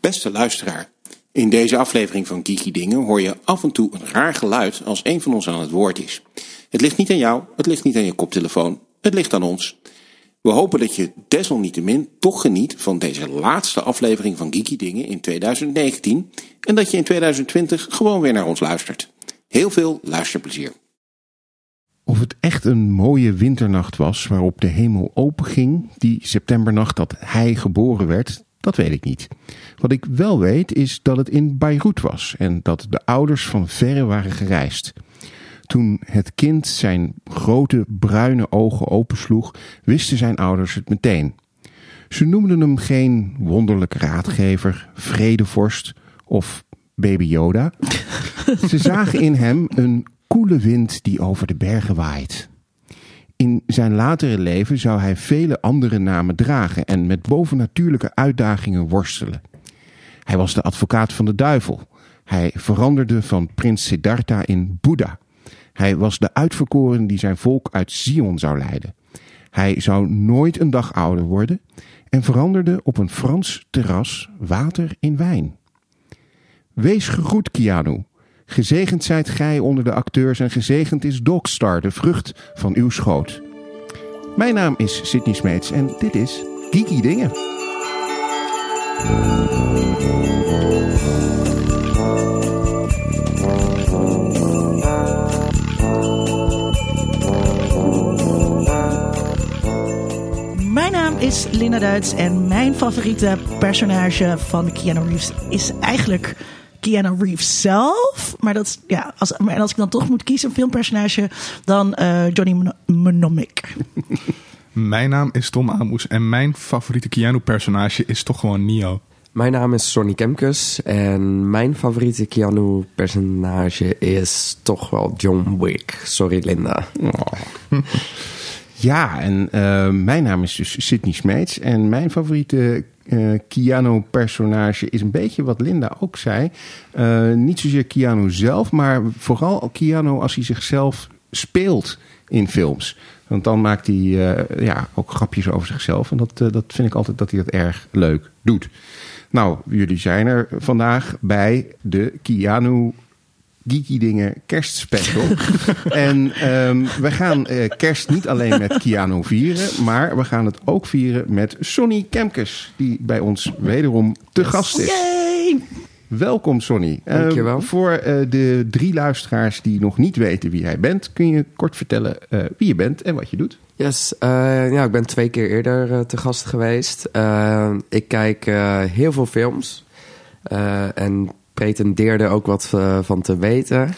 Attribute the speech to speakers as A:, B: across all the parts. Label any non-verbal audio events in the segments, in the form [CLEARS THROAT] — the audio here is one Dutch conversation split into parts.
A: Beste luisteraar, in deze aflevering van Geeky Dingen hoor je af en toe een raar geluid als een van ons aan het woord is. Het ligt niet aan jou, het ligt niet aan je koptelefoon, het ligt aan ons. We hopen dat je desalniettemin toch geniet van deze laatste aflevering van Geeky Dingen in 2019 en dat je in 2020 gewoon weer naar ons luistert. Heel veel luisterplezier. Of het echt een mooie winternacht was waarop de hemel openging, die septembernacht dat hij geboren werd, dat weet ik niet. Wat ik wel weet is dat het in Beirut was en dat de ouders van verre waren gereisd. Toen het kind zijn grote bruine ogen opensloeg, wisten zijn ouders het meteen. Ze noemden hem geen wonderlijke raadgever, vredevorst of baby Yoda. Ze zagen in hem een koele wind die over de bergen waait. In zijn latere leven zou hij vele andere namen dragen en met bovennatuurlijke uitdagingen worstelen. Hij was de advocaat van de duivel. Hij veranderde van prins Siddhartha in Boeddha. Hij was de uitverkoren die zijn volk uit Zion zou leiden. Hij zou nooit een dag ouder worden en veranderde op een Frans terras water in wijn. Wees gegroet, Kianu. Gezegend zijt gij onder de acteurs en gezegend is Dogstar, de vrucht van uw schoot. Mijn naam is Sidney Smeets en dit is Geeky Dingen.
B: Mijn naam is Linda Duits en mijn favoriete personage van Keanu Reeves is eigenlijk Keanu Reeves zelf. Maar dat is, ja, als, maar als ik dan toch moet kiezen, een filmpersonage, dan eh, Johnny Mno- Mnemonic.
C: Mijn naam is Tom Amoes en mijn favoriete Keanu-personage is toch gewoon Neo.
D: Mijn naam is Sonny Kemkes en mijn favoriete Keanu-personage is toch wel John Wick. Sorry Linda.
A: Ja, en eh, mijn naam is dus Sidney Smeets. En mijn favoriete eh Keanu-personage is een beetje wat Linda ook zei. Eh, niet zozeer Keanu zelf, maar vooral Keanu als hij zichzelf speelt in films. Want dan maakt hij eh, ja, ook grapjes over zichzelf. En dat, eh, dat vind ik altijd dat hij dat erg leuk doet. Nou, jullie zijn er vandaag bij de Keanu Geeky Dingen kerstspecial. en ehm, we gaan eh, kerst niet alleen met Keanu vieren, maar we gaan het ook vieren met Sonny Kemkes, die bij ons wederom te gast is.
B: Yay!
A: Welkom Sonny. Eh,
D: Dankjewel.
A: voor eh, de drie luisteraars die nog niet weten wie jij bent, kun je kort vertellen eh, wie je bent en wat je doet.
D: Yes, eh, ja, ik ben twee keer eerder eh, te gast geweest. Eh, ik kijk eh, heel veel films eh, en pretendeerde ook wat eh, van te weten.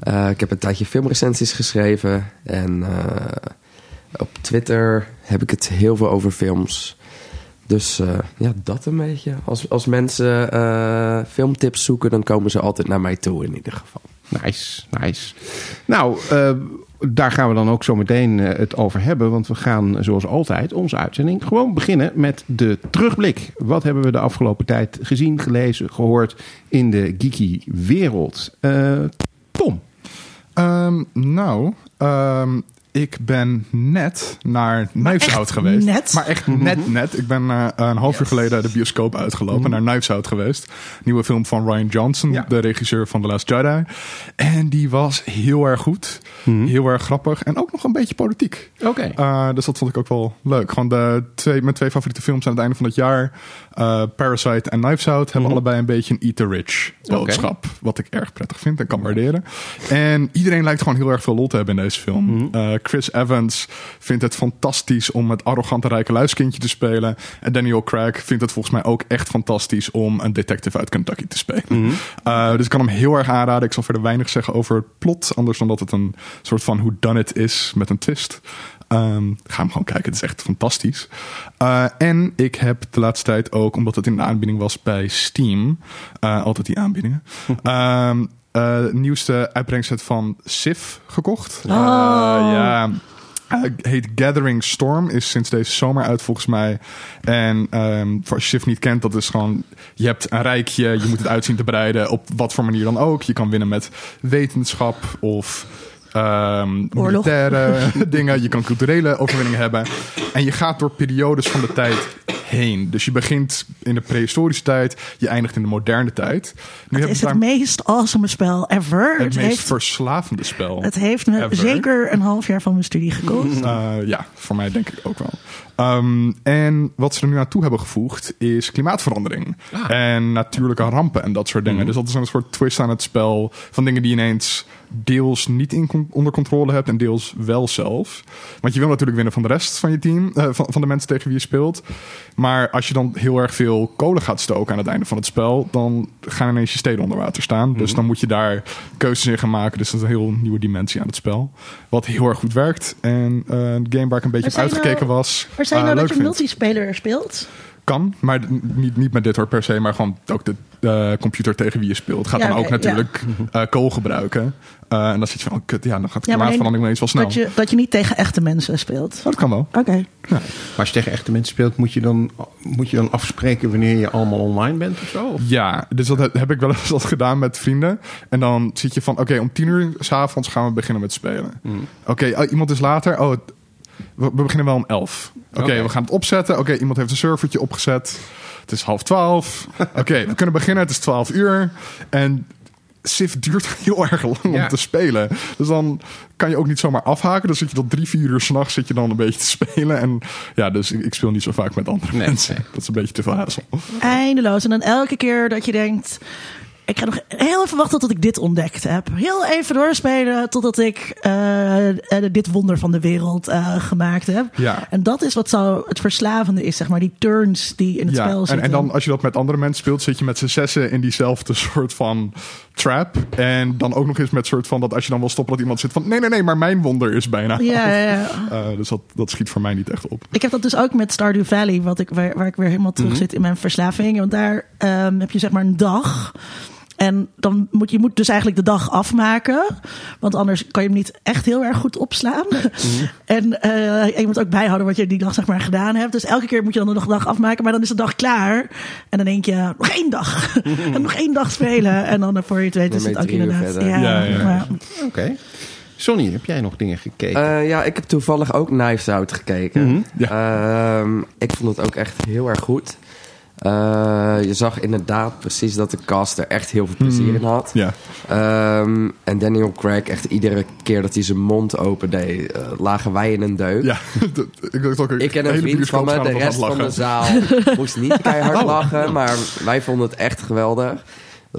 D: Eh, ik heb een tijdje filmrecensies geschreven en eh, op Twitter heb ik het heel veel over films. Dus eh, ja, dat een beetje. Als, als mensen eh, filmtips zoeken, dan komen ze altijd naar mij toe in ieder geval.
A: Nice, nice. Nou, eh, daar gaan we dan ook zo meteen eh, het over hebben. Want we gaan, zoals altijd, onze uitzending gewoon beginnen met de terugblik. Wat hebben we de afgelopen tijd gezien, gelezen, gehoord in de geeky wereld? Eh, Tom.
C: Ehm, nou, ehm, ik ben net naar Knives
B: echt
C: Out geweest.
B: net? Mhm.
C: Maar echt net, net. Ik ben eh, een half uur geleden de bioscoop uitgelopen naar Knives Out geweest. Nieuwe film van Ryan Johnson,
A: Ja.
C: de regisseur van The Last Jedi. En die was heel erg goed,
B: Mhm.
C: heel erg grappig en ook nog een beetje politiek.
A: Oké.
C: Eh, dus dat vond ik ook wel leuk. Gewoon de twee, mijn twee favoriete films aan het einde van het jaar, eh, Parasite en Knives Out, hebben allebei een beetje een Eat the Rich boodschap. Wat ik erg prettig vind en kan waarderen. En iedereen lijkt gewoon heel erg veel lol te hebben in deze film. Eh, Chris Evans vindt het fantastisch om het arrogante rijke luiskindje te spelen. En Daniel Craig vindt het volgens mij ook echt fantastisch om een detective uit Kentucky te spelen. Eh, dus ik kan hem heel erg aanraden. Ik zal verder weinig zeggen over het plot, anders dan dat het een soort van whodunit is met een twist. Ehm, ga hem gewoon kijken. Het is echt fantastisch. Eh, en ik heb de laatste tijd ook, omdat het in de aanbieding was bij Steam, eh, altijd die aanbiedingen, ehm, eh, nieuwste uitbrengset van Sif gekocht. Eh, ja. Eh, heet Gathering Storm, is sinds deze zomer uit volgens mij. En ehm, voor als je Shift niet kent, dat is gewoon... Je hebt een rijkje, je moet het uitzien te breiden, op wat voor manier dan ook. Je kan winnen met wetenschap of ehm
B: Oorlog.
C: eh, [LAUGHS] militaire dingen. Je kan culturele overwinningen hebben. En je gaat door periodes van de tijd heen. Dus je begint in de prehistorische tijd, je eindigt in de moderne tijd. Nu
B: Het
C: hebben
B: is
C: we
B: het
C: daar
B: meest awesome spel ever.
C: het meest
B: heeft,
C: verslavende spel.
B: het heeft me
C: ever.
B: zeker een half jaar van mijn studie gekost.
C: Eh, ja, voor mij denk ik ook wel. Ehm, en wat ze er nu aan toe hebben gevoegd is klimaatverandering. En natuurlijke rampen en dat soort dingen. Dus dat is een soort twist aan het spel van dingen die je ineens deels niet in con- onder controle hebt en deels wel zelf. Want je wil natuurlijk winnen van de rest van je team, eh, van, van de mensen tegen wie je speelt. Maar als je dan heel erg veel kolen gaat stoken aan het einde van het spel, dan gaan ineens je steden onder water staan. Dus dan moet je daar keuzes in gaan maken. Dus dat is een heel nieuwe dimensie aan het spel. Wat heel erg goed werkt. En eh, een game waar ik een beetje
B: Maar
C: op
B: zei je
C: uitgekeken
B: nou-
C: was.
B: Maar zijn
C: eh,
B: nou
C: leuk
B: dat je
C: vind.
B: multispeler speelt?
C: Kan, maar d- niet, niet met dit hoor per se, maar gewoon ook de eh, computer tegen wie je speelt. Gaat
B: Ja,
C: dan
B: oké,
C: ook natuurlijk eh, kool gebruiken. Eh, en dat is iets van, oh kut, ja, dan gaat de
B: Ja, maar
C: klimaatverandering ineens wel snel.
B: Dat je, dat je niet tegen echte mensen speelt.
C: Oh, dat kan wel.
B: Oké.
A: Maar als je tegen echte mensen speelt, moet je, dan, moet je dan afspreken wanneer je allemaal online bent of zo? Of-
C: Ja, dus dat he- heb ik wel [LAUGHS] eens al gedaan met vrienden. En dan zit je van, oké, om tien uur s'avonds gaan we beginnen met spelen.
A: Mm.
C: Oké, oh, iemand is later. Oh, het- we, we beginnen wel om elf. Oké,
A: Oké.
C: we gaan het opzetten. Oké, iemand heeft een servertje opgezet. Het is half twaalf. Oké, we kunnen beginnen. Het is twaalf uur. En Civ duurt [LAUGHS] heel erg lang
A: Ja.
C: om te spelen. Dus dan kan je ook niet zomaar afhaken. Dan zit je tot drie, vier uur s'nachts zit je dan een beetje te spelen. En ja, dus ik, ik speel niet zo vaak met andere
A: Nee,
C: mensen.
A: nee.
C: Dat is een beetje te veel hassel.
B: Eindeloos. En dan elke keer dat je denkt... Ik ga nog heel even wachten tot ik dit ontdekt heb. Heel even doorspelen totdat ik eh, eh, dit wonder van de wereld eh, gemaakt heb.
C: Ja.
B: En dat is wat zo het verslavende is, zeg maar. Die turns die in het
C: Ja,
B: spel
C: en,
B: zitten.
C: en dan als je dat met andere mensen speelt, zit je met z'n zessen in diezelfde [LAUGHS] soort van trap. En dan ook nog eens met soort van dat als je dan wil stoppen, dat iemand zit van nee, nee, nee, maar mijn wonder is bijna.
B: Ja, ja, ja.
C: Eh, dus dat, dat schiet voor mij niet echt op.
B: Ik heb dat dus ook met Stardew Valley, wat ik, waar, waar ik weer helemaal
D: Mhm.
B: terug zit in mijn verslaving. Want daar ehm, heb je zeg maar een dag. En dan moet je moet dus eigenlijk de dag afmaken. Want anders kan je hem niet echt heel erg goed opslaan. [LAUGHS]
D: Mhm.
B: En, eh, en je moet ook bijhouden wat je die dag zeg maar gedaan hebt. Dus elke keer moet je dan nog een dag afmaken. Maar dan is de dag klaar. En dan denk je, nog één dag. [LAUGHS] en nog één dag spelen. En dan eh, voor je het weet
D: Mhm. Dan
B: is het
D: ben
B: ook
D: je drie uur
B: inderdaad.
D: verder.
B: Ja,
C: Ja, ja.
B: maar-
A: Oké. Sonny, heb jij nog dingen gekeken?
D: Eh, ja, ik heb toevallig ook Knives Out gekeken.
C: Mhm,
D: Ehm, ik vond het ook echt heel erg goed. Eh, je zag inderdaad precies dat de cast er echt heel veel plezier in had.
C: Mhm. Ja,
D: Ehm, en Daniel Craig, echt iedere keer dat hij zijn mond opendeed, eh, lagen wij in een deuk.
C: ja. [LAUGHS] dat- ik dacht ook,
D: Ik en
C: de
D: een
C: hele
D: vriend van me,
C: bioscoopzaal
D: de
C: was aan het
D: rest van de
C: lachen. Oh.
D: zaal, [LAUGHS] moest niet keihard lachen, maar wij vonden het echt geweldig.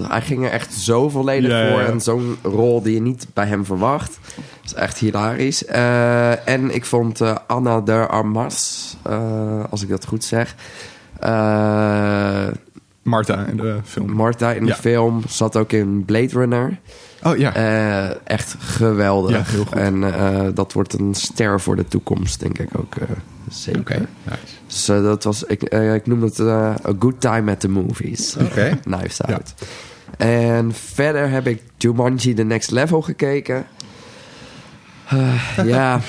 D: Hij ging er echt zo volledig
C: Ja, ja,
D: voor
C: ja.
D: en zo'n rol die je niet bij hem verwacht. Dat is echt hilarisch. Eh, en ik vond eh, Anna de Armas, eh, als ik dat goed zeg, eh,
C: Marta in de film.
D: Marta in de
C: Ja.
D: film zat ook in Blade Runner.
C: Oh ja.
D: Eh, echt geweldig.
C: Ja, heel goed.
D: En eh, dat wordt een ster voor de toekomst, denk ik ook. eh, zeker.
A: Oké, nice.
D: Dus eh, dat was, ik, eh, ik noem het eh, A Good Time at the Movies.
A: Oké.
D: [LAUGHS] Knives Out. En verder heb ik Jumanji The Next Level gekeken. Eh, ja,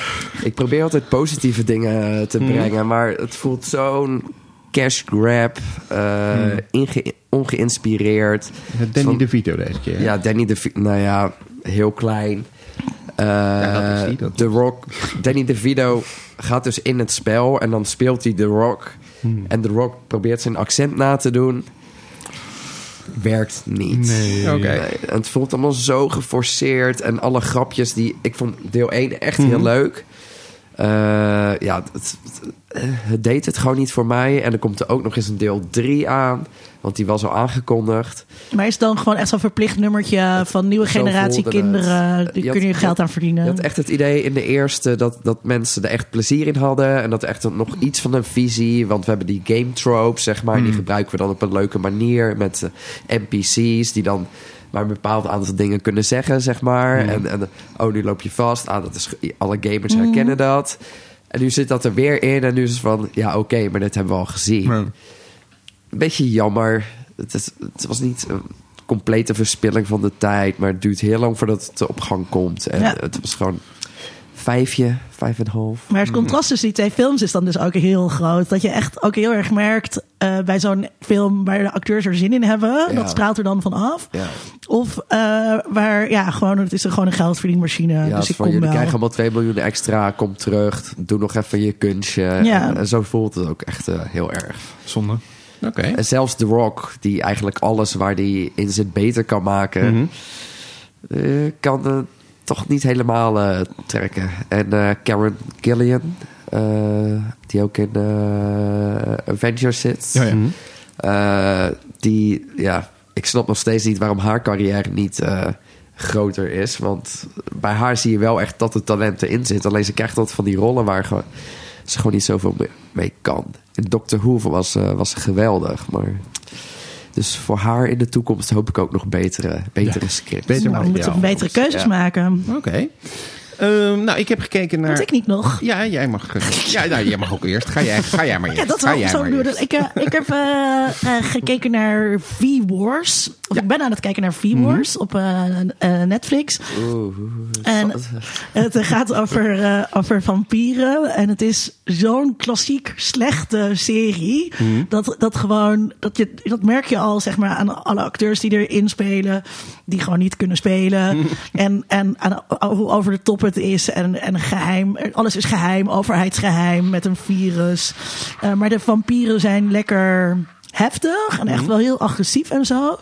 D: ik probeer altijd positieve dingen eh, te brengen, maar het voelt zo'n cash grab, eh, inge- ongeïnspireerd.
A: Danny
D: Van-
A: DeVito deze keer. hè?
D: Ja, Danny de nou ja, heel klein. Eh,
A: dat is die, dat
D: The Rock. Danny DeVito gaat dus in het spel en dan speelt hij The Rock.
A: Hmm.
D: En The Rock probeert zijn accent na te doen. Werkt niet.
C: Nee.
A: Oké.
D: Nee, en het voelt allemaal zo geforceerd. En alle grapjes die... Ik vond deel 1 echt
A: Hmm.
D: heel leuk. Eh, ja, het, het- eh, het deed het gewoon niet voor mij. En er komt er ook nog eens een deel 3 aan. Want die was al aangekondigd.
B: Maar is het dan gewoon echt zo'n verplicht nummertje van nieuwe
D: zo
B: generatie
D: voelde het.
B: kinderen?
D: Je
B: Die
D: had-
B: kunnen je
D: je had-
B: geld aan verdienen.
D: Je had echt het idee in de eerste dat, dat mensen er echt plezier in hadden. En dat er echt nog iets van een visie. Want we hebben die game tropes, zeg maar. Die gebruiken we dan op een leuke manier. Met eh, NPC's die dan maar een bepaald aantal dingen kunnen zeggen, zeg maar. En, en oh, nu loop je vast. Ah, dat is, ge- alle gamers herkennen dat. En nu zit dat er weer in. En nu is het van, ja, oké, maar dit hebben we al gezien
C: Nee.
D: een beetje jammer. Het, is, het was niet een complete verspilling van de tijd, maar het duurt heel lang voordat het op gang komt. En
B: Ja.
D: het was gewoon vijfje, vijf en een half.
B: Maar het contrast tussen die twee films is dan dus ook heel groot. Dat je echt ook heel erg merkt eh, bij zo'n film waar de acteurs er zin in hebben. Dat straalt er dan van af.
D: Ja.
B: Of eh, waar, ja, gewoon, het is er gewoon een geldverdienmachine.
D: Ja,
B: dus
D: het
B: ik
D: van
B: kom
D: jullie
B: wel.
D: krijgen allemaal 2 miljoen extra, kom terug, doe nog even je kunstje. En, en zo voelt het ook echt eh, heel erg.
C: Zonde.
A: Oké.
D: En zelfs The Rock, die eigenlijk alles waar die in zit beter kan maken,
C: Mhm.
D: eh, kan het toch niet helemaal eh, trekken. En eh, Karen Gillian, eh, die ook in eh, Avengers zit.
C: Ja, ja.
D: Eh, die, ja, ik snap nog steeds niet waarom haar carrière niet eh, groter is. Want bij haar zie je wel echt dat het talent erin zit. Alleen ze krijgt altijd van die rollen waar gewoon- ze gewoon niet zoveel mee- mee kan. In Doctor Who was, eh, was ze geweldig, maar... Dus voor haar in de toekomst hoop ik ook nog betere, betere scripts.
A: beter
B: Nou, we moeten
A: materiaal.
B: betere keuzes
D: Ja.
B: maken.
A: Oké. Ehm, nou, ik heb gekeken naar...
B: Dat ik niet nog.
A: Ja, jij mag, eh, ja nou, jij mag ook eerst. Ga jij, ga jij maar eerst.
B: Ja, dat
A: ga
B: zou
A: jij
B: zo
A: maar
B: doen.
A: eerst.
B: Ik, eh, ik heb eh, eh, gekeken naar V-Wars. Of Ik ben aan het kijken naar V-Wars op eh, eh, Netflix. En het eh, gaat over, eh, over vampieren. En het is zo'n klassiek slechte serie. Dat, dat gewoon, dat, je, dat merk je al zeg maar, aan alle acteurs die erin spelen. Die gewoon niet kunnen spelen. En, en aan o- hoe over de top het is. En, en geheim. Alles is geheim. Overheidsgeheim met een virus. Eh, maar de vampieren zijn lekker heftig en echt wel heel agressief en zo.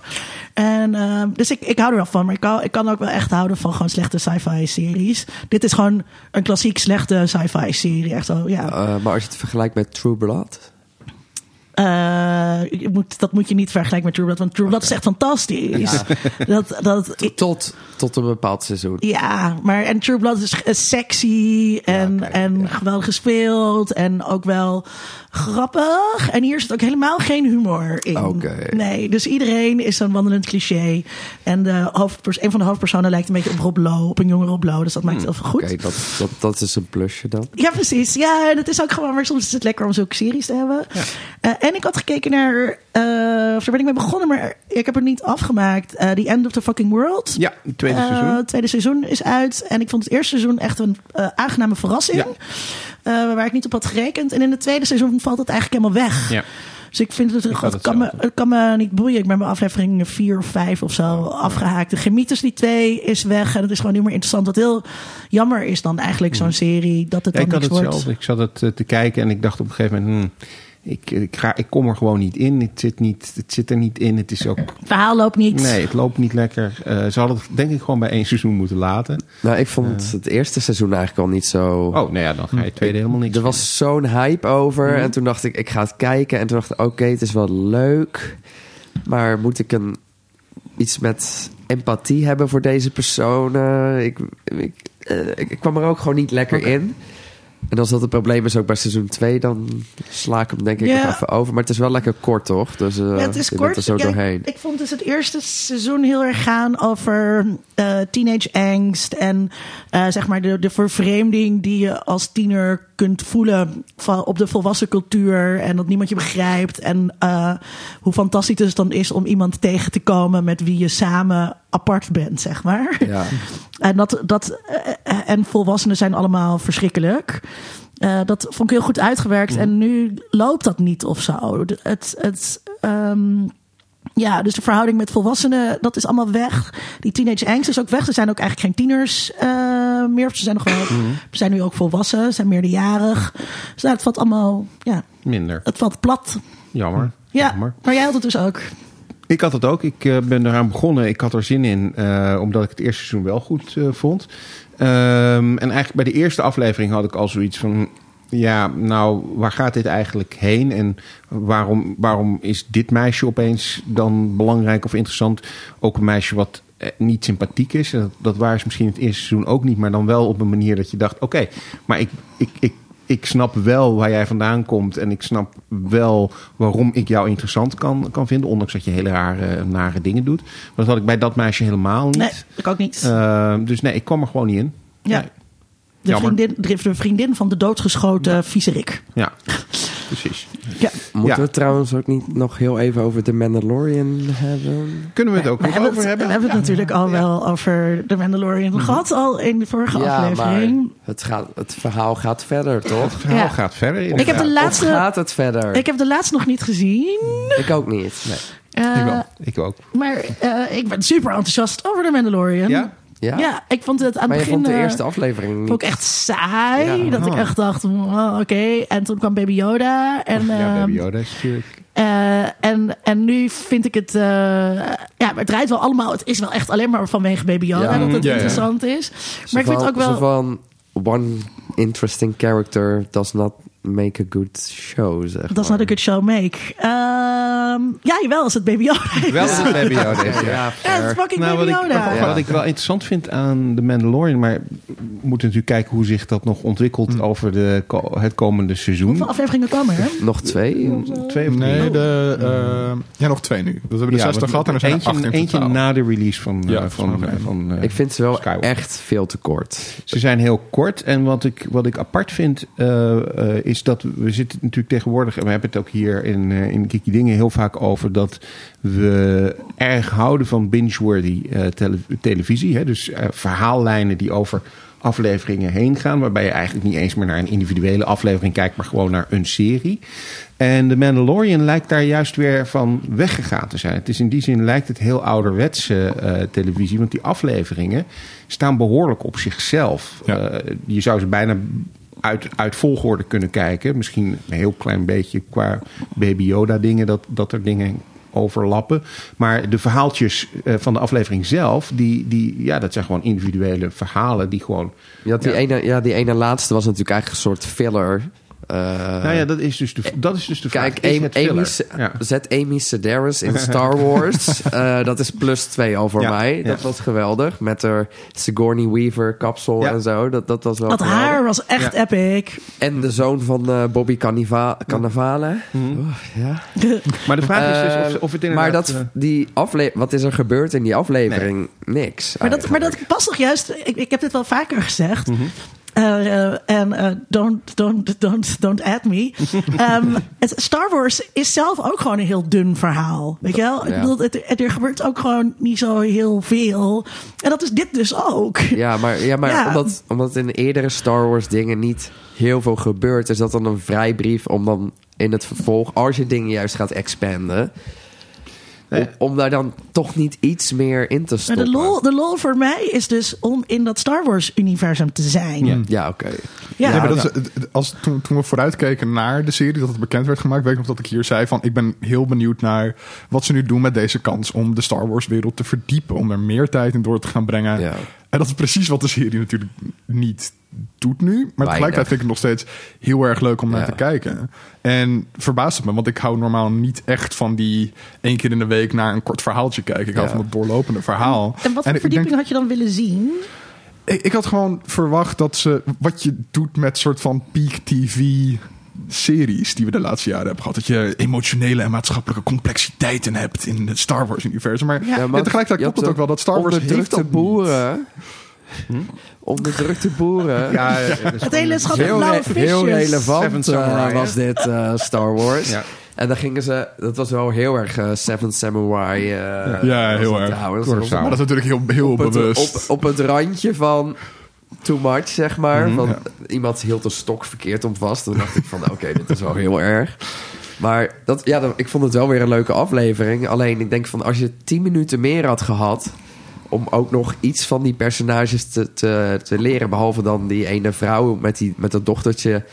B: En, ehm, dus ik, ik hou er wel van. Maar ik kan, ik kan ook wel echt houden van gewoon slechte sci-fi series. Dit is gewoon een klassiek slechte sci-fi serie. Echt zo, ja.
D: Eh, maar als je het vergelijkt met True Blood...
B: Eh, je moet, dat moet je niet vergelijken met True Blood. Want True Blood is echt fantastisch. Dat, dat, ik-
D: Tot, tot een bepaald seizoen.
B: ja, maar en True Blood is eh, sexy en,
D: oké,
B: en geweldig gespeeld en ook wel grappig. En hier zit ook helemaal geen humor in.
D: Oké.
B: Nee, dus iedereen is zo'n wandelend cliché. En de hoofdpers- een van de hoofdpersonen lijkt een beetje op Rob Lowe, op een jonge Rob Lowe. Dus dat maakt het heel goed.
D: Hmm, Oké, dat, dat, dat is een plusje dan.
B: Ja, precies. Ja, en het is ook gewoon, maar soms is het lekker om zulke series te hebben. Eh, en ik had gekeken naar, eh, of daar ben ik mee begonnen, maar ik heb het niet afgemaakt. Eh The End of the Fucking World.
A: Ja, het tweede
B: Eh,
A: seizoen.
B: Het tweede seizoen is uit. En ik vond het eerste seizoen echt een eh, aangename verrassing.
A: Ja.
B: Eh, waar ik niet op had gerekend. En in het tweede seizoen valt het eigenlijk helemaal weg.
A: Ja.
B: Dus ik vind het,
A: had
B: het, kan me,
A: hetzelfde.
B: het kan me niet boeien. Ik ben bij aflevering 4 of 5 of zo afgehaakt. De chemie tussen die twee is weg. En het is gewoon niet meer interessant. Wat heel jammer is dan eigenlijk zo'n serie. Dat het
A: Mm. Ja,
B: dan
A: ik had
B: niks wordt.
A: hetzelfde. Ik zat het eh, te kijken en ik dacht op een gegeven moment... hmm, ik, ik, ga, ik kom er gewoon niet in. Het zit, niet, het zit er niet in. Het is
B: [LAUGHS]
A: ook...
B: Het verhaal loopt niet.
A: Nee, het loopt niet lekker. Eh, ze hadden het denk ik gewoon bij één seizoen moeten laten.
D: Nou, ik vond het eerste seizoen eigenlijk al niet zo...
A: Oh, nou ja, dan ga je het tweede helemaal niks.
D: Er was zo'n hype over.
B: Mhm.
D: En toen dacht ik, ik ga het kijken. En toen dacht ik, oké, het is wel leuk. Maar moet ik een, iets met empathie hebben voor deze personen? Ik, ik, eh, ik, ik kwam er ook gewoon niet lekker in. En als dat het probleem is ook bij seizoen 2, dan sla ik hem denk ik
B: Ja.
D: nog even over. Maar het is wel lekker kort, toch? Dus eh,
B: Ja, het is
D: je
B: kort.
D: bent er zo
B: Kijk,
D: doorheen.
B: Ik vond dus het eerste seizoen heel erg gaan over eh, teenage angst. En eh, zeg maar de, de vervreemding die je als tiener kunt voelen van, op de volwassen cultuur. En dat niemand je begrijpt. En eh, hoe fantastisch het dan is om iemand tegen te komen met wie je samen apart bent, zeg maar.
D: Ja.
B: En, dat, dat, eh, en volwassenen zijn allemaal verschrikkelijk. Eh, dat vond ik heel goed uitgewerkt. En nu loopt dat niet of zo. De- Het, het, ehm, ja, dus de verhouding met volwassenen, dat is allemaal weg. Die teenage angst is ook weg. Ze zijn ook eigenlijk geen tieners eh, meer. Ze zijn, nog wel,
A: Mhm.
B: ze zijn nu ook volwassen. Ze zijn meerderjarig. Dus nou, het valt allemaal, ja,
A: Minder.
B: het valt plat.
A: Jammer.
B: Ja,
A: Jammer.
B: maar jij had het dus ook.
A: Ik had het ook. Ik eh, ben eraan begonnen. Ik had er zin in, eh, omdat ik het eerste seizoen wel goed eh, vond. Ehm, en eigenlijk bij de eerste aflevering had ik al zoiets van... Ja, nou, waar gaat dit eigenlijk heen? En waarom, waarom is dit meisje opeens dan belangrijk of interessant? Ook een meisje wat eh, niet sympathiek is. En Dat, dat waren ze misschien het eerste seizoen ook niet. Maar dan wel op een manier dat je dacht... Oké, maar ik, ik, ik, ik snap wel waar jij vandaan komt. En ik snap wel waarom ik jou interessant kan, kan vinden. Ondanks dat je hele rare, nare dingen doet. Maar dat had ik bij dat meisje helemaal niet.
B: Nee, ik ook niet.
A: Eh, dus nee, ik kwam er gewoon niet in.
B: ja.
A: Nee.
B: De
A: jammer.
B: [LAUGHS] vriendin, de vriendin van de doodgeschoten viezerik.
A: Ja, precies.
B: Ja.
D: Moeten
A: Ja.
D: we het trouwens ook niet nog heel even over The Mandalorian hebben?
A: Kunnen we het ook
B: We
A: nog
B: hebben,
A: over
B: het,
A: hebben?
B: we hebben het natuurlijk al wel over de Mandalorian gehad, al in de vorige aflevering.
D: het, gaat, het verhaal gaat verder, toch?
A: Het verhaal
B: Ja.
A: gaat verder.
B: Ik heb,
A: inderdaad.
B: de laatste,
D: Of gaat het verder?
B: ik heb de laatste nog niet gezien.
D: Ik ook niet. Nee.
B: Eh,
A: Ik ook.
B: maar eh, ik ben super enthousiast over de Mandalorian.
A: Ja?
D: Ja?
B: Ja, ik vond het aan
D: maar
B: het begin
D: je vond de
B: eh,
D: eerste aflevering niet.
B: vond ik echt saai.
D: Ja.
B: dat ik
A: Ah.
B: echt dacht, wow, oké. En toen kwam Baby Yoda. En,
A: ja,
B: ehm,
A: Baby Yoda is natuurlijk...
B: Eh, en, en nu vind ik het. eh, ja, het draait wel allemaal. Het is wel echt alleen maar vanwege Baby Yoda
D: Ja.
B: dat het
C: Ja, ja.
B: interessant is. Maar ik vind het ook wel.
D: Zo van, one interesting character does not make a good show, zeg
B: Dat is not a good show make. Ehm, ja, jawel, is het Baby Yoda. is.
A: Wel is het Baby Yoda. is, ja.
D: Ja,
B: Ja, het is fucking
A: Nou, wat
B: Baby
A: ik,
B: Yoda.
A: wat ik wel interessant vind aan The Mandalorian, maar we moeten natuurlijk kijken hoe zich dat nog ontwikkelt
B: Mm.
A: over de, ko- het komende seizoen.
B: Hoeveel afleveringen komen er?
D: Nog twee? of zo?
A: Twee of drie? Oh.
C: Nee, de, eh, Oh. ja, nog twee nu. Dat hebben we de
A: Ja,
C: zesde
A: want
C: gehad en er zijn er
A: eentje,
C: acht in
A: eentje
C: totaal.
A: na de release van. eh,
C: Ja,
A: van,
C: volgens mij.
A: van, eh,
D: Ik vind ze wel
A: Skywalker.
D: echt veel te kort.
A: Ze zijn heel kort. En wat ik, wat ik apart vind, eh, eh, is dat we zitten natuurlijk tegenwoordig, en we hebben het ook hier in, eh, in Kiki Dingen heel vaak over, dat we erg houden van binge-worthy eh, tele- televisie. Hè? Dus eh, verhaallijnen die over afleveringen heen gaan, waarbij je eigenlijk niet eens meer naar een individuele aflevering kijkt, maar gewoon naar een serie. En The Mandalorian lijkt daar juist weer van weggegaan te zijn. Het is in die zin lijkt het heel ouderwetse eh, televisie, want die afleveringen staan behoorlijk op zichzelf.
C: Ja.
A: Eh, je zou ze bijna uit, uit volgorde kunnen kijken. Misschien een heel klein beetje qua Baby Yoda dingen, dat, dat er dingen overlappen. Maar de verhaaltjes eh, van de aflevering zelf, die, die, ja, dat zijn gewoon individuele verhalen die gewoon...
D: Je had die,
A: Ja.
D: Ene, ja, die ene laatste was natuurlijk eigenlijk een soort filler. Eh,
A: nou ja, dat is dus de, dat is dus de vraag.
D: Kijk,
A: Is
D: Amy-
A: het filler?
D: Amy Se-
A: Ja.
D: zet Amy
A: [LAUGHS]
D: Sedaris in Star Wars. Eh, dat is plus twee al voor
A: Ja,
D: mij. Dat
A: ja.
D: was geweldig. Met haar Sigourney Weaver kapsel
A: Ja.
D: en zo. Dat, dat was wel
B: Dat
D: geweldig.
B: haar was echt
A: Ja.
B: epic.
D: En de zoon van eh, Bobby Cannava Cannavale. Oeh, ja.
A: Maar de Mhm. vraag is dus of,
D: Eh,
A: of het inderdaad...
D: maar dat,
A: eh,
D: die afle wat is er gebeurd in die aflevering? Niks.
B: Maar dat, maar dat past toch juist. Ik, ik heb dit wel vaker gezegd.
A: Mhm.
B: Eh, eh, En eh, don't, don't, don't, don't add
A: [LAUGHS]
B: me. Ehm, het, Star Wars is zelf ook gewoon een heel dun verhaal. Weet je wel? Ik
D: Ja.
B: bedoel, het, het- er gebeurt ook gewoon niet zo heel veel. En dat is dit dus ook.
D: Ja, maar, ja, maar
B: Ja.
D: Omdat, omdat in eerdere Star Wars dingen niet heel veel gebeurt, is dat dan een vrijbrief om dan in het vervolg, als je dingen juist gaat expanden, om, om daar dan toch niet iets meer in te
B: Maar
D: stoppen.
B: de lol, de lol voor mij is dus om in dat Star Wars-universum te zijn. Ja.
D: Ja, oké.
C: Ja, maar dat is, eh, als, toen, toen we vooruitkeken naar de serie, dat het bekend werd gemaakt, weet ik nog dat ik hier zei van, ik ben heel benieuwd naar wat ze nu doen met deze kans om de Star Wars wereld te verdiepen, om er meer tijd in door te gaan brengen.
D: Ja.
C: En dat is precies wat de serie natuurlijk niet doet nu, maar tegelijkertijd vind ik het nog steeds heel erg leuk om naar
D: Ja.
C: te kijken. En verbaast het me, want ik hou normaal niet echt van die één keer in de week naar een kort verhaaltje kijken. Ik hou
D: Ja.
C: van het doorlopende verhaal.
B: En wat voor
C: ik- ik
B: verdieping
C: denk-
B: had je dan willen zien?
C: ik, ik had gewoon verwacht dat ze wat je doet met soort van peak TV series die we de laatste jaren hebben gehad. Dat je emotionele en maatschappelijke complexiteiten hebt in het Star Wars universum. Maar, ja,
D: maar
C: tegelijkertijd
D: je
C: klopt
D: had
C: het ook
D: de
C: wel dat Star Wars heeft
D: onderdrukte
C: dat niet. Hm?
D: boeren. Onderdrukte
C: [LAUGHS]
D: boeren.
A: ja, eh, dat is
B: [LAUGHS] Het hele schattige
D: Heel,
B: blauwe
D: re-
B: visjes.
D: heel
A: Seven
D: relevant eh,
A: Samurai,
D: was dit eh, Star Wars.
A: Ja.
D: En dan gingen ze, dat was wel heel erg eh, Seven Samurai. eh,
C: Ja, heel
D: was het
C: erg.
D: trouwens.
A: Kurosawa.
C: Maar dat is natuurlijk heel, heel
D: op het,
C: bewust.
D: op, op het randje van too much, zeg maar. van, Iemand hield een stok verkeerd om vast. Dan dacht ik van, [LAUGHS] oké, dit is wel heel erg. Maar dat, ja, dat- ik vond het wel weer een leuke aflevering. Alleen ik denk van, als je tien minuten meer had gehad... om ook nog iets van die personages te, te, te leren... behalve dan die ene vrouw met, die, met dat dochtertje...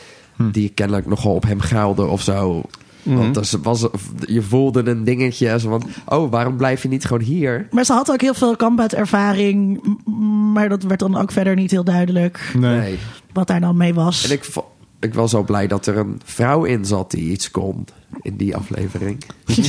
D: die kennelijk nogal op hem gaalde of zo... Want er z- was, je voelde een dingetje. Zo van, oh, waarom blijf je niet gewoon hier?
B: Maar ze had ook heel veel combat-ervaring. m- Maar dat werd dan ook verder niet heel duidelijk
C: Nee.
D: nee.
B: wat daar dan mee was.
D: En ik, vo- ik was al blij dat er een vrouw in zat die iets kon in die aflevering.
B: [LAUGHS]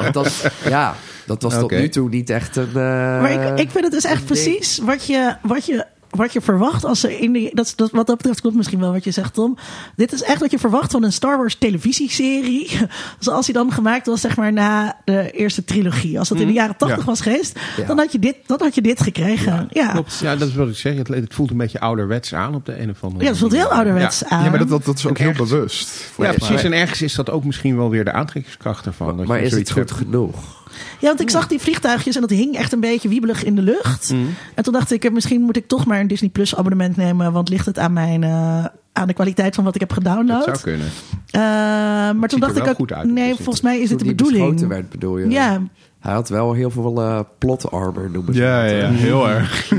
D: Want dat, ja, dat was tot
A: Oké.
D: nu toe niet echt een. eh,
B: maar ik, ik vind het dus echt
D: een ding.
B: precies wat je, wat je wat je verwacht als ze in die. Dat, dat, wat dat betreft klopt misschien wel wat je zegt, Tom. Dit is echt wat je verwacht van een Star Wars televisieserie. [LAUGHS] Zoals die dan gemaakt was, zeg maar, na de eerste trilogie. Als dat in de jaren tachtig
C: Ja.
B: was geweest,
D: Ja.
B: dan, had je dit, dan had je dit gekregen. Ja, ja.
A: Klopt. Ja, dat is wat ik zeg. Het, het voelt een beetje ouderwets aan op de een of andere
B: dat voelt
A: manier.
B: heel ouderwets aan.
C: Ja, maar dat, dat, dat is ook
A: En
C: heel
A: ergens-
C: bewust.
A: Ja, ja
C: volgens mij.
A: precies. En ergens is dat ook misschien wel weer de aantrekkingskracht ervan. dat
D: Maar
A: je
D: is het
A: zoiets
D: goed
A: hebt.
D: genoeg?
B: Ja, want ik zag die vliegtuigjes en dat hing echt een beetje wiebelig in de lucht. En toen dacht ik, eh, misschien moet ik toch maar een Disney Plus abonnement nemen. Want ligt het aan, mijn, eh, aan de kwaliteit van wat ik heb
A: Dat
B: gedownload?
A: zou kunnen.
B: Eh, maar toen
A: ziet er
B: dacht ik
A: wel
B: ook,
A: goed uit op
B: nee,
A: Disney
B: volgens mij is dit de
D: Toen die
B: bedoeling.
D: beschoten werd, bedoel je?
B: Ja,
D: Hij had wel heel veel eh plot armor, noemen ze
C: Ja,
D: dat.
C: ja, ja, heel erg.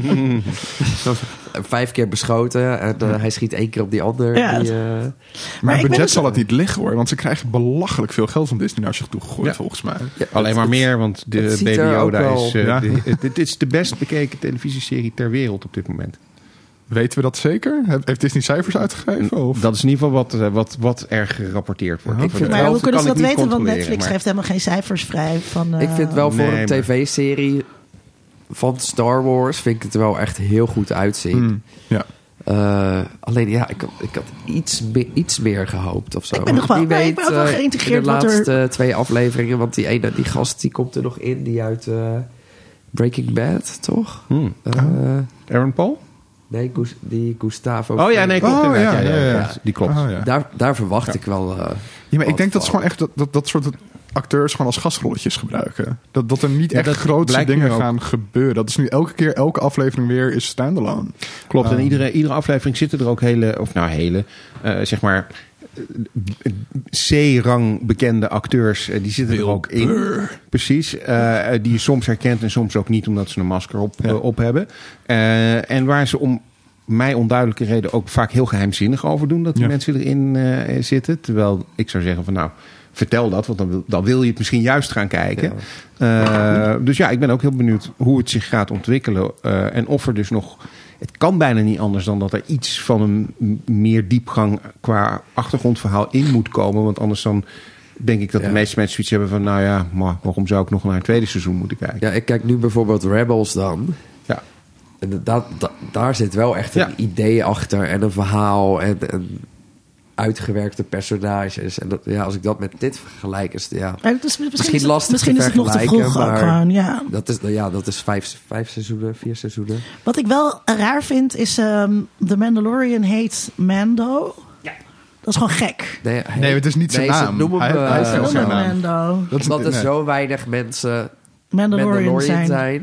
D: Eh, Vijf keer beschoten en eh, hij schiet één keer op die ander.
B: Ja,
D: die,
B: dat-
D: eh,
C: Maar
B: ik
C: het
B: ben
C: budget
B: dus-
C: zal het niet liggen hoor. Want ze krijgen belachelijk veel geld van Disney naar zich toe gegooid,
A: Ja.
C: volgens mij.
D: ja,
A: Alleen maar meer, want de
D: het ziet
A: Baby
D: er ook
A: Yoda
D: wel-
A: is... eh,
C: Ja.
A: de- het- dit is de best bekeken televisieserie ter wereld op dit moment.
C: Weten we dat zeker? He- Heeft Disney cijfers uitgegeven? Of?
A: Dat is in ieder geval wat, eh, wat, wat er gerapporteerd wordt.
C: Ja,
A: Ik vind
C: ik vind-
B: maar
A: wel,
B: hoe kunnen ze
A: kan
B: dat
A: ik niet
B: weten? Want
A: controleren,
B: Netflix
A: maar-
B: geeft helemaal geen cijfers vrij. Van, eh,
D: Ik vind wel voor
A: Nee,
D: een
A: maar-
D: tv-serie van Star Wars vind ik het er wel echt heel goed uitzien.
C: Hmm, ja.
D: Eh, alleen ja, ik, had- ik had iets, meer- iets meer gehoopt of zo.
B: Ik ben nog wel-
D: Wie
B: nee, ik ben ook wel
D: eh,
B: geïntegreerd
D: In de
B: wat er-
D: laatste twee afleveringen, want die ene, die gast, die komt er nog in, die uit eh, Breaking Bad, toch?
A: Hmm.
D: Eh,
A: Aaron Paul?
D: nee, Gus- die Gustavo.
A: Oh ja, nee, klopt.
C: Oh. Oh,
A: inderdaad.
C: ja, ja, ja.
A: Die
B: Oh,
A: klopt.
C: Ah, ja.
D: Daar, daar verwacht ik wel. eh,
C: Ja, maar
D: wat
C: ik denk dat ze
D: van.
C: gewoon echt dat, dat, dat soort acteurs gewoon als gastrolletjes gebruiken. Dat, dat er niet
A: Ja,
C: echt
A: dat
C: grootste
A: blijkt nu
C: dingen
A: ook.
C: gaan gebeuren. Dat is nu elke keer, elke aflevering weer is standalone.
A: Klopt, en
C: Ah.
A: iedere, iedere aflevering zitten er ook hele, of nou hele, eh, zeg maar eh, C-rang bekende acteurs, eh, die zitten er ook in. Precies, eh, eh, die je soms herkent en soms ook niet, omdat ze een masker op,
C: Ja.
A: eh, op hebben. Eh, en waar ze om mij onduidelijke reden ook vaak heel geheimzinnig over doen, dat die
C: Ja.
A: mensen erin eh, zitten. Terwijl ik zou zeggen van nou, vertel dat, want dan wil, dan wil je het misschien juist gaan kijken. Eh, dus ja, ik ben ook heel benieuwd hoe het zich gaat ontwikkelen. eh, en of er dus nog. Het kan bijna niet anders dan dat er iets van een m- meer diepgang qua achtergrondverhaal in moet komen. Want anders dan denk ik dat
D: Ja.
A: de meeste mensen zoiets hebben van: nou ja, maar waarom zou ik nog naar het tweede seizoen moeten kijken?
D: Ja, ik kijk nu bijvoorbeeld Rebels dan.
A: Ja.
D: En dat, da- daar zit wel echt een
A: Ja.
D: idee achter en een verhaal en, en uitgewerkte personages. En dat, ja, als ik dat met dit vergelijk, is het- ja,
B: maar het is- misschien,
D: Misschien
B: is het,
D: lastig
B: misschien
D: te
B: is het nog te vroeg
D: vergelijken,
B: ook
D: maar-
B: gewoon, ja.
D: dat is, ja, dat is vijf, vijf seizoenen, vier seizoenen.
B: Wat ik wel raar vind is, ehm The Mandalorian heet Mando. Dat is gewoon gek.
D: Nee, hij-
C: Nee, het is niet zijn
D: nee, ze
C: naam.
D: noemen
C: Hij-
D: hem,
C: hij is
D: eh,
C: geen
B: Zonder
C: naam.
B: Mando.
C: Dat
D: omdat er
C: nee.
D: zo weinig mensen
B: Mandalorian,
D: Mandalorian zijn,
B: zijn.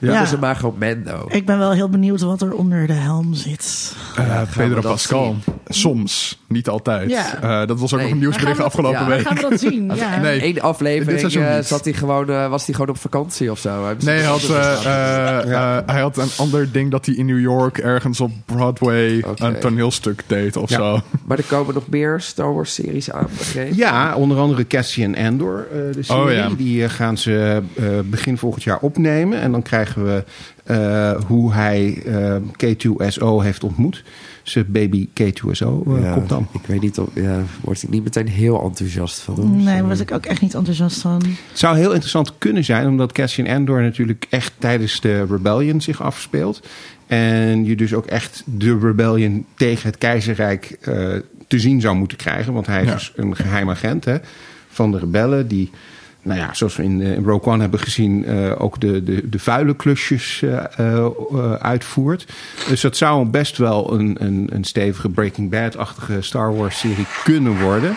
C: Ja.
D: noemen ze maar gewoon Mando.
B: Ik ben wel heel benieuwd wat er onder de helm zit.
C: Eh, Pedro
D: dat
C: Pascal.
D: zien?
C: Soms, niet altijd.
B: Ja.
C: Eh, dat was ook
D: Nee.
C: nog een nieuwsbericht
B: Gaan we-
C: afgelopen
D: ja.
C: week.
B: Gaan we dat zien? Ja.
C: Nee.
D: Eén
C: Dit
D: aflevering
C: seizoen
D: eh,
C: niet.
D: zat hij gewoon, eh, was hij gewoon op vakantie of zo. Dus Hebben ze
C: Nee, hij had,
D: iets anders
C: eh,
D: gedaan?
C: eh, eh, hij had een ander ding dat hij in New York ergens op Broadway
D: Oké.
C: een toneelstuk deed of
A: Ja.
C: zo.
D: Maar er komen nog meer Star Wars series aan, begreep ik?
A: Ja, onder andere Cassian Andor, eh, de serie.
C: Oh, ja.
A: Die eh, gaan ze eh, begin volgend jaar opnemen. En dan krijgen we eh, hoe hij eh, K2SO heeft ontmoet. Zijn baby K2SO eh,
D: Ja,
A: komt dan.
D: Ik weet niet, of, ja, word ik niet meteen heel enthousiast van.
B: Nee, daar was ik ook echt niet enthousiast van.
A: Het zou heel interessant kunnen zijn, omdat Cassian Andor natuurlijk echt tijdens de Rebellion zich afspeelt. En je dus ook echt de Rebellion tegen het keizerrijk eh, te zien zou moeten krijgen. Want hij is
C: Ja.
A: dus een geheim agent hè, van de rebellen die... Nou ja, zoals we in, eh, in Rogue One hebben gezien, eh, ook de, de, de vuile klusjes eh, eh, eh, uitvoert. Dus dat zou best wel een, een, een stevige Breaking Bad-achtige Star Wars-serie kunnen worden.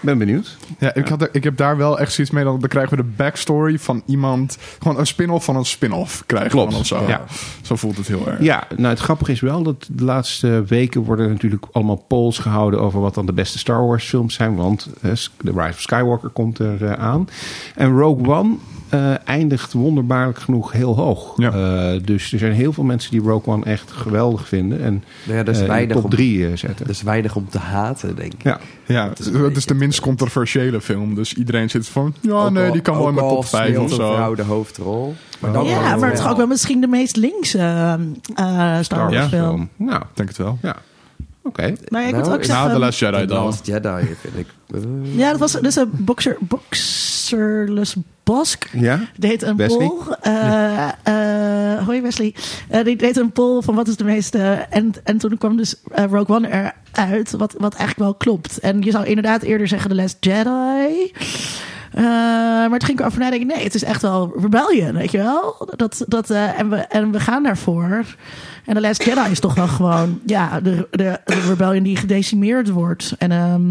A: Ik ben benieuwd.
C: Ja, ik, had er- ik heb daar wel echt zoiets mee. Dan, dan krijgen we de backstory van iemand. Gewoon een spin-off van een spin-off krijgen
A: Klopt,
C: we dan of zo.
A: ja.
C: Zo voelt het heel erg.
A: Ja, nou het grappige is wel dat de laatste weken worden natuurlijk allemaal polls gehouden over wat dan de beste Star Wars films zijn. Want eh, The Rise of Skywalker komt er eh, aan. En Rogue One eh, eindigt wonderbaarlijk genoeg heel hoog.
C: Ja.
A: Eh, dus er zijn heel veel mensen die Rogue One echt geweldig vinden. En
D: Nou ja, dat is
A: eh, in de
D: weinig
A: top
D: om-
A: drie eh, zetten.
D: Er is dus weinig om te haten, denk ik.
A: ja.
C: Ja, het is, het is de minst controversiële film. Dus iedereen zit van. Ja,
D: Ook
C: Oh, nee,
D: al-
C: die kan wel
D: ook
C: in de
D: al
C: top 5
D: speelt
C: of
D: een
C: zo.
D: vrouw de hoofdrol. Maar dan
B: ja,
D: wel.
B: maar het is ook wel misschien de meest linkse eh, eh, Star Wars
C: Ja.
B: film.
A: Nou,
C: Ik denk het wel.
A: ja. Oké.
B: Maar ik
D: Nou,
B: moet ook
D: ik-
C: Na
B: zeggen...
C: The Last Jedi
D: The
C: dan.
D: Last Jedi, vind ik. Eh,
B: Ja, dat was dus een boxer... Box, Sirles Bosk
A: Ja?
B: deed een
A: Wesley?
B: poll. Eh, eh, hoi Wesley. Eh, die deed een poll van wat is de meeste. En, en toen kwam dus eh, Rogue One eruit, wat, wat eigenlijk wel klopt. En je zou inderdaad eerder zeggen The Last Jedi. Eh, maar toen ging ik erover nadenken, nee, het is echt wel Rebellion, weet je wel? Dat, dat, eh, en, we, en we gaan daarvoor. En The Last Jedi is toch wel gewoon, ja, de, de, de Rebellion die gedecimeerd wordt. En ehm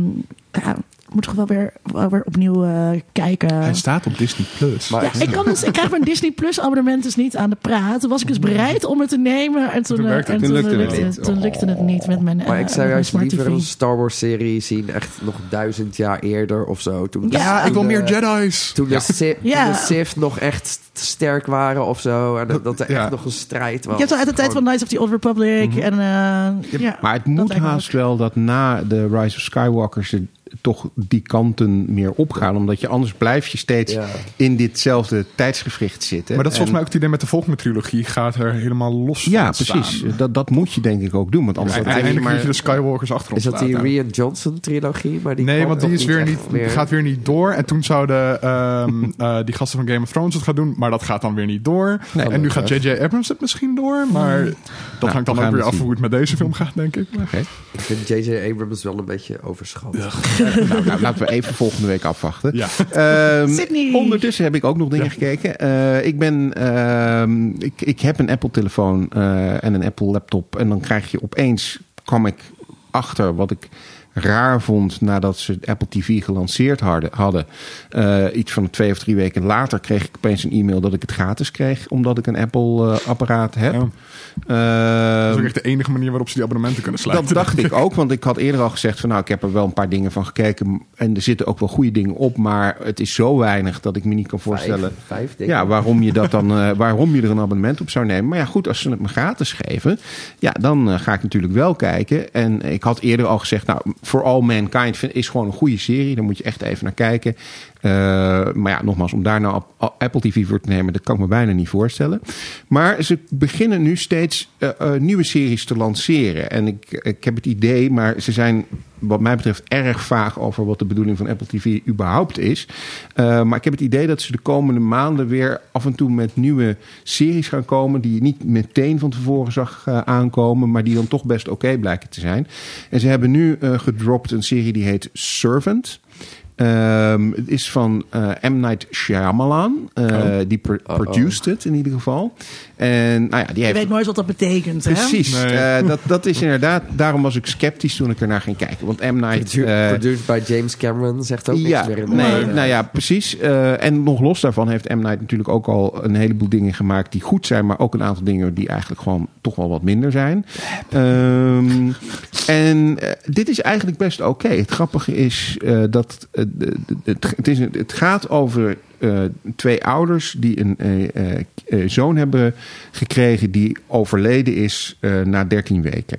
B: ja, moet toch wel weer, wel weer opnieuw eh, kijken.
C: Hij staat op Disney+. Plus.
D: Maar-
B: Ja, ik, kan dus, ik krijg mijn Disney Plus abonnement dus niet aan de praat. Toen was ik dus bereid om het te nemen. En toen,
C: Toen
B: eh,
C: werkte
B: en
C: het.
B: toen
A: Mm. Toen lukte het
B: lukte,
A: niet.
B: het, toen lukte het niet met mijn, eh,
D: Maar ik
B: met
D: zou
B: mijn
D: juist
B: smart
D: liever een
B: TV.
D: Star Wars-serie zien, echt nog duizend jaar eerder of zo. Toen,
B: Ja,
C: ja,
D: toen
C: ik wil
D: de-
C: meer Jedi's.
D: eh, Toen de, Sith, toen
B: Ja.
D: de Sith nog echt st- sterk waren of zo. En dat, dat er
C: Ja.
D: echt nog een Mhm. strijd was.
B: Je hebt al uit de tijd van Knights of the Old Republic. en, eh, ja,
A: Maar het
B: dat
A: moet
B: lijkt me
A: haast
B: ook.
A: wel dat na de Rise of Skywalker ze toch die kanten meer opgaan. Omdat je anders blijf je steeds
D: Ja.
A: in ditzelfde tijdsgevricht zitten.
C: Maar dat is
A: En-
C: volgens mij ook het idee met de volgende trilogie. Gaat er helemaal los van
A: Ja,
C: staan.
A: precies. Dat, dat moet je denk ik ook doen. Want anders
C: En
A: dan krijg je
C: Uiteindelijk moet je de
A: maar...
C: Skywalkers achter
D: Is
C: ons
D: dat die
C: laten.
D: Rian Johnson-trilogie? Maar die
C: Nee,
D: kwam
C: want die
D: nog
C: is weer
D: echt
C: niet, gaat weer niet door. En toen zouden ehm, [LAUGHS] eh, die gasten van Game of Thrones het gaan doen, maar dat gaat dan weer niet door. en nu gaat J.J. Abrams het misschien door, maar dat hangt
A: Hmm. Nou, we gaan
C: dan ook weer
A: het
C: af
A: zien.
C: hoe het met deze film gaat, denk ik.
A: Oké.
D: Ik vind J.J. Abrams wel een beetje overschat.
A: Nou, nou, laten we even volgende week afwachten.
C: Ja.
A: Ehm,
B: Sydney.
A: Ondertussen heb ik ook nog dingen gekeken. Eh, ik ben, ehm, ik, ik heb een Apple telefoon eh, en een Apple laptop. En dan krijg je opeens, kwam ik achter wat ik raar vond nadat ze Apple TV gelanceerd harde- hadden. Eh, iets van twee of drie weken later kreeg ik opeens een e-mail dat ik het gratis kreeg. Omdat ik een Apple eh, apparaat heb.
C: Ja.
A: Ehm,
C: Dat is ook echt de enige manier waarop ze die abonnementen kunnen sluiten.
A: dat dacht ik ook, want ik had eerder al gezegd van nou, ik heb er wel een paar dingen van gekeken. En er zitten ook wel goede dingen op, maar het is zo weinig dat ik me niet kan voorstellen.
D: Vijf, vijf denk
A: Ja,
D: ik.
A: waarom je, dat dan, eh, waarom je er een abonnement op zou nemen. Maar ja, goed, als ze het me gratis geven, ja, dan eh, ga ik natuurlijk wel kijken. En ik had eerder al gezegd, nou, For All Mankind vind- is gewoon een goede serie. Daar moet je echt even naar kijken. Eh, maar ja, nogmaals, om daar nou op- op Apple TV voor te nemen, dat kan ik me bijna niet voorstellen. Maar ze beginnen nu steeds eh, eh, nieuwe series te lanceren. En ik, ik heb het idee, maar ze zijn wat mij betreft erg vaag over wat de bedoeling van Apple TV überhaupt is. Eh, maar ik heb het idee dat ze de komende maanden weer af en toe met nieuwe series gaan komen. Die je niet meteen van tevoren zag eh, aankomen. Maar die dan toch best oké blijken te zijn. En ze hebben nu eh, gedropt een serie die heet Servant. Ehm, het is van eh, M. Night Shyamalan. Eh,
C: Oh.
A: Die pro-
D: Uh-oh.
A: produced het in ieder geval. En nou ja, die
B: Je
A: heeft
B: weet nooit wat dat betekent. hè?
A: Precies.
C: Nee.
A: Eh, dat, dat is inderdaad. Daarom was ik sceptisch toen ik ernaar ging kijken. Want M. Night.
D: Produ-
A: eh,
D: produced by James Cameron zegt ook
A: ja,
D: niks meer in de
A: nee,
D: waarde.
A: nou ja, precies. Eh, en nog los daarvan heeft M. Night natuurlijk ook al een heleboel dingen gemaakt die goed zijn, maar ook een aantal dingen die eigenlijk gewoon toch wel wat minder zijn. Ehm, en eh, dit is eigenlijk best oké. Het grappige is eh, dat eh, de- de- het, het, is, een- het gaat over eh, twee ouders die een eh, eh, eh, zoon hebben gekregen die overleden is eh, na 13 weken.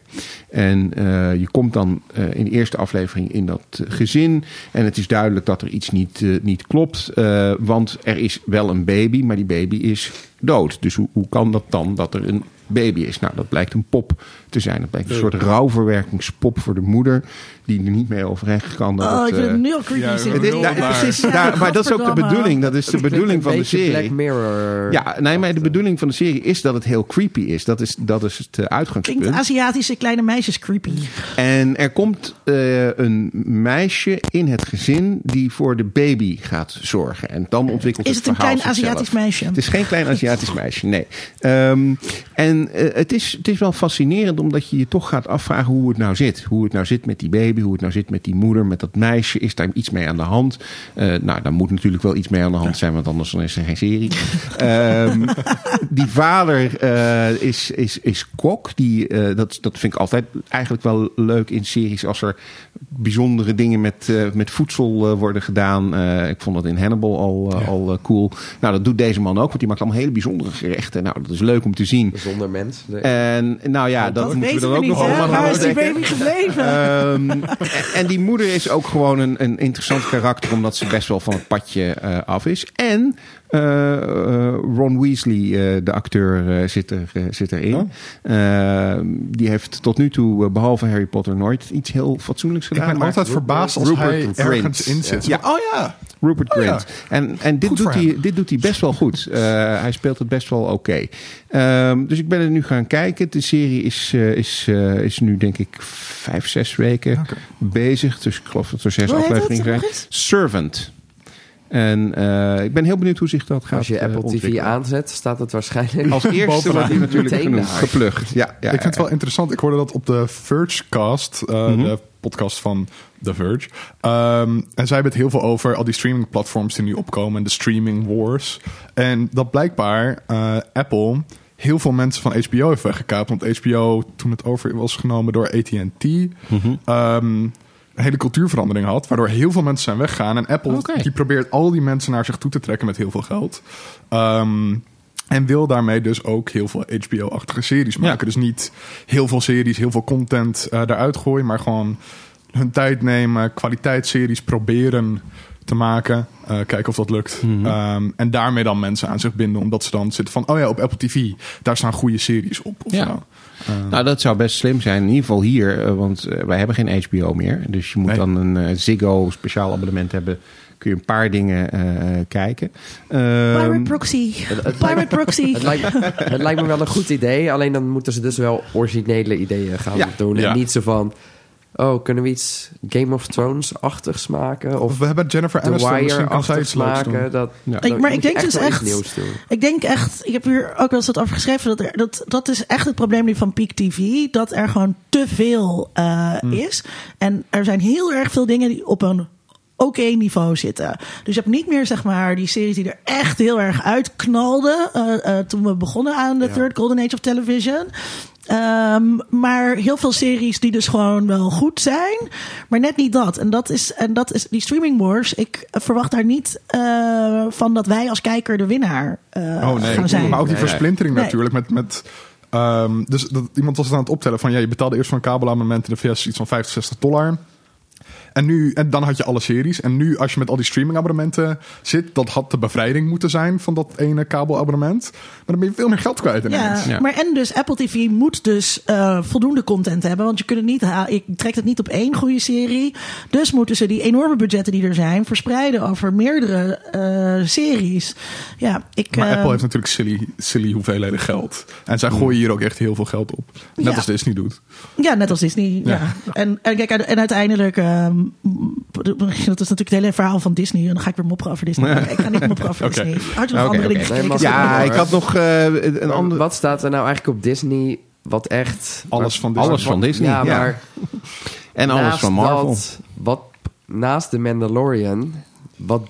A: En eh, je komt dan eh, in de eerste aflevering in dat eh, gezin. En het is duidelijk dat er iets niet, eh, niet klopt. eh, want er is wel een baby, maar die baby is dood. Dus hoe, hoe kan dat dan dat er een baby is? Nou, dat blijkt een pop te zijn. Dat blijkt een soort rouwverwerkingspop voor de moeder. Die er niet mee overheen kan. dat
B: Oh,
A: het,
B: ik vind
A: eh,
B: het nu al creepy
C: ja,
A: het
B: zitten.
A: is-
C: Heel
A: nou,
C: waar.
A: precies,
B: Ja,
A: daar- maar dat is ook de
B: godverdamme.
A: bedoeling. Dat is de bedoeling van de
D: Beetje
A: serie.
D: Black Mirror.
A: Ja, nee,
B: eh.
A: maar de bedoeling van de serie is dat het heel creepy is. Dat is, dat is het eh, uitgangspunt.
B: Klinkt Aziatische kleine meisjes creepy.
A: En er komt eh, een meisje in het gezin die voor de baby gaat zorgen. En dan ontwikkelt
B: Is het een
A: verhaal
B: klein
A: zichzelf.
B: Aziatisch meisje?
A: Het is geen klein Aziatisch meisje, nee. Ehm, en eh, het, is, het is wel fascinerend omdat je je toch gaat afvragen hoe het nou zit. Hoe het nou zit met die baby, hoe het nou zit met die moeder, met dat meisje. Is daar iets mee aan de hand? Eh, nou, daar moet natuurlijk wel iets mee aan de hand zijn, want anders dan is er geen serie. Ehm, die vader eh, is, is, is kok. Die, eh, dat, dat vind ik altijd eigenlijk wel leuk in series als er bijzondere dingen met, eh, met voedsel eh, worden gedaan. Eh, ik vond dat in Hannibal al, eh, al eh, cool. Nou, dat doet deze man ook, want die maakt allemaal hele bijzondere gerechten. Nou, dat is leuk om te zien.
D: Zonder mens. Nee.
A: En nou ja, dat,
B: Dat
A: moeten we
B: weten
A: er
B: we
A: ook
B: niet,
A: nog
B: hè?
A: allemaal aan
B: Waar is die
A: ontdekken.
B: baby gebleven?
A: Ehm, en- en die moeder is ook gewoon een, een interessant karakter, omdat ze best wel van het padje eh, af is. En eh, eh, Ron Weasley, eh, de acteur, eh, zit, er, eh, zit erin.
C: Oh.
A: Eh, die heeft tot nu toe, eh, behalve Harry Potter, nooit iets heel fatsoenlijks
C: Ik
A: gedaan.
C: ben
A: maar-
C: altijd verbaasd als
A: Rupert
C: hij
A: Grint.
C: ergens in zit.
A: Ja.
C: Oh ja.
A: Rupert
C: Oh ja.
A: Grint. En, en dit,
C: Goed
A: doet
C: voor
A: hij,
C: hem.
A: dit doet hij best wel goed. Eh, hij speelt het best wel oké. Ehm, dus ik ben er nu gaan kijken. De serie is, eh, is, eh, is nu denk ik vijf, zes weken
C: Oké.
A: bezig. Dus ik geloof dat er zes
B: Hoe heet
A: afleveringen
B: het
A: zijn.
B: nog eens?
A: Servant. En eh, ik ben heel benieuwd hoe zich dat gaat
D: Als je
A: eh,
D: Apple TV
A: ontwikkelen.
D: aanzet, staat het waarschijnlijk...
A: Als eerste wordt die natuurlijk
D: Meteen
A: genoemd,
D: daar.
A: geplucht. Ja, ja,
C: ik vind het
A: ja. Mhm.
C: wel interessant. Ik hoorde dat op de Vergecast, eh de podcast van The Verge. Ehm, en zij hebben het heel veel over al die streamingplatforms die nu opkomen en de streaming wars. En dat blijkbaar eh, Apple heel veel mensen van HBO heeft weggekaapt. Want HBO, toen het over was genomen door AT&T,
A: Mhm.
C: ehm, een hele cultuurverandering had, waardoor heel veel mensen zijn weggegaan. En Apple
A: Oké.
C: die probeert al die mensen naar zich toe te trekken met heel veel geld. Ehm, en wil daarmee dus ook heel veel HBO-achtige series maken. Dus niet heel veel series, heel veel content eh daaruit gooien, maar gewoon hun tijd nemen, kwaliteitsseries proberen te maken. eh, kijken of dat lukt. Ehm, en daarmee dan mensen aan zich binden, omdat ze dan zitten van: oh ja, op Apple TV, daar staan goede series op. Of
A: Ja.
C: zo.
A: Nou, dat zou best slim zijn. In ieder geval hier, eh, want eh, wij hebben geen HBO meer. Dus je moet
C: Nee.
A: dan een eh, Ziggo speciaal abonnement hebben. Kun je een paar dingen eh, eh, kijken. Ehm,
B: Pirate
A: [LAUGHS]
B: Proxy. Pirate Proxy.
D: Het lijkt, het lijkt me wel een goed idee. Alleen dan moeten ze dus wel originele ideeën gaan
A: Ja,
D: doen. En
C: ja.
D: niet zo van... Oh, kunnen we iets Game of Thrones-achtigs maken? Of
C: Of we hebben Jennifer
D: The
C: Aniston, misschien kan zij
D: Wire-achtigs
C: iets leuks doen.
D: maken? Dat,
A: Ja.
D: dat
B: Ik- maar
D: moet
B: ik denk
D: je
B: dus
D: wel iets
B: echt-
D: nieuws doen.
B: Ik denk echt, ik heb hier ook wel eens wat over geschreven, dat, er, dat, dat is echt het probleem nu van Peak TV. Dat er gewoon te veel eh,
D: Hmm.
B: is. En er zijn heel erg veel dingen die op een oké niveau zitten. Dus je hebt niet meer, zeg maar, die series die er echt heel erg uitknalden eh, eh, toen we begonnen aan de Third Golden Age of Television. Ehm, maar heel veel series die dus gewoon wel goed zijn. Maar net niet dat. En dat is, en dat is die streaming wars. Ik eh, verwacht daar niet eh, van dat wij als kijker de winnaar eh,
C: Oh nee,
B: gaan zijn.
C: maar ook die
D: Nee, nee.
C: versplintering
B: Nee.
C: natuurlijk met... met ehm, dus dat, iemand was het aan het optellen van... ja, je betaalde eerst voor een kabelabonnement in de VS iets van 50, 60 dollar. En, nu, en dan had je alle series. En nu, als je met al die streamingabonnementen zit... dat had de bevrijding moeten zijn van dat ene kabelabonnement. Maar dan ben je veel meer geld kwijt ineens.
B: Ja,
A: Ja.
B: maar en dus Apple TV moet dus eh, voldoende content hebben. Want je kunt het niet ha- ik trekt het niet op één goede serie. Dus moeten ze die enorme budgetten die er zijn verspreiden over meerdere eh, series. Ja, ik,
C: Maar
B: eh,
C: Apple heeft natuurlijk silly, silly hoeveelheden geld. En
A: Hmm.
C: zij gooien hier ook echt heel veel geld op. Net
B: Ja.
C: als Disney doet.
B: Ja, net als Disney. Ja.
C: Ja.
B: En, en, kijk, en uiteindelijk, ehm, dat is natuurlijk het hele verhaal van Disney. En dan ga ik weer mopperen over Disney. Ik ga niet mopperen over
C: Oké.
B: Disney. Had je nog
A: Oké,
B: andere
A: oké.
B: dingen
D: Nee,
B: gekeken?
D: maar-
A: ja,
D: Hoor.
A: ik had nog eh, een
D: Maar
A: ander.
D: Wat staat er nou eigenlijk op Disney? Wat echt...
C: Alles van Disney.
A: Alles van Disney.
D: ja,
A: Ja,
D: maar
A: en alles
D: naast
A: van Marvel.
D: dat, wat, naast de Mandalorian, wat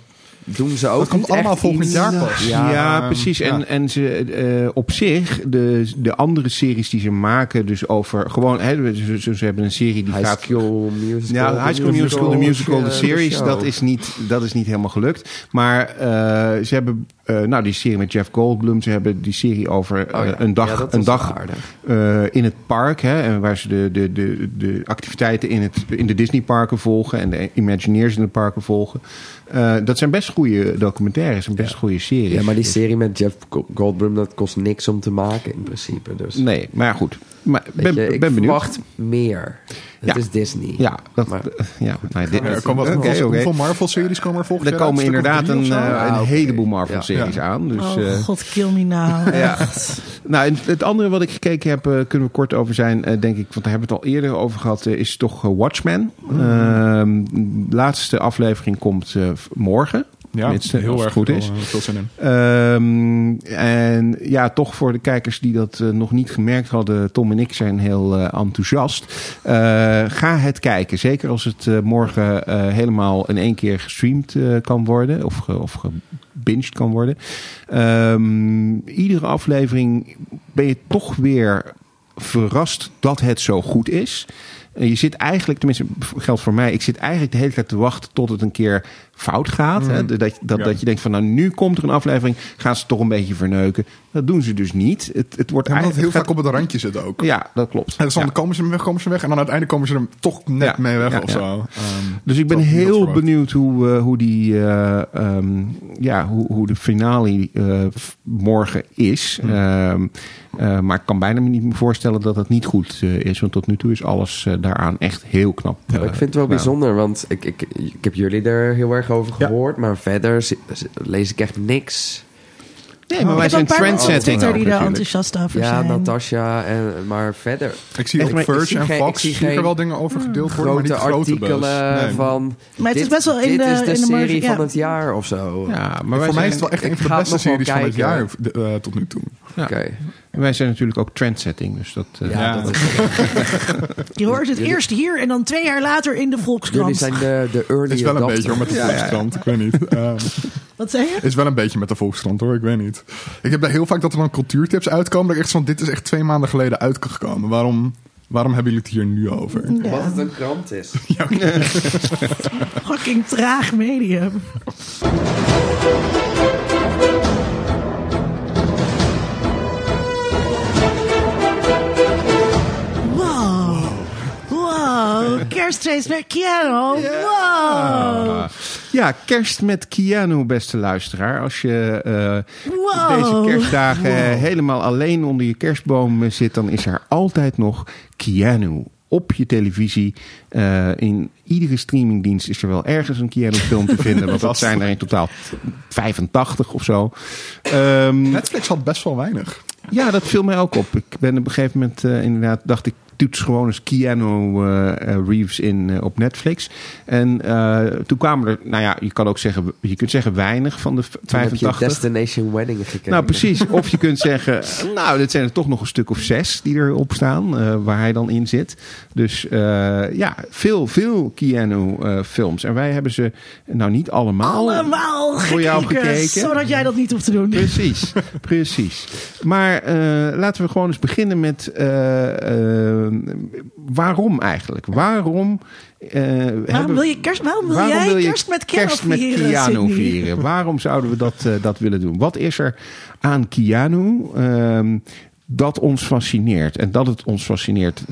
D: doen ze ook
C: Dat komt
D: niet echt
C: allemaal volgend
D: iets-
C: jaar pas.
A: Ja,
D: Ja,
C: ehm,
A: precies. En,
C: ja.
A: en ze, eh, op zich, de, de andere series die ze maken, dus over gewoon, hè, ze, ze- ze hebben een serie die
D: High
A: gaat
D: School Musical.
A: Ja, High School Musical, de musical, de
D: eh,
A: series,
D: show.
A: dat is niet, dat is niet helemaal gelukt. Maar eh, ze hebben, eh, nou die serie met Jeff Goldblum, ze hebben die serie over
D: Oh ja.
A: eh, een
D: Ja,
A: dag,
D: dat
A: een
D: was
A: dag
D: aardig.
A: eh, in het park, hè, en waar ze de, de, de, de activiteiten in, het, in de Disney-parken volgen en de Imagineers in de parken volgen. Eh, dat zijn best goede documentaires en best goede series.
D: Ja, maar die serie met Jeff Go- Goldblum, dat kost niks om te maken in principe. Dus
A: Nee, maar goed. Maar
D: weet
A: ben,
D: je, ik
A: ben benieuwd.
D: verwacht meer. Het
A: Ja.
D: is Disney.
A: Ja, dat,
D: Maar-
A: [LAUGHS] ja, nou, dit,
C: Ja, er komen wat,
A: Oké, oké.
C: Hoeveel Marvel-series komen er volgend
A: Er
C: jaar uit?
A: komen
C: Een stuk of
A: inderdaad
C: drie
A: een,
C: of
A: eh,
C: zo?
D: Ah,
A: een
D: oké.
A: heleboel Marvel-series
C: Ja.
A: aan. Dus, eh,
B: Oh god, kill me nou.
A: Ja.
B: Echt.
A: nou, en het andere wat ik gekeken heb, eh, kunnen we kort over zijn, eh, denk ik. Want daar hebben we het al eerder over gehad. eh, is toch eh, Watchmen.
C: Hmm.
A: Ehm, de laatste aflevering komt eh, v- morgen.
C: Ja,
A: Tenminste, als
C: heel
A: het
C: erg
A: goed
C: veel,
A: is.
C: eh, veel zin in.
A: Ehm, en ja, toch voor de kijkers die dat eh, nog niet gemerkt hadden, Tom en ik zijn heel eh, enthousiast. Eh, ga het kijken. Zeker als het eh, morgen eh, helemaal in één keer gestreamd eh, kan worden of, ge- of gebinged kan worden. Ehm, iedere aflevering ben je toch weer verrast dat het zo goed is. En je zit eigenlijk, tenminste geldt voor mij, ik zit eigenlijk de hele tijd te wachten tot het een keer fout gaat. Hè? Dat, dat, dat,
C: Mm. Ja.
A: dat je denkt van nou nu komt er een aflevering, gaan ze toch een beetje verneuken. Dat doen ze dus niet. Het, het wordt
C: Omdat het heel
A: eigenlijk...
C: vaak op het randje zit ook.
A: Ja, dat klopt.
C: En dan
A: Ja.
C: komen ze hem weg, komen ze weg. En dan uiteindelijk komen ze hem toch net
A: Ja,
C: mee weg
A: ja,
C: of
A: ja.
C: zo. Ehm,
A: Dus ik ben
C: dat- dat
A: heel
C: verwacht.
A: benieuwd hoe, eh, hoe, die, eh, ehm, ja, hoe, hoe de finale eh, f- morgen is. Ehm, eh, maar ik kan bijna me niet meer voorstellen dat het niet goed eh, is. Want tot nu toe is alles eh, daaraan echt heel knap.
D: Ja, maar ik
A: eh,
D: vind het wel
A: gedaan.
D: bijzonder, want ik, ik, ik heb jullie er heel erg over
C: Ja.
D: gehoord. Maar verder zi- lees ik echt niks.
A: Nee, maar
B: Oh. Ik
A: wij
B: heb een
A: zijn
B: paar mensen op
A: trendsetting.
B: Twitter die daar
A: natuurlijk.
B: enthousiast over
D: Ja,
B: zijn.
D: Natasja, en, maar verder
C: Ik zie
A: Echt,
C: op
A: maar ik
C: Verge
D: zie
C: en
D: geen- ik
C: Fox
D: zie
C: zie ik er
D: geen
C: wel dingen over gedeeld worden, maar
D: grote
C: niet grote buzz.
D: artikelen
C: Nee.
D: van...
B: Maar het is
D: dit-
B: best wel in
D: dit
B: de-
D: is de,
B: in de marge,
D: serie van
B: ja.
D: het jaar of zo.
A: Ja, maar wij
C: Voor mij is
A: zijn,
C: het wel echt
D: Ik
C: een van de
D: ga het
C: beste
D: nog wel
C: series van het
D: kijken.
C: jaar eh, tot nu toe.
A: ja,
D: Oké.
A: wij zijn natuurlijk ook trendsetting. Dus dat, eh,
D: Ja,
C: Ja.
D: dat is-
B: Je hoort het
D: Jullie-
B: eerst hier en dan twee jaar later in de
D: jullie
B: Volkskrant.
D: zijn de, de early
C: Het is wel een beetje hoor,
D: adopter.
C: met de Volkskrant. Ik weet niet. Ehm,
B: Wat zei je?
C: is wel een beetje met de Volkskrant hoor, ik weet niet. Ik heb daar heel vaak dat er dan cultuurtips uitkomen. Dat ik echt van, dit is echt twee maanden geleden uitgekomen. Waarom, waarom hebben jullie het hier nu over?
D: Wat het een krant is.
B: Fucking traag medium. Wow. Wow. Kerstfeest met Keanu. Wow.
A: Ah. ja, kerst met Keanu, beste luisteraar. Als je eh, deze
B: Wow.
A: kerstdagen eh, helemaal alleen onder je kerstboom eh, zit, dan is er altijd nog Keanu op je televisie. Eh, in iedere streamingdienst is er wel ergens een Keanu-film te
B: [LAUGHS]
A: vinden. Want dat zijn er in totaal 85 of zo. Ehm,
C: Netflix had best wel weinig.
A: ja, dat viel mij ook op. Ik ben op een gegeven moment eh, inderdaad, dacht ik, toets gewoon eens Keanu eh, eh, Reeves in eh, op Netflix. En eh, toen kwamen er, nou ja, je kan ook zeggen, je kunt zeggen weinig van de v-
D: Toen heb je
A: 85.
D: Destination Wedding gekeken.
A: Nou, precies. Of je kunt zeggen, [LAUGHS] nou, dit zijn er toch nog een stuk of zes die erop staan, eh, waar hij dan in zit. Dus eh, ja, veel, veel Keanu-films. en wij hebben ze, nou niet allemaal.
B: Allemaal
A: Voor jou
B: gekeken,
A: gekeken.
B: Zodat jij dat niet hoeft te doen.
A: Precies, precies. Maar eh, laten we gewoon eens beginnen met eh, eh, waarom eigenlijk? Waarom, eh,
B: Waarom
A: hebben-
B: wil, je kerst, waarom wil
A: waarom
B: jij
A: wil je
B: kerst met Keanu
A: kerst met
B: vieren,
A: Keanu
B: Sydney?
A: vieren? Waarom zouden we dat, eh, dat willen doen? Wat is er aan Keanu ehm, dat ons fascineert? En dat het ons fascineert,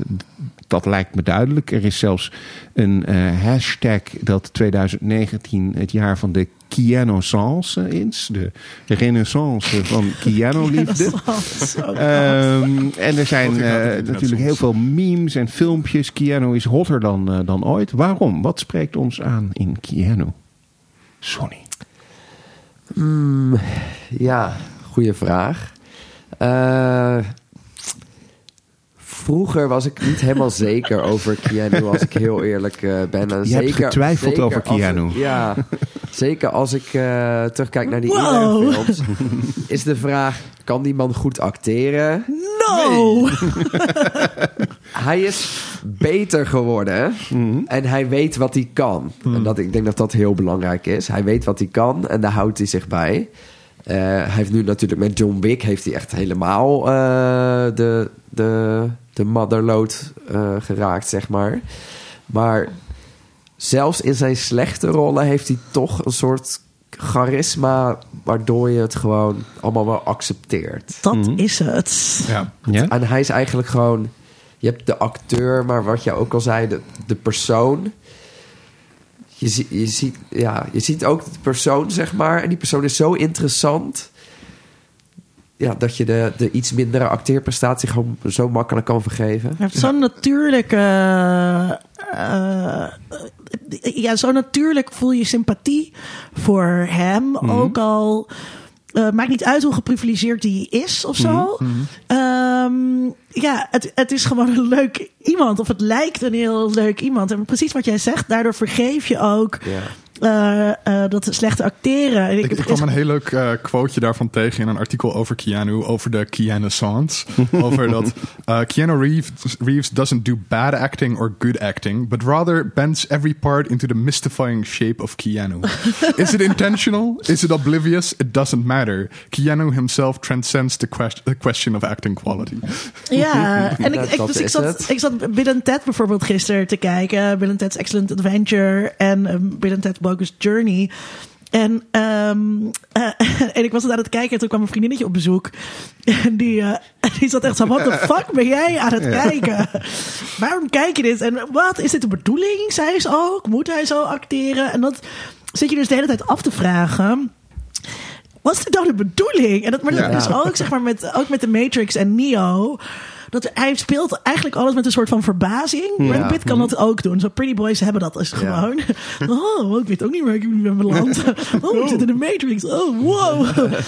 A: dat lijkt me duidelijk. Er is zelfs een eh, hashtag dat 2019 het jaar van de Keanu-sance is. De renaissance
B: [LAUGHS]
A: van Keanu-liefde.
B: Zo.
A: Ehm, en er zijn
C: Wat ik
A: eh,
C: had het internet
A: natuurlijk
C: soms.
A: heel veel memes en filmpjes. Keanu is hotter dan, eh, dan ooit. Waarom? Wat spreekt ons aan in Keanu? Sonny.
D: Hmm, ja, goede vraag. Eh, vroeger was ik niet helemaal [LAUGHS] zeker over Keanu, als ik heel eerlijk eh, ben. En
A: Je hebt getwijfeld over
D: als ik-
A: Keanu.
D: ja, zeker als ik eh, terugkijk naar die
B: Wow.
D: wow. films is de vraag, kan die man goed acteren?
B: No!
D: Hij is beter geworden en hij weet wat hij kan. En dat, ik denk dat dat heel belangrijk is. Hij weet wat hij kan en daar houdt hij zich bij. Eh, hij heeft nu natuurlijk met John Wick heeft hij echt helemaal eh, de, de, de motherload eh, geraakt, zeg maar. Maar zelfs in zijn slechte rollen heeft hij toch een soort charisma... waardoor je het gewoon allemaal wel accepteert.
B: Dat
A: Mhm.
B: is het.
C: Ja.
A: Ja?
D: Dus, En hij is eigenlijk gewoon... Je hebt de acteur, maar wat jij ook al zei, de, de persoon. Je, zie- je, ziet, ja, je ziet ook de persoon, zeg maar. En die persoon is zo interessant... Ja, dat je de, de iets mindere acteerprestatie gewoon zo makkelijk kan vergeven.
B: Hij heeft zo'n natuurlijke. eh, eh, ja, zo natuurlijk voel je sympathie voor hem.
C: Mhm.
B: Ook al. eh, maakt niet uit hoe geprivilegeerd hij is of zo.
C: Mhm,
B: Ehm, ja, het, het is gewoon een leuk iemand. Of het lijkt een heel leuk iemand. En precies wat jij zegt, daardoor vergeef je ook
D: Ja.
B: eh, eh, dat slechte acteren.
C: Ik, ik kwam een heel leuk eh quoteje daarvan tegen in een artikel over Keanu, over de Keanu-science. over dat eh, Keanu Reeves, Reeves doesn't do bad acting or good acting, but rather bends every part into the mystifying shape of Keanu. Is it intentional? Is it oblivious? It doesn't matter. Keanu himself transcends the, quest- the question of acting quality.
D: Oh. [LAUGHS]
B: Ja, en ik,
D: Dat-
B: ik,
D: dat
B: dus ik
D: is
B: zat,
D: het.
B: ik zat Bill and Ted bijvoorbeeld gisteren te kijken. Bill and Ted's Excellent Adventure en ehm, Bill and Ted Bogus Journey. En, ehm, eh, [LAUGHS] en ik was het aan het kijken en toen kwam een vriendinnetje op bezoek. En die, eh, [LAUGHS] die zat echt zo,
D: [LAUGHS]
B: what the fuck ben jij aan het kijken? Waarom kijk je dit? En wat is dit de bedoeling? Zij is ook, moet hij zo acteren? En dat zit je dus de hele tijd af te vragen. Wat is dit nou de bedoeling? En dat, maar dat
A: Ja.
B: is ook, zeg maar, met, ook met de Matrix en Neo. Dat hij speelt eigenlijk alles met een soort van verbazing. Brad Pitt
A: Mhm.
B: kan dat ook doen. Zo Pretty Boys hebben dat dus gewoon. [LAUGHS] Oh, ik weet ook niet waar ik nu
A: [LAUGHS]
B: ben beland. Oh, ik zit in de Matrix. Oh, wow.
A: Dus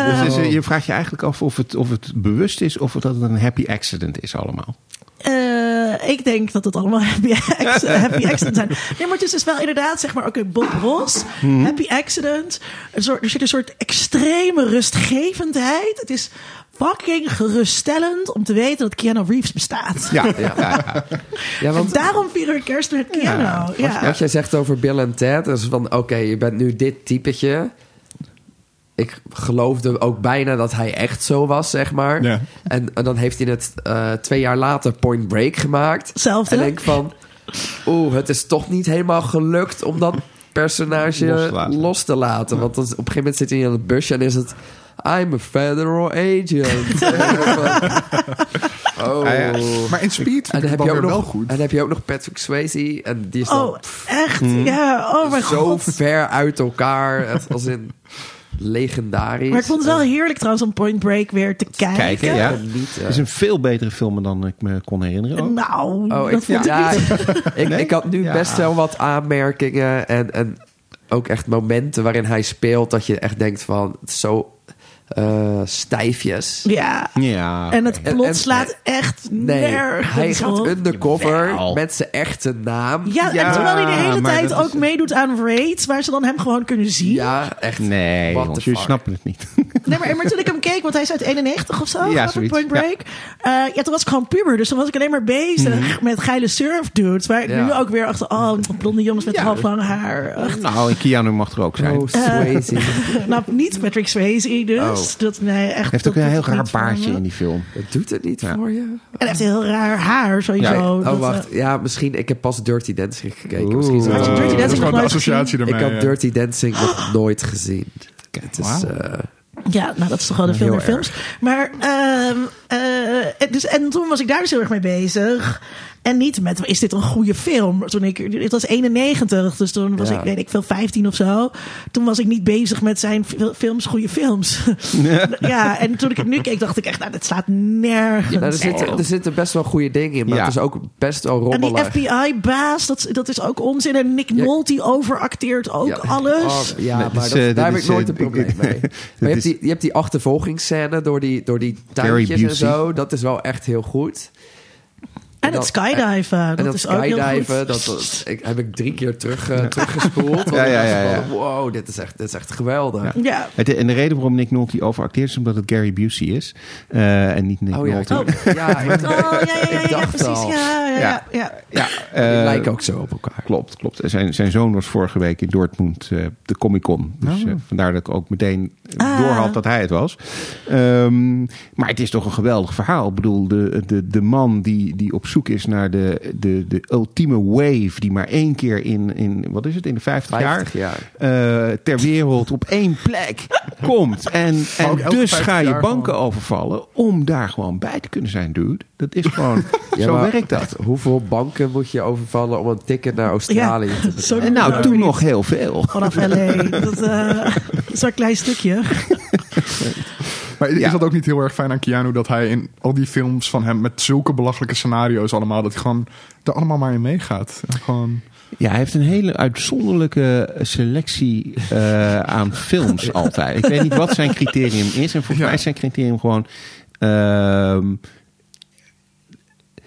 A: het is, eh, je vraagt je eigenlijk af of het, of het bewust is of dat het een happy accident is allemaal.
B: Eh, ik denk dat het allemaal [LAUGHS] happy,
D: [LAUGHS]
B: acc- happy accident zijn. Nee, maar het is dus wel inderdaad, zeg maar, oké, Bob Ross,
D: Mhm.
B: happy accident. Een soort, er zit een soort extreme rustgevendheid. Het is fucking geruststellend om te weten dat Keanu Reeves bestaat.
A: Ja, ja, ja.
D: Ja,
B: En
D: want
B: daarom vieren we kerst met Keanu. Ja,
D: wat jij zegt over Bill en Ted, dat is van oké, je bent nu dit typetje. Ik geloofde ook bijna dat hij echt zo was, zeg maar.
C: Ja.
D: En, en dan heeft hij het eh, twee jaar later Point Break gemaakt.
B: Hetzelfde.
D: En denk van, oeh, het is toch niet helemaal gelukt om dat personage
A: Los
D: los
A: te
D: te
A: laten.
D: laten. Want dan, op een gegeven moment zit hij aan het busje en is het... I'm a federal agent. oh.
A: Ah, ja.
C: Maar in Speed
D: En
C: vind ik het
D: dan heb,
C: dan
D: je ook
C: weer wel
D: nog,
C: goed.
D: en dan heb je ook nog Patrick Swayze. En die is dan Mhm.
B: Oh, echt? Ja, oh mijn
D: zo
B: god.
D: ver uit elkaar. Het Als in legendarisch.
B: Maar ik vond het wel heerlijk trouwens om Point Break weer te kijken.
A: Kijken, ja.
D: En niet, eh,
A: Het is een veel betere film dan ik me kon herinneren. ook.
B: Nou,
D: Oh, ik,
B: dat vond
D: ja,
B: ik niet.
D: ik,
A: Nee?
D: ik had nu
A: Ja.
D: best wel wat aanmerkingen en, en ook echt momenten waarin hij speelt dat je echt denkt van het is zo eh, stijfjes.
B: Ja.
A: Ja.
B: En het
D: En-
B: plot
D: en-
B: slaat echt
D: Nee,
B: nergens
D: hij gaat
B: op.
D: undercover
A: Jawel.
D: met zijn echte naam.
B: Ja, en terwijl hij de hele
A: maar
B: tijd
A: dat is-
B: ook meedoet aan raids, waar ze dan hem gewoon kunnen zien.
D: Ja, echt.
A: Nee,
D: What
A: jongens,
D: the
A: jullie
D: fuck.
A: snappen het niet.
B: Nee, maar, maar toen ik hem keek, want hij is uit 91 of zo,
A: Ja,
B: ja,
A: zoiets,
B: Point Break. eh, Ja. ja, toen was ik gewoon puber, dus toen was ik alleen maar bezig
A: Mhm.
B: met geile surf dudes. Waar ik
D: Ja.
B: nu ook weer achter, oh, blonde jongens met
A: Ja.
B: half lang haar. Ugh.
A: [LAUGHS] Nou, en Keanu mag er ook zijn.
D: Oh, Swayze.
B: nou, niet Patrick Swayze dus.
D: Oh.
B: Dat, nee, echt,
A: Heeft
B: dat
A: ook een heel
B: doet het
A: raar
B: niet voor
A: baardje
B: me.
A: in die film.
D: Dat doet het niet
A: Ja.
D: voor je.
B: En hij heeft heel raar haar, sowieso.
A: Ja.
B: Dat,
D: Oh,
B: eh,
D: wacht. Ja, misschien. Ik heb pas Dirty Dancing gekeken. Misschien is
A: Oeh.
D: het-
B: Dirty Dancing
C: dat
B: nog
C: is gewoon de
B: nooit
C: associatie
D: Ik
C: ermee.
D: had
A: eh.
C: ja.
D: Dirty Dancing
A: [GASPS]
D: nog nooit gezien. Het is,
C: Wauw.
D: eh,
B: Ja, nou dat is toch wel de veel
D: Heel
B: meer films. Maar, ehm, eh, dus, en toen was ik daar dus heel erg mee bezig. En niet met, is dit een goede film? Toen ik, het was 91, dus toen was
D: Ja.
B: ik, weet ik veel, 15 of zo. Toen was ik niet bezig met zijn fil- films, goede films. [LAUGHS] ja, en toen ik het nu keek, dacht ik echt, nou, dit slaat nergens
D: nou, er, zitten,
B: op.
D: er zitten best wel goede dingen in, maar
A: Ja.
D: het is ook best wel
B: En die
D: rommelig.
B: FBI-baas, dat, dat is ook onzin. En Nick
D: Ja.
B: Nolte overacteert ook
D: Ja.
B: alles.
D: Oh, ja,
A: Nee, dit
D: maar
A: is,
D: dat-
A: eh, dit
D: daar heb
A: is,
D: ik nooit
A: eh,
D: een probleem
A: ik- [LAUGHS]
D: mee.
A: dit
D: Maar je
A: is-
D: hebt, die, je hebt die achtervolgingsscène door die, door die tuintjes en
A: Busey.
D: zo. Dat is wel echt heel goed.
B: en het
D: dat-
B: skydiven, dat,
D: en dat
B: is ook heel goed.
D: skydiven, dat, dat ik, heb ik drie keer terug, eh, teruggespoeld. Want
A: Ja,
D: ik
A: ja,
D: was
A: ja,
D: van, Wow, dit is echt, dit is echt geweldig.
A: Ja.
B: ja.
A: Het, en de reden waarom Nick Nolte overacteert is omdat het Gary Busey is. eh, en niet Nick
D: Oh ja, ik-
A: Nolte.
D: [LAUGHS] ja, ik-
B: Oh, ja, ja, ja,
D: Ik
B: ja,
D: dacht
B: precies.
D: al.
B: Ja, ja, ja.
A: Ja.
B: ja.
A: Ja,
D: Oh, die
A: eh,
D: lijken ook zo op elkaar.
A: Klopt, klopt. Zijn, zijn zoon was vorige week in Dortmund eh, de Comic Con. Dus eh, vandaar dat ik ook meteen
B: Ah.
A: doorhad dat hij het was. Ehm, maar het is toch een geweldig verhaal. Ik bedoel, de, de, de man die, die op zoek is naar de, de, de ultieme wave... die maar één keer in, in wat is het, in de 50,
D: 50
A: jaar...
D: jaar.
A: eh, ter wereld op één plek [LAUGHS] komt. En, en
C: ook elke
A: dus
C: 50
A: ga je
C: jaar
A: banken
C: gewoon.
A: overvallen om daar gewoon bij te kunnen zijn, dude. Dat is gewoon,
D: Ja,
A: zo
D: maar
A: werkt dat.
D: echt, Hoeveel banken moet je overvallen om een ticket naar Australië te
A: [LAUGHS]
D: betalen?
B: Zo
A: En nou,
B: Ja.
A: toen nog heel veel.
B: Vanaf
A: [LAUGHS]
B: LA. Dat eh, is wel een klein stukje.
C: Maar is
A: Ja.
C: dat ook niet heel erg fijn aan Keanu dat hij in al die films van hem met zulke belachelijke scenario's allemaal, dat hij gewoon er allemaal maar in meegaat? En Gewoon,
A: Ja, hij heeft een hele uitzonderlijke selectie eh, aan films altijd. Ik weet niet wat zijn criterium is. En volgens
C: Ja.
A: mij is zijn criterium gewoon... ehm,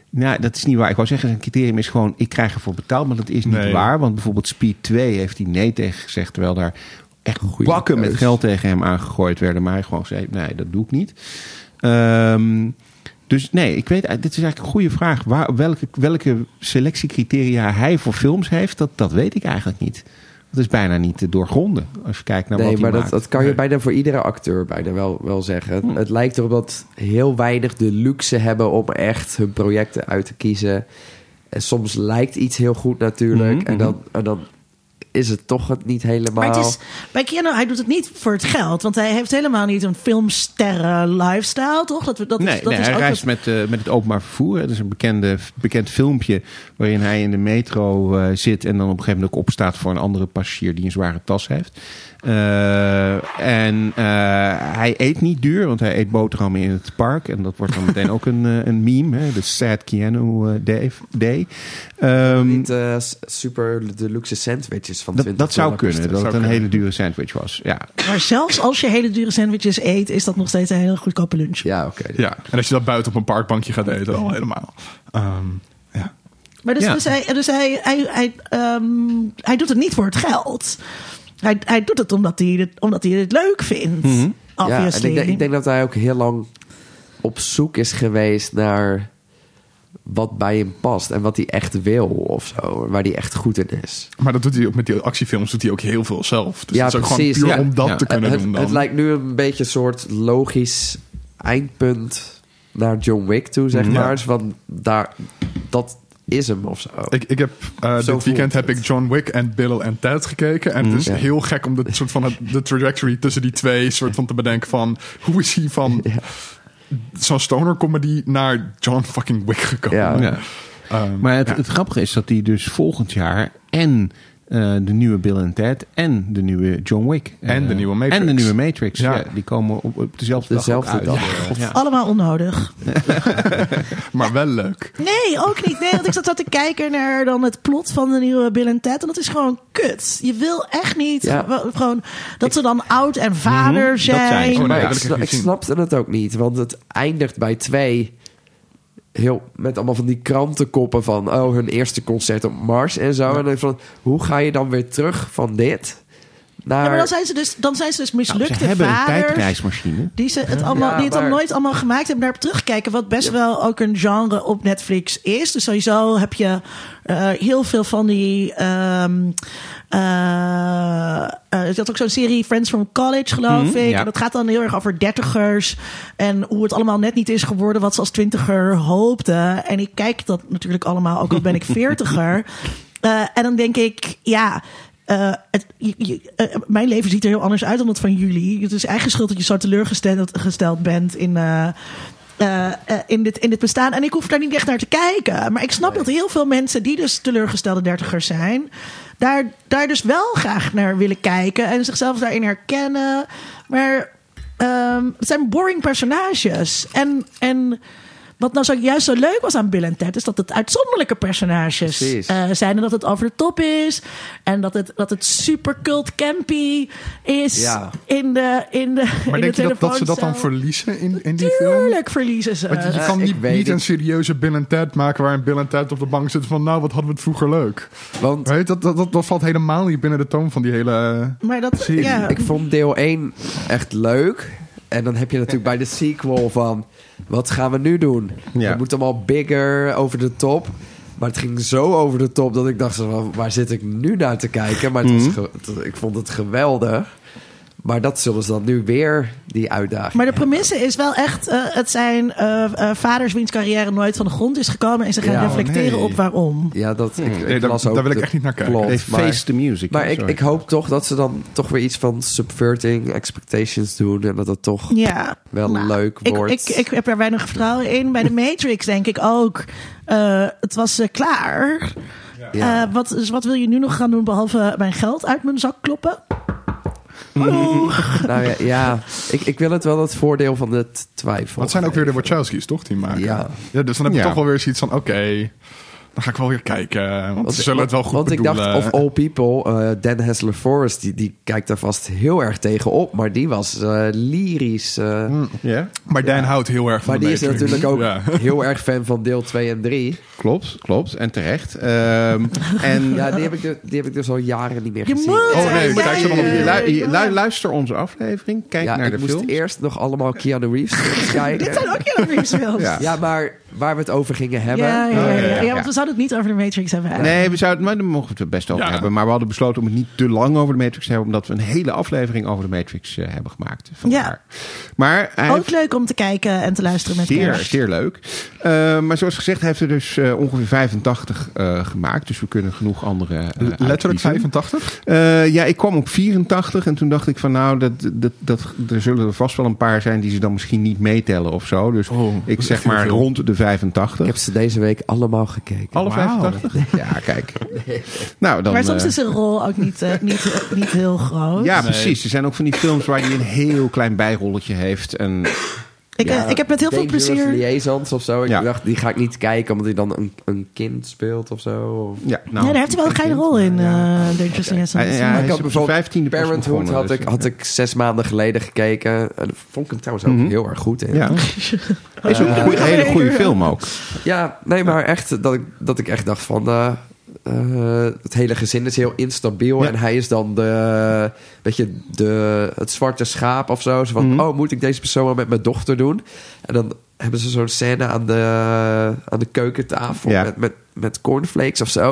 A: Nou, dat is niet waar. Ik wou zeggen, zijn criterium is gewoon... ik krijg ervoor betaald, maar dat is niet
C: Nee.
A: waar. Want bijvoorbeeld Speed 2 heeft hij nee tegen gezegd... terwijl daar echt
D: Goeie
A: bakken met
D: keus.
A: geld tegen hem aangegooid werden. Maar hij gewoon zei, nee, dat doe ik niet. Ehm, dus nee, ik weet... Dit is eigenlijk een goede vraag. Waar, welke, welke selectiecriteria hij voor films heeft... dat, dat weet ik eigenlijk niet. Dat is bijna niet te doorgronden. Als je kijkt naar
D: nee,
A: wat hij
D: maar dat,
A: maakt. Hm.
D: dat kan je
C: Nee.
D: bijna voor iedere acteur bijna wel, wel zeggen. Het- Het lijkt erop dat heel weinig de luxe hebben om echt hun projecten uit te kiezen. En soms lijkt iets heel goed natuurlijk.
A: Mhm,
D: en, dan, en dan is het toch het niet helemaal.
B: Maar het is, bij Keanu, hij doet het niet voor het geld. Want hij heeft helemaal niet een filmsterren lifestyle, toch? Dat, we- dat, is-
A: nee,
B: dat
A: nee,
B: is
A: hij
B: ook
A: reist
B: wat-
A: met, eh, met het openbaar vervoer. Het is een bekende, bekend filmpje waarin hij in de metro eh, zit... en dan op een gegeven moment ook opstaat voor een andere passagier... die een zware tas heeft. Eh, en eh, hij eet niet duur, want hij eet boterhammen in het park. En dat wordt dan meteen ook een, eh, een meme. Hè? De sad Keanu eh, Dave Day. Ehm,
D: niet eh, s- super de luxe sandwiches van
A: dat,
D: 20
A: dat zou
D: dollar per
A: kunnen, dat
D: stuk.
A: het een
C: Zou kunnen.
A: hele dure sandwich was. Ja,
B: Maar zelfs als je hele dure sandwiches eet, is dat nog steeds een hele goedkope lunch.
D: Ja, oké.
C: Ja, en als je dat buiten op een parkbankje gaat eten, al helemaal. Ehm, ja.
B: Maar dus,
A: Ja.
B: dus, hij, dus hij, hij, hij, ehm, hij doet het niet voor het geld. Hij, hij doet het omdat hij het, omdat hij het leuk vindt.
A: Mhm.
D: Ja, en
B: Obviously.
D: ik, denk- ik denk dat hij ook heel lang op zoek is geweest naar wat bij hem past en wat hij echt wil of zo, waar hij echt goed in is.
C: Maar dat doet hij ook met die actiefilms doet hij ook heel veel zelf. Dus
D: Ja,
C: dat is ook
D: precies,
C: gewoon puur
D: ja.
C: om dat
A: Ja.
C: te kunnen
D: het,
C: doen dan.
D: het lijkt nu een beetje een soort logisch eindpunt naar John Wick toe, zeg
C: Ja.
D: maar. Dus Want daar, dat is hem of zo.
C: ik, ik heb, eh,
D: Zo
C: dit weekend
D: voelt
C: heb
D: het.
C: ik John Wick en Bill en Ted gekeken. En het is
D: Mhm. Ja.
C: heel gek om
D: [LAUGHS]
C: de, soort van het- de trajectory tussen die twee soort van te bedenken van... Hoe is hij
D: [LAUGHS]
C: van zo'n stoner comedy naar John fucking Wick gekomen?
D: Ja.
A: Oh Ja.
C: Ehm,
A: Maar het,
C: ja.
A: het grappige is dat hij dus volgend jaar en eh, de nieuwe Bill and Ted en de nieuwe John Wick. eh,
C: En de nieuwe Matrix.
A: En de nieuwe Matrix. Ja.
C: Ja.
A: die komen op, op dezelfde dag.
D: Dezelfde
A: ook uit.
D: dag,
A: Ja, god.
B: Allemaal onnodig.
C: maar wel leuk.
B: Nee, ook niet. Nee, want ik zat, zat te kijken naar dan het plot van de nieuwe Bill en Ted. En dat is gewoon kut. Je wil echt niet
D: Ja.
B: wel- gewoon dat ze dan oud en vader
A: zijn ze.
B: zijn.
C: Oh, nee,
D: maar
C: dat wil
D: ik,
C: ik echt
D: sna- ik
C: niet zien.
D: snapte het ook niet, want het eindigt bij twee... Heel, met allemaal van die krantenkoppen van... oh, hun eerste concert op Mars en zo. En dan van, hoe ga je dan weer terug van dit naar...
B: Ja, maar dan zijn ze dus, dan zijn ze dus
A: Nou,
B: mislukte
A: ze hebben een
B: vaders.
A: tijdreismachine.
B: Die, ze het allemaal,
D: Ja,
B: die het
D: maar-
B: dan nooit allemaal gemaakt hebben, naar terugkijken. Wat best wel ook een genre op Netflix is. Dus sowieso heb je eh, heel veel van die. ehm eh, eh, je had ook zo'n serie Friends from College, geloof
A: Mhm,
B: ik.
A: ja.
B: En dat gaat dan heel erg over dertigers. En hoe het allemaal net niet is geworden wat ze als twintiger hoopten. En ik kijk dat natuurlijk allemaal, ook al ben ik veertiger. Eh, en dan denk ik, ja. eh, het, je- je- eh, mijn leven ziet er heel anders uit dan dat van jullie. Het is eigen schuld dat je zo teleurgesteld gesteld bent in, eh, eh, eh, in, dit, in dit bestaan. En ik hoef daar niet echt naar te kijken. Maar ik snap dat heel veel mensen die dus teleurgestelde dertigers zijn... Daar, daar dus wel graag naar willen kijken en zichzelf daarin herkennen. Maar ehm, het zijn boring personages. En, en wat nou zo, juist zo leuk was aan Bill en Ted... is dat het uitzonderlijke personages
D: Precies.
B: eh, zijn... en dat het over de top is. En dat het, dat het super cult campy is
D: Ja.
B: in de in de
C: Maar
B: in
C: denk
B: de
C: je dat, dat ze dat dan
B: telefooncel.
C: verliezen in, in die film?
B: Tuurlijk verliezen ze.
C: Want je, je
D: Eh,
C: kan
D: ik
C: niet,
D: weet
C: niet
D: het.
C: een serieuze Bill en Ted maken waarin Bill en Ted op de bank zitten van nou, wat hadden we het vroeger leuk.
D: Want
C: Weet, je, dat, dat, dat, dat valt helemaal niet binnen de toon van die hele... eh,
B: Maar dat,
C: Serie.
B: ja.
D: ik vond deel 1 echt leuk. En dan heb je natuurlijk bij de sequel van... wat gaan we nu doen?
A: Ja.
D: Het moet allemaal bigger, over de top. Maar het ging zo over de top dat ik dacht... van, waar zit ik nu naar te kijken? Maar het
C: Mhm.
D: was ge- het- ik vond het geweldig. Maar dat zullen ze dan nu weer, die uitdaging.
B: maar de premisse is wel echt, eh, het zijn eh, eh, vaders wiens carrière nooit van de grond is gekomen en ze gaan
D: Ja,
B: reflecteren
C: nee.
B: op waarom.
D: Ja, dat, ik, ik
C: Hmm. Nee, daar-
D: las ook
C: daar wil ik
D: de
C: echt niet naar kijken.
D: plot,
A: They
D: maar-
A: face the music.
D: Maar
A: Ja,
D: ik,
A: sorry.
D: ik hoop toch dat ze dan toch weer iets van subverting expectations doen. En dat dat toch...
B: Ja. Nou,
D: Wel leuk
B: ik-
D: wordt.
B: Ik, ik, heb er weinig vertrouwen in. Bij de Matrix denk ik ook. Eh, het was eh, klaar. Eh, wat, dus wat wil je nu nog gaan doen behalve mijn geld uit mijn zak kloppen?
D: Nou ja, ja. Ik, ik wil het wel het voordeel van de t- twijfel.
C: Wat zijn ook weer de Wachowskis, toch? Die maken.
D: Ja.
C: dus dan heb je
A: Ja.
C: toch wel weer zoiets van, oké, Dan ga ik wel weer kijken. Want,
D: Want-
C: ze zullen het wel goed
D: Want ik dacht,
C: bedoelen.
D: of all people, eh, Dan Hessler Forrest, die, die kijkt daar vast heel erg tegen op. Maar die was eh, lyrisch. eh,
A: Ja,
C: Maar Dan houdt heel erg van
D: Maar
C: de
D: die is
C: Matrix.
D: natuurlijk ook
C: Hmm, Ja. [LAUGHS]
D: heel erg fan van deel 2 en 3.
A: klopt, klopt. En terecht.
D: [LAUGHS]
A: Ehm, en
D: Ja, die heb ik, dus- die heb ik dus al jaren niet meer
B: Je
D: gezien.
B: moet!
C: Oh, nee,
B: Ja,
C: kijk ze
B: ja,
C: dan
B: ja,
C: opnieuw.
B: ja,
A: Lu-
B: ja.
A: lu- luister onze aflevering, kijk
D: Ja,
A: naar de
D: ik moest
A: film.
D: eerst nog allemaal Keanu Reeves
B: [LAUGHS]
D: films
B: Dit
D: kijken.
B: zijn ook Keanu Reeves films.
A: Ja.
D: Ja, maar waar we het over gingen hebben. Oh,
B: Ja, ja, ja, ja.
A: ja,
B: Ja,
A: ja.
B: want we zouden het niet over de Matrix hebben. eigenlijk.
A: Nee, we zouden, maar daar mochten we het best over
C: Ja.
A: hebben. Maar we hadden besloten om het niet te lang over de Matrix te hebben, omdat we een hele aflevering over de Matrix eh, hebben gemaakt. Vandaar. Maar hij
B: Ook leuk om te kijken en te luisteren met
A: Zeer,
B: kerst.
A: zeer leuk. Eh, maar zoals gezegd, hij heeft er dus eh, ongeveer 85 eh, gemaakt. Dus we kunnen genoeg andere. eh,
C: Letterlijk
A: uitkiezen.
C: 85?
A: Eh, ja, ik kwam op 84 en toen dacht ik van nou, dat, dat, dat, er zullen er vast wel een paar zijn die ze dan misschien niet meetellen of zo. Dus
C: Oh,
A: ik
C: dat is
A: zeg
C: echt heel
A: maar
C: veel.
A: rond de 85.
D: Ik heb ze deze week allemaal gekeken.
A: Alle
C: Wauw.
A: 85? Ja,
C: [LAUGHS]
A: kijk. Nou, dan,
B: Maar soms
A: eh,
B: is zijn rol ook niet, eh, niet, eh, niet heel groot.
A: Ja, precies. Er zijn ook van die films waar hij een heel klein bijrolletje heeft. En
B: ik, eh,
D: Ja,
B: ik heb met heel veel
D: Dangerous
B: plezier...
D: Liaisons of zo. Ik
A: Ja.
D: dacht, die ga ik niet kijken omdat hij dan een, een kind speelt of zo. Of-
A: ja,
B: Ja,
A: nou,
B: daar heeft hij wel een geile rol in, eh Dangerous Liaisons.
A: Ja,
D: Maar
A: hij
D: ik
A: is
D: had
A: op zijn
D: bijvoorbeeld
A: 15e pas
D: Parenthood
A: begonnen,
D: had,
A: dus-
D: ik, had ik zes maanden geleden gekeken. En daar vond ik hem trouwens ook
A: Mhm.
D: heel erg goed in.
A: Ja. [LAUGHS] Is ook een goeie- hele goede film ook.
D: Ja, nee, maar echt dat ik, dat ik echt dacht van... eh, eh, het hele gezin is heel instabiel.
A: Ja.
D: En hij is dan de, weet je, de, het zwarte schaap of zo. Zo van,
A: Mhm.
D: oh, moet ik deze persoon wel met mijn dochter doen? En dan hebben ze zo'n scène aan de, aan de keukentafel
A: Ja.
D: met, met, met cornflakes of zo.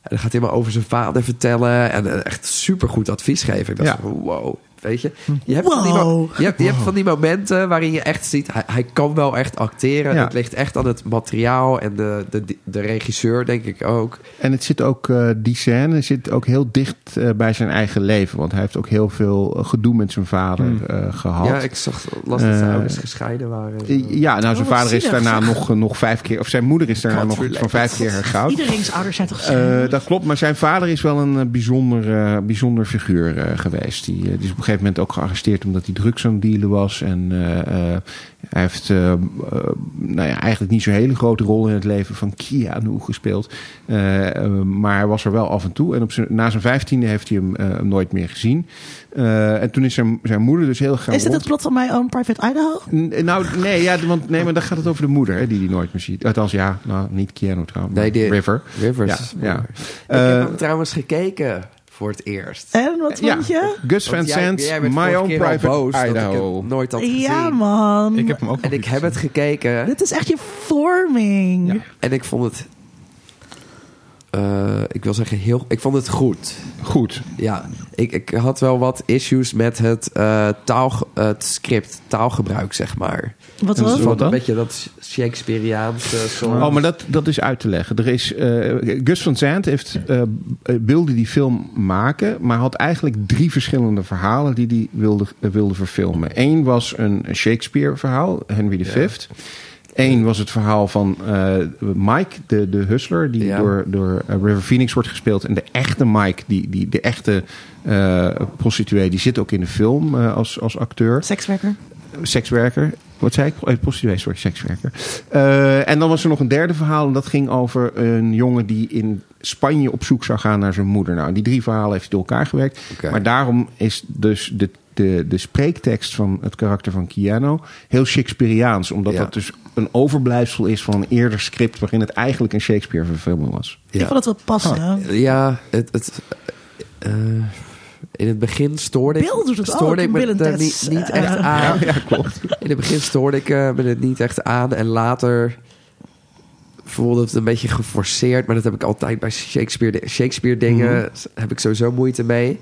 D: En dan gaat hij maar over zijn vader vertellen. En eh, echt supergoed advies geven. Ik dacht,
A: Ja.
D: van, wow, weet je. Je hebt, van die, mo-
B: Wow.
D: je, hebt, je hebt van die momenten waarin je echt ziet... Hij, hij kan wel echt acteren.
A: Ja.
D: Het ligt echt aan het materiaal en de, de, de regisseur, denk ik ook.
A: En het zit ook, eh, die scène zit ook heel dicht eh, bij zijn eigen leven. Want hij heeft ook heel veel gedoe met zijn vader eh, gehad.
D: Ja, ik zag, las dat zijn
A: Eh,
D: ouders gescheiden waren.
A: Ja, nou, zijn
B: Oh, wat
A: vader is
B: zielig,
A: daarna nog, eh, nog vijf keer... of zijn moeder is daarna
D: God
A: nog
D: related.
A: van vijf keer hergoud.
B: Iedereen's ouders zijn toch
A: Eh,
B: gescheiden?
A: dat klopt, maar zijn vader is wel een eh, bijzonder, eh, bijzonder figuur eh, geweest. Die, eh, die is op een gegeven moment ook gearresteerd omdat hij drugs aan het dealen was. En eh, eh, hij heeft eh, eh, nou ja, eigenlijk niet zo'n hele grote rol in het leven van Keanu gespeeld. Eh, eh, maar hij was er wel af en toe. En op zijn, na zijn vijftiende heeft hij hem eh, nooit meer gezien. Eh, en toen is zijn, zijn moeder dus heel gaan
B: is dit
A: rond-
B: het plot van My Own Private Idaho?
A: N- Nou, nee, ja, want, nee, maar dan gaat het over de moeder, hè, die die nooit meer ziet. Althans, ja, nou, niet Keanu trouwens,
D: Nee,
A: maar
D: die-
A: River.
D: Rivers.
A: Ja, ja.
D: ik
A: Eh,
D: heb hem trouwens gekeken voor het eerst.
B: En wat vond je?
A: Gus Van
D: Want jij-
A: Sant,
D: jij werd
A: My
D: vorige
A: Own
D: keer al
A: Private
D: boos dat ik het
A: Idaho.
D: nooit had gezien.
B: Ja, man.
C: Ik heb hem ook
D: En
C: nog
D: ik
C: niet
D: heb het gekeken.
B: Dit is echt je vorming.
D: En ik vond het. eh, ik wil zeggen, heel, ik vond het goed.
A: Goed.
D: Ja, ik, ik had wel wat issues met het, eh, taal, het script, taalgebruik, zeg maar.
B: Wat
A: En
B: was
A: zo-
B: het?
A: Wat dan?
D: Een beetje dat Shakespeareaanse soort.
A: Oh, maar dat, dat is uit te leggen. Er is, eh, Gus van Sant heeft, eh, eh, wilde die film maken, maar had eigenlijk drie verschillende verhalen die hij wilde, eh, wilde verfilmen. Eén was een Shakespeare-verhaal, Henry V. Eén was het verhaal van eh, Mike, de, de hustler, die
D: Ja.
A: door, door eh, River Phoenix wordt gespeeld. En de echte Mike, die, die, de echte eh, prostituee, die zit ook in de film eh, als, als acteur.
B: Sekswerker.
A: sekswerker. Wat zei ik? Eh, Prostituee, sorry, sekswerker. Eh, en dan was er nog een derde verhaal. En dat ging over een jongen die in Spanje op zoek zou gaan naar zijn moeder. Nou, die drie verhalen heeft hij door elkaar gewerkt.
D: Oké.
A: Maar daarom is dus de, de, de spreektekst van het karakter van Keanu heel Shakespeareaans. Omdat
D: Ja.
A: dat dus een overblijfsel is van een eerder script... waarin het eigenlijk een Shakespeare-verfilming
D: [LAUGHS]
A: was.
B: Ik vond het wel passen.
D: Ja, het. het eh, in het begin stoorde ik,
B: Beeld doet het
D: stoorde
B: ook,
D: ik me
B: Bill
D: daar
B: Ted's,
D: niet, niet
B: eh,
D: echt aan. [LAUGHS]
A: Ja, klopt.
D: In het begin stoorde ik eh, me het niet echt aan. En later voelde het een beetje geforceerd. Maar dat heb ik altijd bij Shakespeare, Shakespeare dingen.
A: Mhm.
D: Heb ik sowieso moeite mee.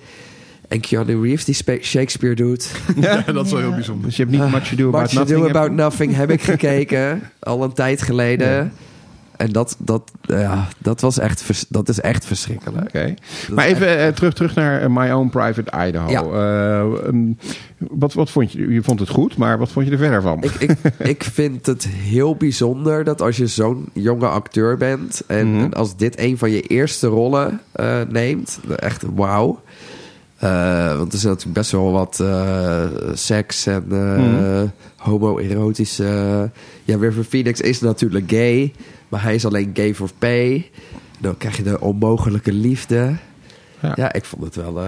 D: En Keanu Reeves die spe- Shakespeare doet.
C: Ja, [LAUGHS] dat is wel heel
B: Ja.
C: bijzonder.
A: Dus je hebt niet Much Ado About
D: What You
A: Nothing.
D: Ah, Do About Nothing heb ik
A: [LAUGHS]
D: gekeken. Al een tijd geleden. En dat, dat, ja, dat, was echt, vers- dat is echt verschrikkelijk.
A: Oké. Maar
D: is
A: even eh, terug, terug naar eh, My Own Private Idaho.
D: Ja.
A: Eh, ehm, wat, wat vond je? Je vond het goed, maar wat vond je er verder van?
D: Ik, ik, ik vind het heel bijzonder dat als je zo'n jonge acteur bent...
A: Mhm.
D: en, en als dit een van je eerste rollen eh, neemt, echt wauw... Eh, want er zit natuurlijk best wel wat eh, seks en eh
A: Mhm.
D: homoerotische... ja, River Phoenix is natuurlijk gay, maar hij is alleen gay for pay. Dan krijg je de onmogelijke liefde.
A: Ja.
D: Ja, ik vond het wel... eh,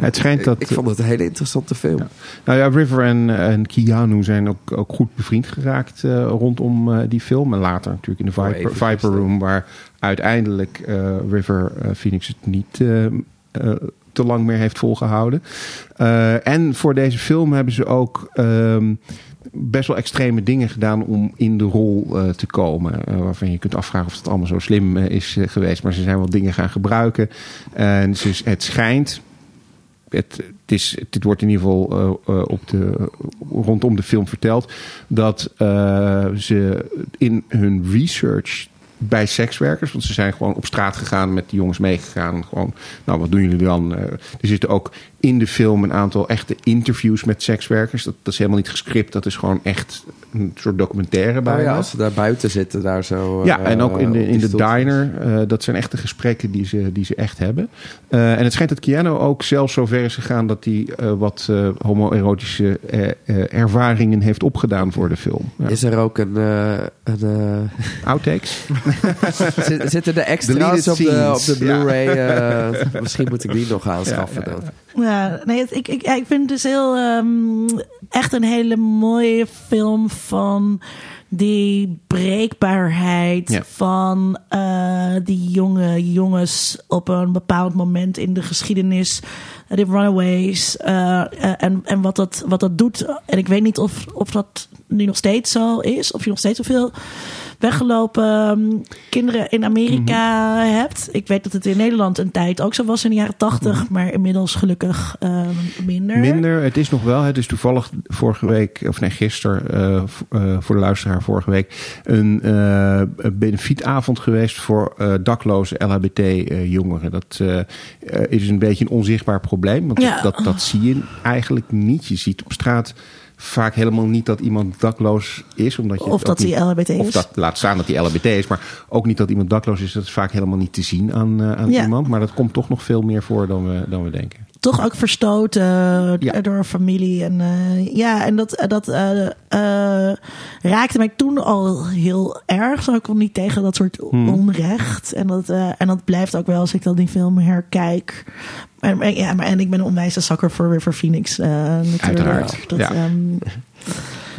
A: Het schijnt
D: ik-
A: dat-
D: Ik, vond het een hele interessante film.
A: Ja. Nou ja, River en, en Keanu zijn ook, ook goed bevriend geraakt eh, rondom eh, die film. En later natuurlijk in de
D: Oh,
A: Viper,
D: even
A: Viper
D: gisteren.
A: Room, waar uiteindelijk eh, River eh, Phoenix het niet eh, eh, te lang meer heeft volgehouden. Eh, en voor deze film hebben ze ook ehm, best wel extreme dingen gedaan om in de rol eh, te komen. Eh, waarvan je kunt afvragen of het allemaal zo slim eh, is eh, geweest. Maar ze zijn wel dingen gaan gebruiken. En ze, het schijnt, het, het is, dit wordt in ieder geval eh, eh, op de, rondom de film verteld. Dat eh, ze in hun research bij sekswerkers, want ze zijn gewoon op straat gegaan met die jongens meegegaan. Gewoon, nou, wat doen jullie dan? Eh, er zitten ook in de film een aantal echte interviews met sekswerkers. Dat, dat is helemaal niet gescript, dat is gewoon echt een soort documentaire bij.
D: Maar Oh ja, als ze daar buiten zitten, daar zo...
A: Ja,
D: eh,
A: en ook in de,
D: op die
A: in de
D: stoeltjes.
A: diner. eh, dat zijn echte gesprekken die ze, die ze echt hebben. Eh, en het schijnt dat Keanu ook zelfs zover is gegaan... dat hij eh, wat eh, homoerotische eh, eh, ervaringen heeft opgedaan voor de film. Ja.
D: Is er ook een... eh, een eh,
A: Outtakes?
D: [LAUGHS] zit- zitten de extra's
A: Deleted
D: op de, op
A: scenes.
D: de Blu-ray? eh, [LAUGHS] misschien moet ik die nog aanschaffen
A: Ja, ja, ja.
D: dan.
B: Ja, nee, het- ik, ik, ja, ik vind het dus heel ehm, echt een hele mooie film van die breekbaarheid
A: Ja.
B: van eh, die jonge jongens op een bepaald moment in de geschiedenis. eh, De Runaways eh, eh, en, en wat, dat, wat dat doet. En ik weet niet of, of dat nu nog steeds zo is. Of je nog steeds zoveel weggelopen ehm, kinderen in Amerika
A: Mhm.
B: hebt. Ik weet dat het in Nederland een tijd ook zo was in de jaren tachtig, maar inmiddels gelukkig ehm, minder.
A: Mhm. Minder. Het is nog wel. Het is toevallig vorige week, of nee, gisteren, eh, v- eh, voor de luisteraar vorige week, een eh, een benefietavond geweest voor eh, dakloze LHBT-jongeren. dat eh, eh, is een beetje een onzichtbaar probleem. Want
B: Ja.
A: dat, dat zie je eigenlijk niet. Je ziet op straat vaak helemaal niet dat iemand dakloos is. Omdat je
B: Of
A: het ook
B: dat hij
A: niet-
B: LHBT
A: Of
B: is.
A: dat, laat staan dat hij LHBT is. Maar ook niet dat iemand dakloos is. Dat is vaak helemaal niet te zien aan, eh, aan
B: Ja.
A: iemand. Maar dat komt toch nog veel meer voor dan we, dan we denken.
B: Toch ook verstoten eh,
A: Ja.
B: door familie. En, eh, ja, en dat, dat eh, eh, raakte mij toen al heel erg. Zo, Ik kon niet tegen dat soort
A: Hmm.
B: onrecht. En dat, eh, en dat blijft ook wel als ik dan die film herkijk. En, en- ja, maar, en ik ben een onwijze zakker voor River Phoenix. eh, natuurlijk.
A: Uiteraard,
B: Dat,
A: ja.
B: ehm,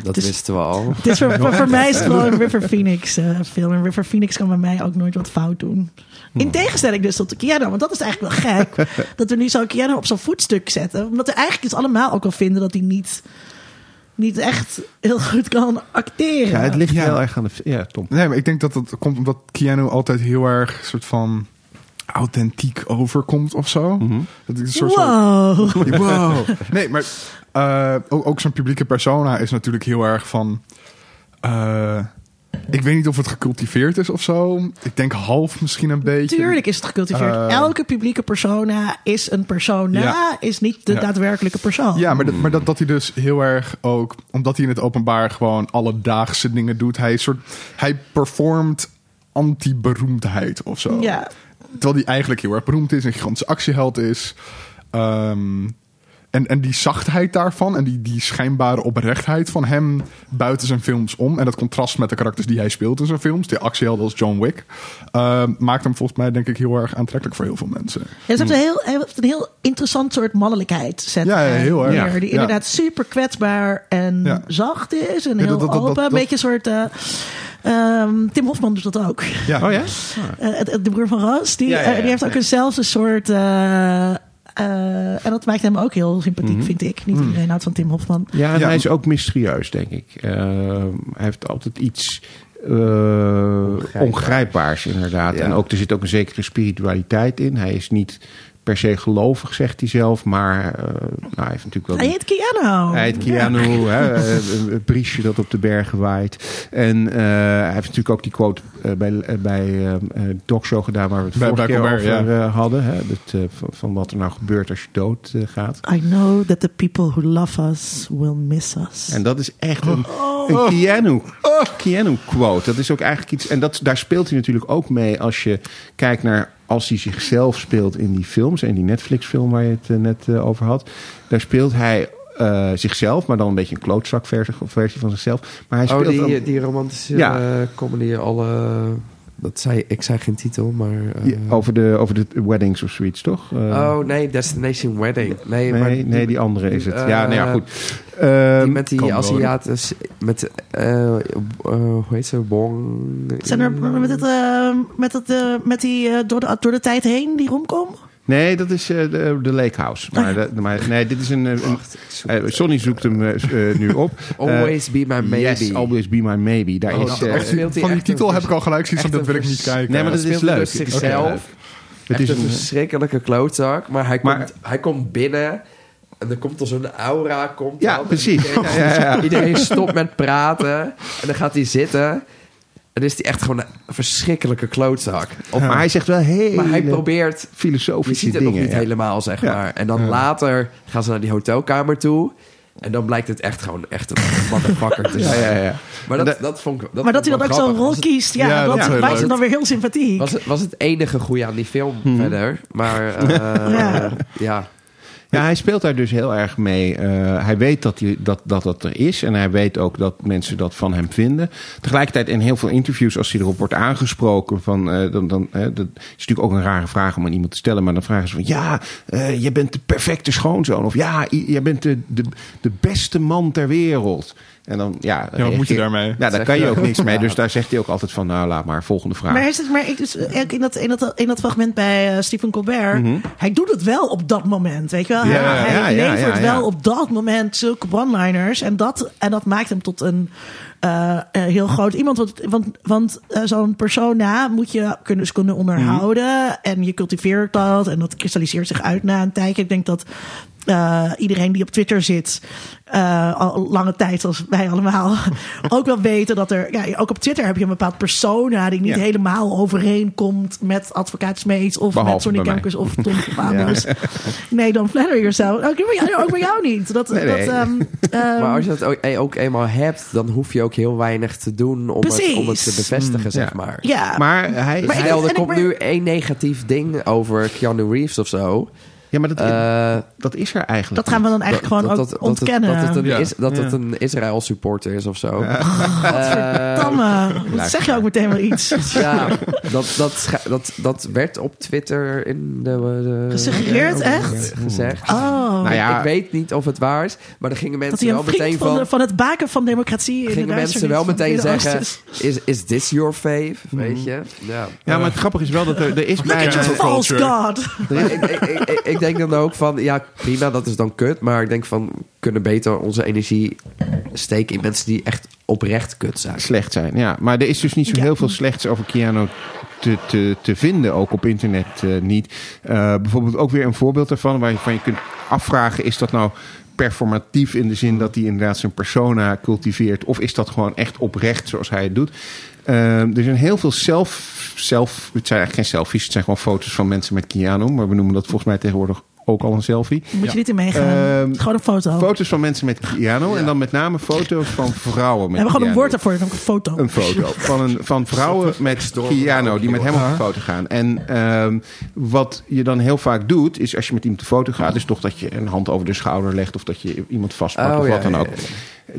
D: Dat
B: Dus-
D: wisten we al.
B: Het is
C: [LAUGHS]
B: voor, voor, voor mij is het gewoon een River Phoenix eh, film. En River Phoenix kan bij mij ook nooit wat fout doen.
C: Hmm.
B: In tegenstelling dus tot de Keanu, want dat is eigenlijk wel
C: [LAUGHS]
B: gek. dat we nu zo'n Keanu op zo'n voetstuk zetten. Omdat we eigenlijk dus allemaal ook wel vinden dat hij niet, niet echt heel goed kan acteren.
A: Ja, het ligt
C: Ja.
A: heel erg aan de... Ja, Tom.
C: Nee, maar ik denk dat dat komt omdat Keanu altijd heel erg soort van authentiek overkomt of zo.
D: Mhm.
C: Dat is een soort
B: wow.
C: soort- Wow. [LAUGHS] Nee, maar eh, ook, ook zo'n publieke persona is natuurlijk heel erg van. eh, ik weet niet of het gecultiveerd is of zo. Ik denk half misschien een beetje.
B: Tuurlijk is het gecultiveerd.
C: Eh.
B: Elke publieke persona is een persona,
C: Ja.
B: is niet de
C: Ja.
B: daadwerkelijke persoon.
C: Ja, maar, dat, maar dat, dat hij dus heel erg ook... Omdat hij in het openbaar gewoon alledaagse dingen doet. Hij, is soort, hij performt anti-beroemdheid of zo.
B: Ja.
C: Terwijl hij eigenlijk heel erg beroemd is. Een gigantische actieheld is. Ehm, en, en die zachtheid daarvan. En die, die schijnbare oprechtheid van hem buiten zijn films om. En dat contrast met de karakters die hij speelt in zijn films. Die actieheld als John Wick. ehm, maakt hem volgens mij denk ik heel erg aantrekkelijk voor heel veel mensen.
B: Ja, ze heeft een heel, hij heeft een heel interessant soort mannelijkheid. Zet
C: Hmm. Ja, ja,
B: hij
C: heel erg.
B: neer,
C: Ja,
B: die
C: ja.
B: inderdaad super kwetsbaar en
C: Ja.
B: zacht is. En
C: Ja,
B: heel
C: dat- dat- dat-
B: open.
C: dat-
B: een beetje een soort... eh, ehm, Tim Hofman doet dat ook.
C: Ja.
A: Oh ja?
C: Ah.
B: Eh, het- het- de broer van Roos. Die,
A: Ja, ja, ja.
B: eh, die heeft ook eenzelfde soort... eh, eh, en dat maakt hem ook heel sympathiek,
C: Mhm.
B: vind ik. Niet iedereen houdt van Tim Hofman.
A: Ja, en
C: Ja.
A: hij is ook mysterieus, denk ik. Eh, hij heeft altijd iets eh, ongrijpbaars, inderdaad.
D: Ja.
A: En ook, er zit ook een zekere spiritualiteit in. Hij is niet per se gelovig, zegt hij zelf. Maar eh, nou, hij heeft natuurlijk wel...
B: Hij heet Keanu.
A: Hij heet Keanu, hè, eh, een briesje dat op de bergen waait. En eh, hij heeft natuurlijk ook die quote eh, bij, eh, bij eh, eh, Talkshow gedaan... waar we het
C: Bij-
A: vorige
C: bij
A: keer
C: Colbert,
A: over
C: ja.
A: eh, hadden. Hè, dat, eh, van, van wat er nou gebeurt als je dood eh, gaat.
B: I know that the people who love us will miss us.
A: En dat is echt een
D: Oh.
A: Een Keanu, Keanu quote. Dat is ook eigenlijk iets. En dat, daar speelt hij natuurlijk ook mee als je kijkt naar. Als hij zichzelf speelt in die films. En die Netflix-film waar je het eh, net eh, over had. Daar speelt hij eh, zichzelf. Maar dan een beetje een klootzakversie versie van zichzelf. Maar hij
D: Oh,
A: speelt.
D: die,
A: dan-
D: die romantische
A: Ja.
D: eh, comedy, alle... Dat zei, ik zei geen titel, maar... eh,
A: Ja, over, de, over de weddings of zoiets, toch? oh, Eh,
D: oh, nee, Destination Wedding. Nee,
A: nee,
D: maar
A: nee, die andere is het. ja, nou ja,
D: eh,
A: goed.
D: die
A: Ehm,
D: met die
A: kan wel.
D: Aziaten... Met, eh eh, hoe heet ze? Wong...
B: Zijn er met, het, eh, met, het, eh, met die eh, door, de, door de tijd heen, die romcom?
A: Nee, dat is eh, de, de Lake House. Maar,
D: Oh.
A: dat- maar nee, dit is een. eh, een-
D: Wacht, ik zoek
A: eh,
D: het.
A: Sonny zoekt hem eh, eh, nu op.
D: [LAUGHS] Always be my
A: Eh,
D: maybe.
A: Yes, always be my maybe. Daar
D: Oh,
A: is.
D: dat
A: eh,
D: echt- speelt
C: Van
D: hij
C: die
D: echt een
C: titel heb
D: vers-
C: ik al gelijk zoiets van,
D: echt
C: dat
D: een
C: wil ik niet
D: vers-
C: kijken.
A: nee, maar dat
D: Hij
A: is
D: speelt
A: leuk.
D: dus
A: Het is
D: zichzelf.
A: leuk. Het
D: Echt
A: is
D: een
A: een- eh,
D: verschrikkelijke klootzak. Maar hij,
A: Maar-
D: komt, hij komt binnen en er komt al zo'n aura. Komt
A: Ja,
D: dan. En
A: precies.
D: Iedereen,
A: [LAUGHS] Ja, ja, ja.
D: iedereen stopt met praten. En dan gaat hij zitten. En dan is hij echt gewoon een verschrikkelijke klootzak. Of-
A: Maar hij zegt wel hele
D: Maar hij probeert... Je
A: filosofische
D: ziet het nog
A: dingen.
D: niet
A: ja.
D: helemaal, zeg
A: Ja.
D: maar. En dan later gaan ze naar die hotelkamer toe. En dan blijkt het echt gewoon echt een motherfucker te
A: Ja,
D: zijn.
A: ja, ja.
D: Maar dat,
A: Dat-
D: dat vond ik dat
B: Maar dat
D: vond ik
B: hij dan ook zo'n
D: wel grappig.
B: rol
D: Was het-
B: kiest, ja,
C: Ja, dat
B: dat
C: is heel
B: maakt
C: leuk.
B: hem dan weer heel sympathiek.
D: Was het, was het enige goede aan die film
A: Hmm.
D: verder. Maar eh,
B: Ja.
D: ja.
A: Ja, hij speelt daar dus heel erg mee. Eh, hij weet dat, hij, dat, dat dat er is. En hij weet ook dat mensen dat van hem vinden. Tegelijkertijd in heel veel interviews, als hij erop wordt aangesproken. Van, eh, dan, dan, eh, dat is natuurlijk ook een rare vraag om aan iemand te stellen. Maar dan vragen ze van: Ja, eh, je bent de perfecte schoonzoon. Of ja, i- je bent de, de, de beste man ter wereld. En dan, ja,
C: Ja, wat moet je daarmee?
A: Ja, daar
D: Zeg
A: kan je
D: je
A: ook
D: ook.
A: niks mee.
D: Ja.
A: Dus daar zegt hij ook altijd van: Nou, laat maar, volgende vraag.
B: Maar, hij zit, maar ik, dus, eigenlijk in, dat, in, dat, in dat fragment bij eh, Stephen Colbert, hij doet het wel op dat moment, weet je wel?
A: Mhm. Ja,
B: hij
A: ja,
B: hij
A: ja,
B: levert
A: ja, ja.
B: wel op dat moment zulke one-liners en dat, en dat maakt hem tot een eh, eh, heel groot iemand. Want, want, want eh, zo'n persona moet je kunnen, dus kunnen onderhouden
A: Mhm.
B: en je cultiveert dat en dat kristalliseert zich uit na een tijdje. Ik denk dat eh, iedereen die op Twitter zit, eh, al lange tijd als wij
A: [LAUGHS]
B: allemaal, ook wel weten dat er. Ja, ook op Twitter heb je een bepaald persona die niet
A: Ja.
B: helemaal overeenkomt met advocaat Smeets of
A: Behalve
B: met Sonny
A: bij mij.
B: Kemkes of
A: [LAUGHS]
B: Tom Fabius. Nee, dan flatter yourself. Ook bij jou, ook bij jou niet. Dat,
A: Nee, nee.
B: dat, ehm, ehm,
D: [LAUGHS] Maar als je dat ook, eh, ook eenmaal hebt, dan hoef je ook heel weinig te doen om, het, om het te
B: Precies.
D: bevestigen, zeg
A: Mm, ja.
D: maar.
B: ja.
A: Maar hij,
D: Dus
B: Maar ik-
D: stel,
B: en
D: er
B: ik-
D: komt
B: maar-
D: nu één negatief ding over Keanu Reeves of zo.
A: ja, maar dat,
D: Eh,
A: dat is er eigenlijk.
B: dat gaan we dan eigenlijk gewoon ook
D: het-
B: ontkennen.
D: Dat, het een,
C: Ja.
D: is, dat het
A: Ja.
D: een Israël supporter is of zo. Eh,
B: Gadverdamme.
D: [LAUGHS]
B: dat eh, zeg je ook meteen wel iets. Oh.
D: Ja, dat, dat, scha- dat, dat werd op Twitter in de, de-
B: Gesuggereerd,
D: ja,
B: echt?
D: Gezegd.
B: Oh,
A: Nou ja.
D: Ik weet niet of het waar is, maar er gingen
B: dat
D: mensen
B: hij
D: wel
B: een
D: meteen
B: vriend van,
D: van.
B: de- van het baken van democratie in de
D: gingen mensen wel meteen
B: duisternis van het
D: zeggen:
B: Midden-Oosten is.
D: is, is this your fave?
C: Mhm.
D: Weet je? Ja.
A: Ja, maar het grappige is wel dat er, er is
D: nou
B: Look at
A: bijna-
B: your
D: eh,
B: false god.
D: Maar ik, ik, ik, ik- ik denk dan ook van, ja prima, dat is dan kut. Maar ik denk van, we kunnen beter onze energie steken in mensen die echt oprecht kut zijn.
C: Oh,
A: slecht zijn. Ja, maar er is dus niet zo
B: Ja.
A: heel veel slechts over Keanu te, te, te vinden, ook op internet eh, niet. Eh, bijvoorbeeld ook weer een voorbeeld daarvan waarvan je kunt afvragen: is dat nou performatief in de zin dat hij inderdaad zijn persona cultiveert, of is dat gewoon echt oprecht zoals hij het doet? Eh, er zijn heel veel zelf, zelf, het zijn eigenlijk geen selfies, het zijn gewoon foto's van mensen met Keanu, maar we noemen dat volgens mij tegenwoordig ook al een selfie.
B: Moet je niet in meegaan.
A: Ehm,
B: Gewoon een foto.
A: Foto's van mensen met Keanu en dan met name foto's van vrouwen
B: we
A: met
B: hebben gewoon een
A: Keanu.
B: woord daarvoor, namelijk een foto.
D: Oh.
A: Een foto van, een,
D: [LAUGHS]
A: van vrouwen met piano die met hem op de foto gaan. En ehm, wat je dan heel vaak doet, is als je met iemand op de foto gaat, is toch dat je een hand over de schouder legt of dat je iemand vastpakt
D: Oh,
A: of wat
D: ja,
A: dan
D: ja,
A: ook.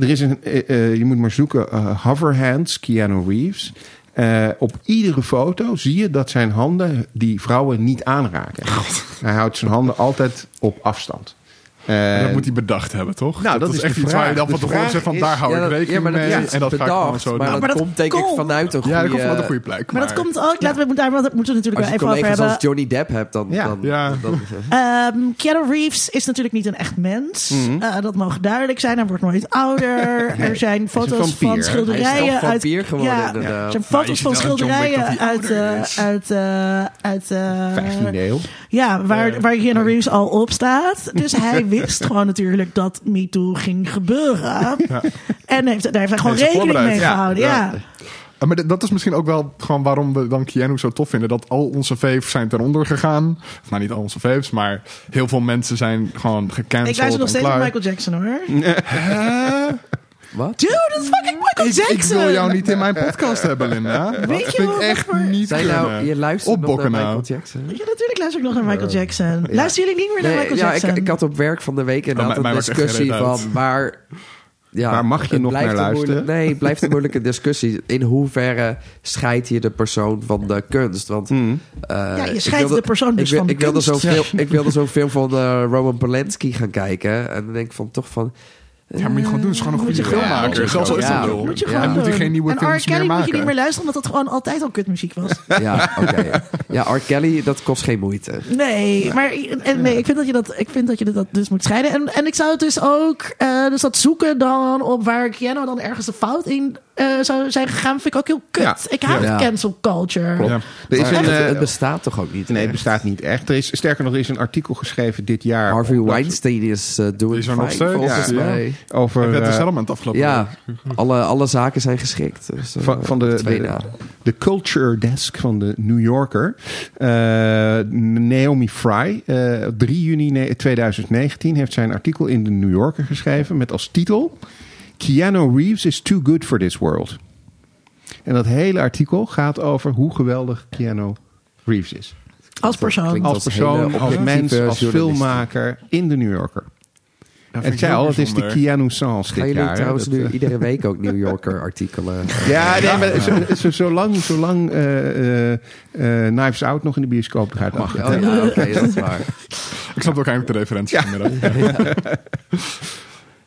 A: Er is een, eh, eh, je moet maar zoeken, eh, hoverhands, Keanu Reeves. Eh, op iedere foto zie je dat zijn handen die vrouwen niet aanraken. Hij houdt zijn handen altijd op afstand. Eh,
C: dat moet hij bedacht hebben, toch?
A: Nou, dat is de
C: echt iets waar je
A: vraag.
C: dan
A: De
C: van tevoren
A: vraag
C: zegt van
A: is-
C: daar hou
D: Ja,
C: ik
D: dat-
C: rekening
D: ja, maar dat
C: mee.
D: is
C: en dat ga ik gewoon
D: bedacht,
C: zo
D: maar
C: doen.
D: dat,
B: Maar dat
D: komt denk ik
B: komt-
D: vanuit een
C: Ja, dat komt
D: goede-
A: eh,
D: eh,
C: vanuit een goede plek.
B: Maar dat komt ook, laten we, daar, daar moeten we het natuurlijk wel
D: Als je
B: even over
D: collega's
B: hebben.
D: als Johnny Depp hebt, dan...
A: Ja.
D: dan,
C: Ja.
D: dan-
B: Ehm, Keanu Reeves is natuurlijk niet een echt mens.
C: Mhm.
B: Eh, dat mag duidelijk zijn. Hij wordt nooit
C: [LAUGHS]
B: ouder. er zijn foto's
A: vampier, hè?
B: van
D: Hij is
B: schilderijen
D: toch
B: uit.
D: vampier geworden, inderdaad.
B: er zijn
C: Maar je
B: foto's
C: ziet
B: van
C: wel aan John Wick dat
B: schilderijen
C: hij
B: uit.
C: ouder
B: eh,
C: is.
B: uit, eh, uit
C: [LAUGHS]
B: eh,
A: 15e eeuw.
B: Ja, waar, waar Keanu Reeves al op
C: [LAUGHS]
B: staat. Dus hij wist gewoon natuurlijk dat MeToo ging gebeuren. En heeft, daar heeft hij gewoon
C: Heeft
B: rekening mee
C: hij voorbereid. Ja,
B: gehouden.
C: ja.
B: ja.
C: Eh, Maar d- dat is misschien ook wel gewoon waarom we dan Keanu zo tof vinden. Dat al onze faves zijn ten onder gegaan. Of nou, niet al onze faves, maar heel veel mensen zijn gewoon gecanceld
B: Ik luister nog
C: en
B: steeds naar
C: klaar.
B: Michael Jackson hoor.
D: Wat?
B: Dude, dat is fucking Michael
C: Ik,
B: Jackson.
C: ik wil jou niet in mijn podcast hebben, Linda. Dat
B: [LAUGHS] Weet je
C: vind
B: wat
C: ik
B: dat
C: echt
B: voor-
C: niet
D: Zij
C: kunnen.
D: nou, je luistert nog naar
C: Opbokken
D: Michael
C: nou.
D: Jackson.
B: Ja, natuurlijk luister ik nog naar Michael Jackson. Luisteren jullie niet meer naar
D: Nee,
B: Michael
D: ja, ik,
B: Jackson?
D: ik had op werk van de week inderdaad
C: Oh, mij-
D: een
C: mij maakt echt geen
D: discussie
C: reet uit.
D: van waar... Ja,
A: Waar mag je
D: het
A: nog
D: blijft
A: naar
D: een moeilijke-
A: luisteren?
D: nee, het blijft een moeilijke discussie. In hoeverre scheid je de persoon van de kunst? Want,
A: Hmm.
D: eh,
B: Ja, je
D: ik
B: scheidt de persoon dus
D: ik wil-
B: van de
D: ik wilde
B: kunst.
D: Zo'n film, ik wilde zo'n film van eh, Roman Polanski gaan kijken. En dan denk ik van toch van...
C: Ja, moet je gewoon doen. Het is gewoon een
B: Moet
C: goede
B: je gewoon
C: filmmaker.
B: doen.
C: Zelfs al is
D: Ja.
C: dat lul.
B: Moet je
D: Ja.
B: gewoon
C: En moet hij
B: doen.
C: geen nieuwe
B: en
C: films
B: R. Kelly
C: meer
B: moet je niet
C: maken.
B: meer luisteren, omdat dat gewoon altijd al kutmuziek was.
D: Ja,
A: [LAUGHS]
D: oké. Ja, R. Kelly, dat kost geen moeite.
B: Nee, maar en nee, ik vind dat je dat, ik vind dat, je dat dus moet scheiden. En, en ik zou het dus ook, eh, dus dat zoeken dan op waar Keanu dan ergens de fout in eh, zou zijn gegaan, vind ik ook heel kut.
A: Ja.
B: Ik haat
D: Ja.
B: cancel culture.
C: Ja.
A: Er is
D: Maar
A: een,
D: het,
A: eh,
D: het bestaat toch ook niet?
A: nee, het
D: echt?
A: bestaat niet echt. Er is, sterker nog, er is een artikel geschreven dit jaar.
D: Harvey
A: op-
D: Weinstein is eh doing
C: Is er nog
D: fine,
C: steeds?
D: volgens
C: Ja.
D: mij.
A: Over,
C: Hij werd
A: eh,
C: de settlement afgelopen
D: Ja,
C: week.
D: [LAUGHS] alle, alle zaken zijn geschikt. Dus, eh,
A: van, van de,
D: twee
A: de,
D: na.
A: de culture desk van de New Yorker. Eh, Naomi Fry, eh, 3 juni ne- 2019, heeft zijn artikel in de New Yorker geschreven met als titel... Keanu Reeves is too good for this world. En dat hele artikel gaat over hoe geweldig Keanu Reeves is.
B: Als
D: Klinkt
B: persoon.
A: Als
D: als hele
A: persoon, als
D: objectieve
A: mens, als
D: journalist.
A: filmmaker in de New Yorker.
C: Ja,
A: En
C: vind
A: ik
C: ik
A: zei
C: heel
A: al, het is de
C: bijzonder.
A: Keanu Sans
D: Gaan
A: dit
D: jullie
A: jaar. hè?
D: trouwens
A: Dat,
D: nu
A: eh,
D: iedere week ook New Yorker artikelen? eh,
A: Ja, nee, maar zo, zo, zolang, zolang eh, eh, eh, Knives Out nog in de bioscoop gaat, mag het.
D: Oh ja, oké, [LAUGHS] dat is waar.
C: Ik snap ook eigenlijk de referentie vanmiddag.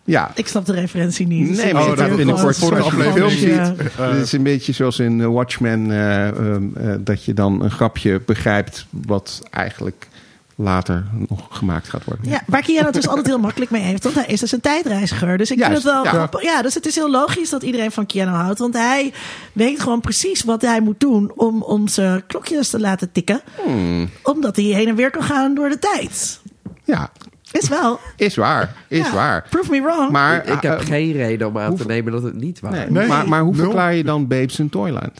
A: Ja.
B: Ik snap de referentie niet. Dus
A: Nee,
B: ik
A: maar
B: zit
A: dat
C: dat
A: gaat
B: heel
C: is
A: binnenkort
C: voor de
B: gewoon-
A: als je een film
C: aflevering.
A: ziet.
B: Ja.
A: Het is een beetje zoals in eh, Watchmen, eh, ehm, eh, dat je dan een grapje begrijpt wat eigenlijk later nog gemaakt gaat worden.
B: Ja, waar Keanu het dus altijd heel makkelijk mee heeft. Want hij is dus een tijdreiziger. Dus ik
A: Juist,
B: vind het wel
A: ja.
B: grappig. Ja, dus het is heel logisch dat iedereen van Keanu houdt. Want hij weet gewoon precies wat hij moet doen om, om zijn klokjes te laten tikken.
A: Hmm.
B: Omdat hij heen en weer kan gaan door de tijd.
A: Ja,
B: Is wel.
A: is waar. Is
B: Ja,
A: waar.
B: Prove me wrong.
A: Maar,
D: Ik, ik heb
A: eh,
D: geen reden om aan te
A: hoeveel-
D: nemen dat het niet waar
A: nee,
D: is.
C: Nee,
A: maar, maar hoe
C: nul.
A: verklaar je dan Babes in Toyland?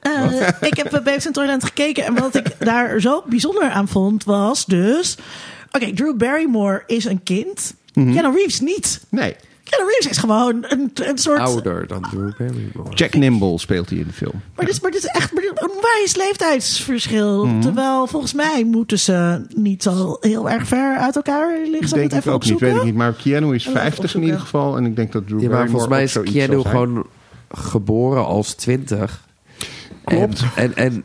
B: Eh, ik heb bij Babes in Toyland gekeken. En wat ik daar zo bijzonder aan vond was dus... Oké, Drew Barrymore is een kind.
A: Mhm.
B: Keanu Reeves niet.
A: Nee.
B: Keanu Reeves is gewoon een, een soort...
D: Ouder dan Drew Barrymore.
A: Jack Nimble speelt hij in de film.
B: Maar dit, is- maar dit is echt maar dit is een wijs leeftijdsverschil.
A: Mhm.
B: Terwijl volgens mij moeten ze niet al heel erg ver uit elkaar liggen. Zal
A: Denk
B: ik het
A: ik
B: even
A: ook niet,
B: opzoeken?
A: weet ik niet. Maar Keanu is
B: Even
A: 50 in
B: opzoeken.
A: ieder geval. En ik denk dat Drew
D: Ja, maar
A: Barrymore
D: volgens mij
A: ook zoiets
D: is Keanu
A: zal zijn.
D: gewoon geboren als twintig.
A: Klopt. [LAUGHS]
D: En, en, en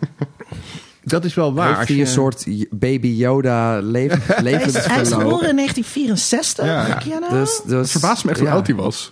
A: Dat is wel waar.
D: heeft
A: als
D: hij
A: je-
D: een soort baby
A: [LAUGHS]
D: Yoda leef,
B: Hij is, hij is
D: levensverloop.
B: geboren in 1964.
C: Ja.
B: Keanu.
D: Dus, dus,
C: Het verbaast me echt hoe
D: ja.
C: oud hij was.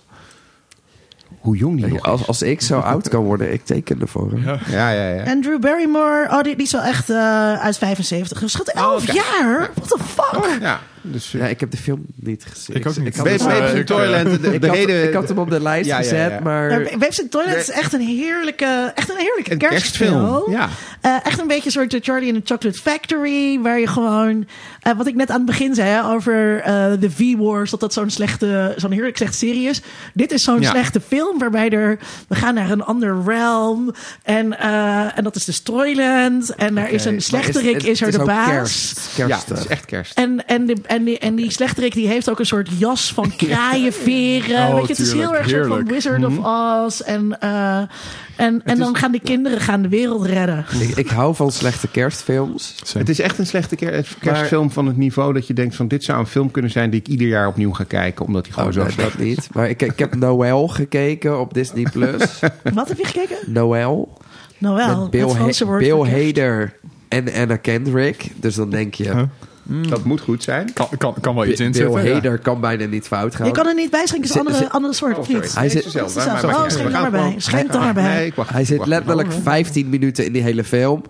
A: Hoe jong die nog
D: Als, als ik zo oud kan worden, ik teken ervoor. hem.
A: is. Ja, ja, ja.
B: En Drew Barrymore, oh, die, die is wel echt eh, uit 75. Dus schat, 11
A: Oh, oké.
B: jaar? What the fuck?
A: ja. Dus, eh,
D: Ja, ik heb de film niet gezien.
C: Ik ook niet.
D: had
A: Babes
D: hem-
C: eh,
A: Babes in
C: ik,
A: Toyland. de- de
D: ik, had,
A: hele-
D: ik had hem op de lijst
A: Ja, ja,
D: gezet,
A: ja.
B: Maar
D: maar...
B: Babes in Toyland
A: Nee.
B: is echt een heerlijke, echt een heerlijke
A: Een
B: kerstfilm.
A: kerstfilm, ja.
B: Eh, echt een beetje een soort Charlie in the Chocolate Factory. Waar je gewoon, eh, wat ik net aan het begin zei hè, over eh, de V-Wars. Dat dat zo'n slechte, zo'n heerlijk slechte serie is. Dit is zo'n
A: Ja.
B: slechte film waarbij er, we gaan naar een ander realm. En, eh, en dat is dus Toyland. En daar is een slechterik, is, er de
D: ook
B: baas.
D: Kerst, kerst,
A: ja,
D: eh.
A: het is echt kerst.
B: En, en, de, en, die, en die slechterik die heeft ook een soort jas
D: [LAUGHS]
B: van kraaienveren.
C: Oh,
B: Weet je, het is heel
C: tuurlijk,
B: erg een soort van
C: heerlijk.
B: Wizard
D: Mhm.
B: of Oz. En, eh, en, en dan gaan die kinderen gaan de wereld
D: [LAUGHS]
B: redden.
D: ik, ik hou van slechte kerstfilms.
A: Het is echt een slechte ker- eh, kerstfilm van het niveau dat je denkt van dit zou een film kunnen zijn die ik ieder jaar opnieuw ga kijken. Omdat hij
D: Oh,
A: gewoon zo
D: nee,
A: slecht
D: dat niet. Maar ik, ik heb Noël gekeken op Disney+.
A: [LAUGHS]
D: Plus.
B: Wat heb je gekeken?
D: Noël.
B: Nou wel,
D: met Bill,
B: het Franse
D: Ha-
B: woord
D: Bill
B: voor kerst.
D: Hader en Anna Kendrick. Dus dan denk je,
A: is. Dat moet goed zijn.
C: Kan, kan, kan wel iets
D: Bill
C: in zitten. ja.
D: Hader kan bijna niet fout gaan.
B: Je kan er niet bij schenken, het is een
D: Zit-
B: andere, andere soort. of
A: Oh, sorry.
B: niet?
D: Hij
A: Nee,
D: zit-
A: het is hetzelfde,
B: het is
A: maar
B: hetzelfde.
A: maakt
B: Oh,
A: niet uit.
B: schenk er
A: We
B: maar
A: gaan
B: bij.
A: gewoon-
B: Schenk er maar bij.
A: Ah, Nee, ik wacht.
D: Hij
A: ik
D: zit
A: wacht.
D: letterlijk
B: Oh,
D: 15 minuten in die hele film.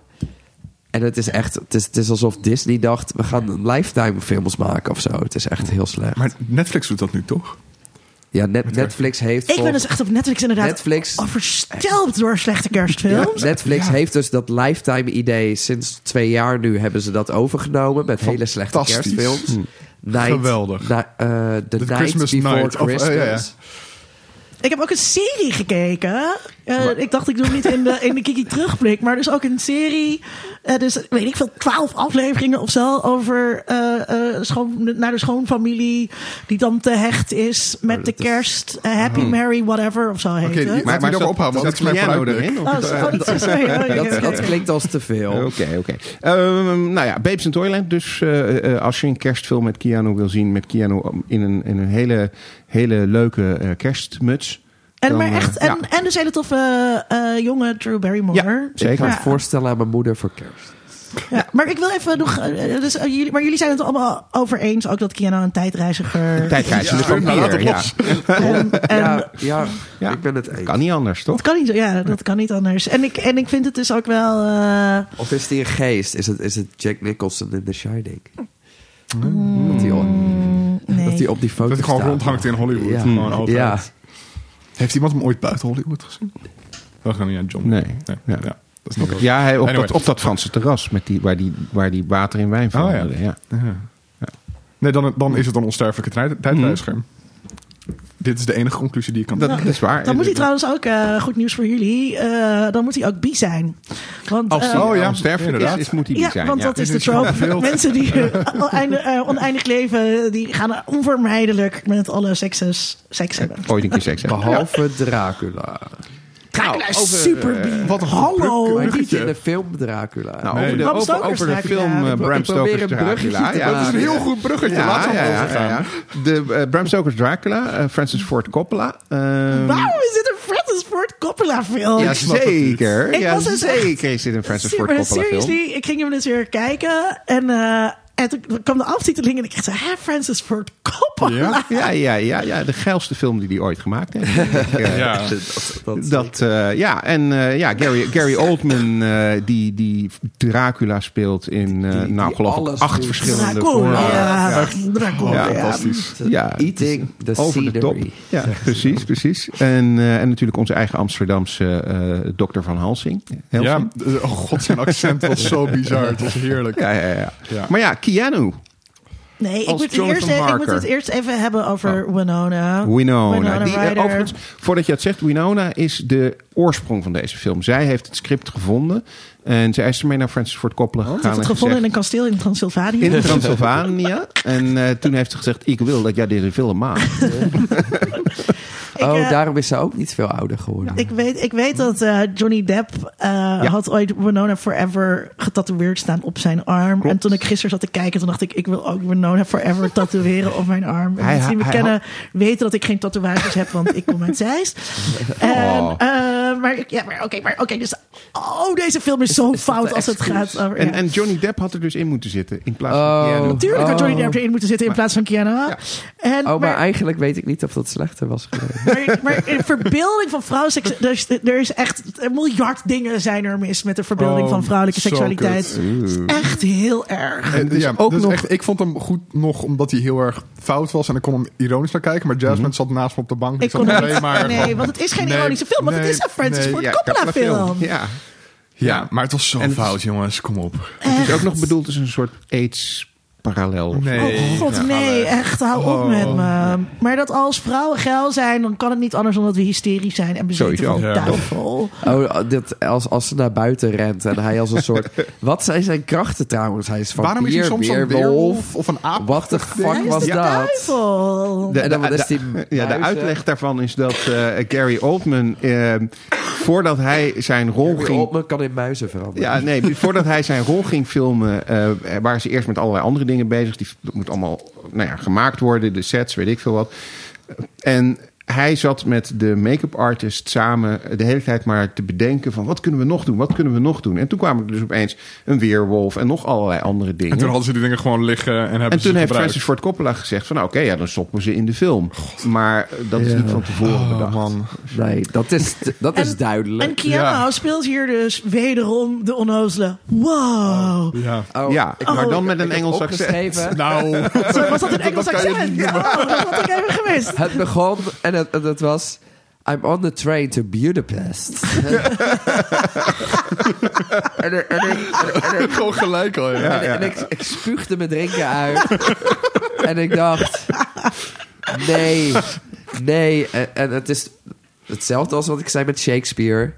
D: En het is echt, het is, het is alsof Disney dacht, we gaan lifetime films maken of zo. Het is echt heel slecht.
C: Maar Netflix doet dat nu toch?
D: ja, Net- Netflix heeft
B: Ik ben
D: volgens-
B: dus echt op Netflix inderdaad
D: Netflix-
B: overstelpt door slechte kerstfilms.
D: Netflix heeft dus dat lifetime idee sinds twee jaar nu hebben ze dat overgenomen met hele slechte
C: Fantastisch.
D: kerstfilms. Night,
C: Geweldig.
D: na- eh, The, Night
C: Christmas
D: Before
C: Night, of, eh,
D: Christmas.
C: ja, ja.
B: Ik heb ook een serie gekeken. Eh, ik dacht, ik doe hem niet in de, in de Kiki terugblik. Maar dus ook een serie. eh, dus weet ik veel, twaalf afleveringen of zo. Over eh, eh, schoon, naar de schoonfamilie. Die dan te hecht is met de kerst. eh, Happy, Merry, whatever of zo heet
C: Oké,
B: het.
C: die- Laten we daarop houden, want
A: dat
C: dat is mijn vooruitblik.
A: erin. of-
B: Oh, zo- oh, dat is- sorry, oh, oké,
D: Dat,
B: oké.
D: dat klinkt als te veel.
A: Oké, oké. Ehm, nou ja, Babes in Toyland. Dus eh, eh, als je een kerstfilm met Keanu wil zien, met Keanu in een, in een hele, hele leuke eh, kerstmuts.
B: En,
A: dan,
B: maar
A: eh,
B: echt, en,
A: ja.
B: en dus hele toffe eh, jonge Drew Barrymore.
A: Ja, zeker.
D: Ik ga het
B: Ja.
D: voorstellen aan mijn moeder voor kerst.
B: Ja, maar ik wil even nog. eh, Dus, eh, jullie, maar jullie zijn het allemaal over eens, ook dat Keanu een tijdreiziger.
A: Tijdreizen, de vampier. dus Ja,
B: en, en
D: ja, ja,
A: Ja.
D: ik ben het eens.
A: kan niet anders, toch?
B: dat kan niet, ja, dat kan niet anders. En ik, en ik vind het dus ook wel. eh,
D: Of is die een geest? Is het, is het Jack Nicholson in The Shining? Dat, hij op,
B: nee.
D: dat hij op die foto
C: Dat hij gewoon
D: staat.
C: rondhangt in Hollywood.
D: Ja.
C: Gewoon altijd.
D: Ja.
C: Heeft iemand hem ooit buiten Hollywood gezien? Dat gaan niet aan John.
A: Nee.
C: Ja.
A: Ja.
C: Dat is niet goed.
A: Ja, hij, op,
C: Anyway.
A: dat, op dat Franse terras met die, waar, die, waar die water in wijn veranderde. Oh, ja.
C: Nee, dan, dan is het een onsterfelijke tijd- tijdreiziger. Dit is de enige conclusie die ik kan
A: Dat, dat is waar.
B: Dan moet hij
A: Dat-
B: trouwens ook, eh, goed nieuws voor jullie, eh, dan moet hij ook bi zijn. Want,
A: Als
B: eh,
A: hij
C: Oh ja,
A: onsterfelijk is,
C: inderdaad.
A: is, moet hij die
B: ja,
A: zijn.
B: want
A: ja.
B: dat is de trope. [LAUGHS] Mensen die eh, [LAUGHS] oneindig, eh, oneindig leven, die gaan onvermijdelijk met alle sekses seks hebben.
A: [LAUGHS] Ooit een keer seks hebben.
D: Behalve Dracula.
B: Dracula
A: Nou,
B: is
A: over,
B: super bi.
C: wat een
B: Hallo.
D: Maar
C: brug-
D: niet
C: bruggetje.
D: in de film Dracula.
A: Nou,
C: Nee.
A: over de,
B: Bram
A: over,
B: Stoker's
A: over de
B: Dracula.
A: film eh,
B: Ik
A: Bram
D: probeer
A: Stoker's
D: een bruggetje
A: Dracula.
D: te
A: Ja,
D: maken.
A: dat is
C: Heel goed bruggetje.
A: Ja,
C: Laten we
A: ja,
C: ja,
A: ja,
C: gaan.
A: ja, ja. De eh, Bram Stoker's Dracula, eh, Francis Ford Coppola. ehm,
B: Waarom is dit een Francis Ford Coppola film?
C: Oh,
A: ja, zeker.
B: Ik
A: ja,
B: was dus echt-
A: zeker is dit een Francis Ford
B: maar
A: Coppola film.
B: seriously, ik ging hem dus weer kijken. En, eh en toen kwam de aftiteling en ik dacht, hè, Francis Ford Coppola?
C: Ja?
A: Ja, ja, ja, ja, de geilste film die hij ooit gemaakt heeft. Ik, eh,
C: [LAUGHS] Ja.
D: dat, dat,
A: Dat, eh, ja, en eh, ja, Gary, Gary Oldman, eh, die, die Dracula speelt in, eh,
D: die
A: nou geloof ik,
D: alles
A: acht
D: doet.
A: verschillende
B: Dracula.
A: vormen.
B: nou, Ja, Dracula.
A: Ja,
B: ja.
C: Fantastisch.
A: Ja,
D: Eating the
A: over de top.
D: scenery.
A: Ja, precies, precies. En, eh, en natuurlijk onze eigen Amsterdamse eh dokter van Halsing.
C: Ja,
A: Helsing.
C: eh, oh god, zijn accent was zo bizar. Het was heerlijk.
A: Ja, ja, ja,
C: Ja.
A: Maar ja, Keanu.
B: Nee, ik
A: Als
B: moet, het
A: Jonathan
B: eerst, ik moet
A: Harker.
B: het eerst even hebben over Winona.
A: Winona. die, eh,
B: Ryder.
A: overigens, voordat je het zegt, Winona is de oorsprong van deze film. Zij heeft het script gevonden. En zij is ermee naar Francis Ford Coppola
B: Oh, Ze
A: gegaan.
B: heeft het
A: en
B: gevonden in een
A: gezegd-
B: kasteel in Transylvanië.
A: in Transylvania. En eh, toen heeft ze gezegd, ik wil dat jij deze film
B: [LAUGHS]
A: maakt.
B: Ik,
D: oh,
B: eh,
D: daarom is ze ook niet veel ouder geworden. Oh,
B: Ik weet, ik weet dat eh, Johnny Depp eh, had ooit Winona Forever getatoeëerd staan op zijn arm. En toen ik gisteren zat te kijken, toen dacht ik, ik wil ook Winona
A: [LAUGHS]
B: Forever tatoeëren op mijn arm. En
A: Hij-
B: mensen die me
A: hij
B: kennen weten dat ik geen tatoeages heb, want ik kom
A: [LAUGHS]
B: uit Zeist. En,
A: Oh.
B: eh, maar ik- ja, maar oké, maar oké, dus oh, deze film is zo fout als het gaat over...
A: En,
B: ja.
A: en Johnny Depp had er dus in moeten zitten. In plaats
D: Oh.
A: van Keanu.
B: Tuurlijk had Johnny
D: Oh.
B: Depp erin moeten zitten in plaats van Keanu. En,
D: oh, maar,
B: maar-
D: eigenlijk weet ik niet of dat slechter was geweest.
B: Maar, maar in verbeelding van vrouwenseks... Er is, er is echt een miljard dingen zijn er mis met de verbeelding
C: Oh,
B: van vrouwelijke
C: zo
B: seksualiteit.
A: kut.
B: Het is echt heel erg.
C: En,
A: Dus
C: ja,
A: ook
C: ook dus
A: nog-
C: echt, ik vond hem goed nog omdat hij heel erg fout was. En ik kon hem ironisch naar kijken. Maar Jasmine zat naast me op de bank.
B: Ik
C: zat
B: kon er
C: alleen
B: niet, [LAUGHS]
C: maar
B: nee,
C: van-
B: want het is geen
C: nee,
B: ironische film, want het
C: nee,
B: is een Francis
C: nee.
B: Ford
A: Eh, Ja,
B: Coppola film.
A: Ja.
C: Ja, maar het was zo
A: En-
C: fout, jongens. Kom op.
A: Het is ook nog bedoeld als een soort AIDS-parallel. of zo.
B: Oh god, nee, echt, hou op met me. Maar dat als vrouwen geil zijn, dan kan het niet anders dan dat we hysterisch zijn en bezeten
A: Sowieso.
B: van de
C: Ja.
B: duivel.
D: Oh, dit, als, als ze naar buiten rent en hij als een soort... Wat zijn zijn krachten trouwens? Hij is van
C: Waarom is hij soms een weerwolf of een aap?
D: What the
B: Hij
D: fuck
B: is
D: was
B: de
D: dat?
B: duivel.
A: De,
D: En dan
A: de-
D: is eh,
A: de-
D: die
A: ja, de
D: muizen.
A: uitleg daarvan is dat eh, Gary Oldman, eh, voordat hij zijn rol ging...
D: Oldman kan in muizen veranderen.
A: Ja, nee, voordat hij zijn rol ging filmen, eh, waren ze eerst met allerlei andere dingen bezig. Die moet allemaal nou ja, gemaakt worden, de sets, weet ik veel wat. En hij zat met de make-up artist samen de hele tijd maar te bedenken van... wat kunnen we nog doen, wat kunnen we nog doen? En toen kwamen er dus opeens een weerwolf en nog allerlei andere dingen.
C: En toen hadden ze die dingen gewoon liggen en hebben
A: En
C: ze
A: toen
C: ze
A: heeft
C: gebruikt.
A: Francis Ford Coppola gezegd van... nou, oké, ja, dan stoppen ze in de film. Maar eh, dat is niet van tevoren bedacht.
C: man.
D: Nee, dat is, dat is
B: En-
D: duidelijk.
B: En Keanu
C: Ja.
B: speelt hier dus wederom de onnozele. Wow.
C: Ja.
D: Oh,
A: Ja,
D: ik-
A: maar dan met
D: ik
A: een
D: heb
A: Engels accent.
D: opgeschreven,
C: Nou,
B: [LAUGHS] Sorry, was dat een Engels
C: Dat kan je
B: accent? Oh, dat had ik even gemist.
D: [LAUGHS] Het begon en het, en het was... I'm on the train to Budapest. en er- en er- en er-
C: gewoon gelijk al. Ja.
D: en- en ik, ik spuugde mijn drinken uit. [LAUGHS] en ik dacht... Nee, nee. En, en het is Hetzelfde als wat ik zei met Shakespeare. [LAUGHS]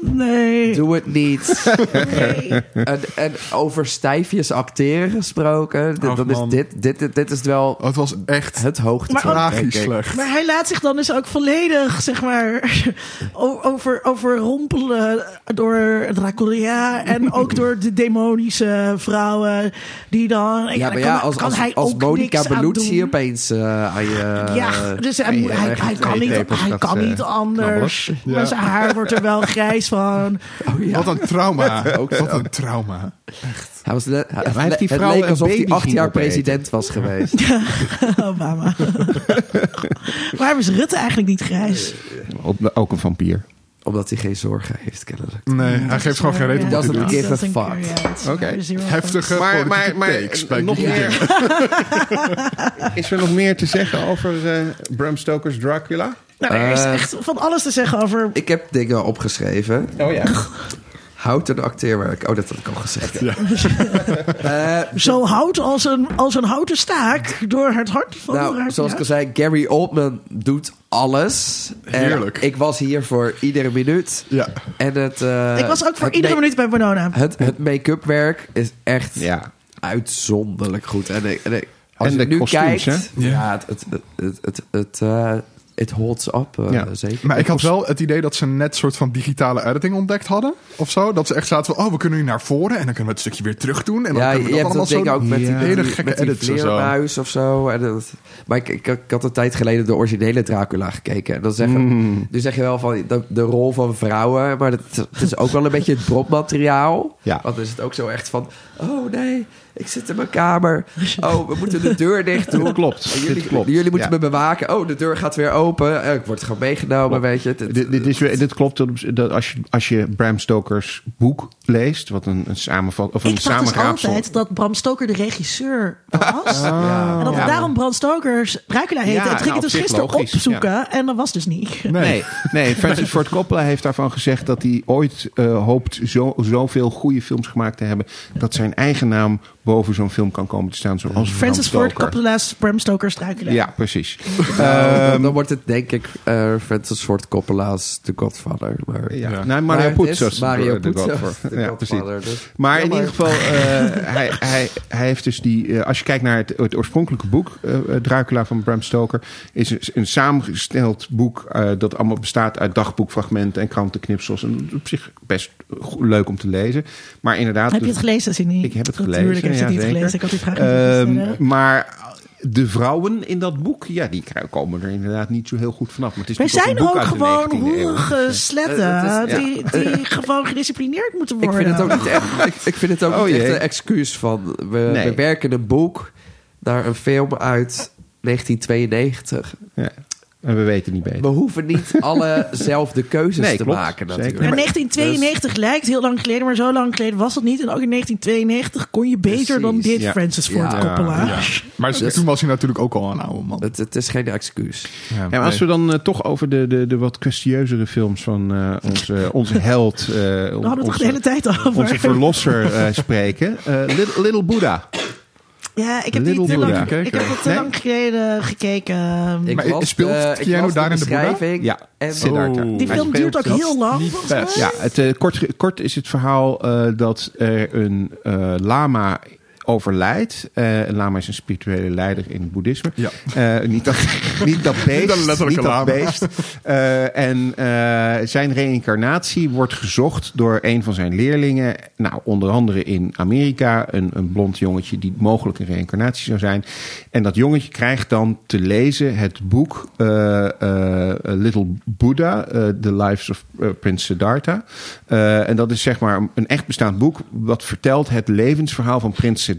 B: Nee.
D: Doe het niet.
B: nee.
D: en, en over stijfjes acteren gesproken. Dit,
C: Ach,
D: dat is
C: man.
D: dit, dit, dit, dit is wel
C: Oh, het was echt
D: het hoogtepunt.
B: Maar ook-
D: denk
C: tragisch
D: ik.
C: slecht.
B: Maar hij laat zich dan dus ook volledig, zeg maar, [LAUGHS] o- over, overrompelen door Dracula
D: [LAUGHS]
B: en ook door de demonische vrouwen die dan... Ja, daar
D: Ja, maar
B: kan,
D: ja, als,
B: kan
D: als,
B: hij
D: als
B: ook
D: Monica
B: niks aan
D: Bellucci
B: doen.
D: opeens eh, aan je...
B: Ja, dus hij,
A: nee,
B: moet- hij,
A: echt
B: hij
A: twee
B: kan, niet,
A: tepels
B: hij
A: dat,
B: kan
A: eh,
B: niet anders. Maar zijn haar wordt er wel grijs van. [LAUGHS]
D: Oh
C: Wat een trauma.
D: Ook
C: Wat een trauma.
D: Hij was le- hij-
A: maar heeft die
D: het
A: vrouw
D: leek
A: een
D: alsof
A: baby
D: hij acht
A: ging
D: jaar
A: opeten?
D: president was geweest. [LAUGHS]
B: Obama. Waarom is Rutte eigenlijk niet grijs?
A: Op- ook een vampier.
D: Omdat hij geen zorgen heeft, kennelijk.
C: Nee, hij geeft gewoon geen reden om wat hij
D: Doesn't
C: doet.
D: give a
B: Doesn't care,
D: fuck.
B: yeah, it's
A: Oké.
B: zero fucks.
C: Heftige
A: Maar, maar,
C: politieke
A: maar
C: takes bij
A: nog
C: Guy King.
A: meer. is er nog meer [LAUGHS] te zeggen over eh, Bram Stoker's Dracula?
B: Nou, er is
D: Eh,
B: echt van alles te zeggen over.
D: Ik heb dingen opgeschreven.
A: Oh ja.
D: Houten acteerwerk. Oh, dat had ik al gezegd.
B: Zo hout als een, als een houten staak door het hart van
D: Nou,
B: haar-
D: zoals
B: ja.
D: ik al zei, Gary Oldman doet alles. En
C: Heerlijk.
D: Ik was hier voor iedere minuut.
C: Ja.
D: En het, eh,
B: Ik was ook voor
D: het
B: iedere
D: ma-
B: minuut bij Bonona.
D: Het, het make-up werk is echt
A: Ja.
D: uitzonderlijk goed. En, ik- en ik- als
A: En
D: je
A: de
D: nu
A: kostuums,
D: kijkt,
C: hè?
D: ja, het, het, het, het, het, het, eh, it holds up, eh,
A: Ja.
D: zeker.
C: Maar ik had wel het idee dat ze net soort van digitale editing ontdekt hadden. Of zo. Dat ze echt zaten van, oh, we kunnen nu naar voren en dan kunnen we het stukje weer terug doen. En dan
D: Ja,
C: kunnen we
D: je
C: dat
D: hebt
C: allemaal
D: dat
C: zo
D: ding ook met die,
A: Ja.
C: hele
D: met die-
C: gekke
D: met die
C: edits en zo.
D: vleermuis of zo. En dat, maar ik, ik, ik had een tijd geleden de originele Dracula gekeken. En dan zeggen, nu zeg je wel van de, de rol van vrouwen. Maar dat, het is ook wel een beetje het bropmateriaal.
A: Ja.
D: Want dan is het ook zo echt van... Oh nee, ik zit in mijn kamer. Oh, we moeten de deur dicht doen.
A: Dit klopt.
D: En Jullie,
A: Dit klopt.
D: jullie moeten
A: Ja.
D: me bewaken. Oh, de deur gaat weer open. Eh, Ik word gewoon meegenomen, weet je. Het-
A: Dit, dit, is, weer- dit klopt dat- dat als je, als je Bram Stoker's boek leest, wat een, een samenvat of een
B: Ik dacht dus
A: samenraapsel.
B: altijd dat Bram Stoker de
A: [LAUGHS]
B: regisseur was. En dat het daarom Bram Stokers Dracula heette.
A: Ja,
B: en toen ging
A: nou,
B: ik dus
A: op zich
B: gisteren
A: logisch,
B: opzoeken. En dat was dus niet.
C: Nee.
A: Nee, nee, Francis Ford Coppola heeft daarvan gezegd dat hij ooit eh, hoopt zo, zoveel goede films gemaakt te hebben. dat zijn eigen naam boven zo'n film kan komen te staan. Zoals
B: Francis
A: Bram
B: Ford
A: Stoker.
B: Coppola's Bram Stoker's Dracula.
A: Ja, precies.
D: Nou, dan wordt het denk ik eh Francis Ford Coppola's The Godfather. Maar,
A: Ja.
C: Ja.
A: Nee,
D: Maar
A: Mario
D: het is
A: Puzo.
D: Mario
A: de
D: Puzo,
A: Godfather.
D: de
A: Ja, precies.
D: Godfather, dus-
A: Maar in
D: Jammer.
A: ieder geval, eh, [LAUGHS] hij, hij, hij heeft dus die. eh, als je kijkt naar het, het oorspronkelijke boek, eh, Dracula van Bram Stoker, is een, een samengesteld boek eh, dat allemaal bestaat uit dagboekfragmenten en krantenknipsels. En op zich best go- leuk om te lezen. Maar inderdaad. dus
B: Heb je het gelezen, Cindy?
A: Ik heb het
B: Natuurlijk
A: gelezen.
B: heb je het
A: ja,
B: niet
A: zeker.
B: gelezen. Ik had die vraag
A: Ehm,
B: niet gesteld.
A: Maar. De vrouwen in dat boek, ja, die komen er inderdaad niet zo heel goed vanaf. Maar het is
B: Er
A: natuurlijk
B: zijn
A: een boek
B: ook
A: uit de
B: gewoon
A: 19e eeuw.
B: roerige
D: Eh,
B: sletten
D: dat is-
B: die, die gewoon gedisciplineerd moeten
D: Ik
B: worden.
D: vind het ook niet echt, ik, ik vind het ook
A: Oh,
D: niet echt
A: jee.
D: een excuus van... We,
A: Nee.
D: we werken een boek naar een film uit 1992.
A: Ja. En we weten niet beter.
D: We hoeven niet allezelfde keuzes
A: Nee,
D: te
A: klopt.
D: maken
A: Zeker.
D: natuurlijk.
B: Maar 1992 lijkt heel lang geleden, maar zo lang geleden was dat niet. En ook in 1992 kon je beter
D: Precies,
B: dan dit
A: ja.
B: Francis Ford
D: Ja,
B: Coppola.
C: Ja. Maar ze- toen was hij natuurlijk ook al een oude man.
D: Het, het is geen excuus.
C: Ja,
A: Ja, maar als we
C: nee.
A: dan eh, toch over de, de, de wat kwestieuzere films van eh,
B: [LAUGHS]
A: onze, onze held, eh,
B: We hadden het toch de hele
A: onze,
B: tijd over.
A: onze verlosser eh, spreken. Eh, Little, Little Buddha.
B: ja, ik heb
A: Little
B: die
A: Buddha.
B: te lang, ik
C: Gekeken.
B: heb het te
A: Nee?
B: lang geleden gekeken.
D: Ik
C: Maar speelt Keanu daar in de Boeddha?
D: beschrijving
A: Ja,
D: en
A: Siddhartha.
C: Oh.
B: die
A: Hij
B: film
A: speelt-
B: duurt ook heel lang. volgens mij.
A: Ja, het, eh, kort, ge- kort is het verhaal eh, dat er een eh, lama overlijdt. Eh, een lama is een spirituele leider in het boeddhisme.
C: Ja.
A: Eh, niet, [LAUGHS] dat, niet dat beest.
C: Niet dat letterlijke
A: niet dat
C: lama.
A: beest. Eh, en eh, zijn reïncarnatie wordt gezocht door een van zijn leerlingen. Nou, onder andere in Amerika. Een, een blond jongetje die mogelijk een reïncarnatie zou zijn. En dat jongetje krijgt dan te lezen het boek eh, eh, Little Buddha. eh, The Lives of eh, Prince Siddhartha. Eh, en dat is zeg maar een echt bestaand boek. Wat vertelt het levensverhaal van prins Siddhartha.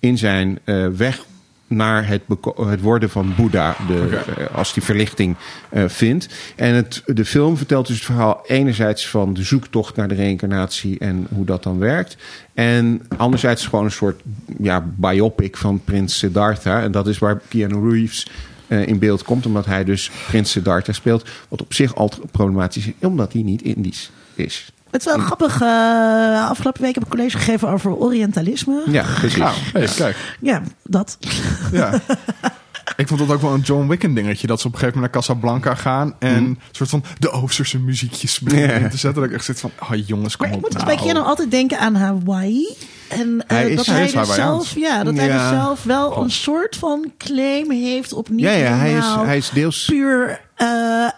A: In zijn eh, weg naar het, beko- het worden van Boeddha, de, eh, als die verlichting eh, vindt. En het, de film vertelt dus het verhaal enerzijds van de zoektocht naar de reïncarnatie en hoe dat dan werkt. En anderzijds gewoon een soort ja, biopic van prins Siddhartha. En dat is waar Keanu Reeves eh, in beeld komt, omdat hij dus prins Siddhartha speelt. Wat op zich al problematisch is, omdat hij niet Indisch is.
B: Het is wel grappig. eh, afgelopen week heb ik een college gegeven over Orientalisme.
A: Ja, precies.
C: Hey, kijk.
D: [LAUGHS]
B: Ja, dat.
C: Nou, Ja. Ik vond dat ook wel een John Wicken dingetje. Dat ze op een gegeven moment naar Casablanca gaan. En
D: Mm.
C: een soort van de Oosterse muziekjes beginnen in te zetten. Dat ik echt zit van, oh jongens, kom
B: Maar ik
C: op
B: moet dus bij
C: nou.
B: Keanu altijd denken aan Hawaii. En eh,
A: Hij is-
B: dat
A: hij
B: hij,
A: is
B: dus
C: Hawaiiaans.
B: zelf, ja, dat hij
A: Ja. Oh.
B: dus zelf wel een soort van claim heeft op niet
A: Ja, ja, hij is,
B: helemaal
A: hij is deels...
B: puur eh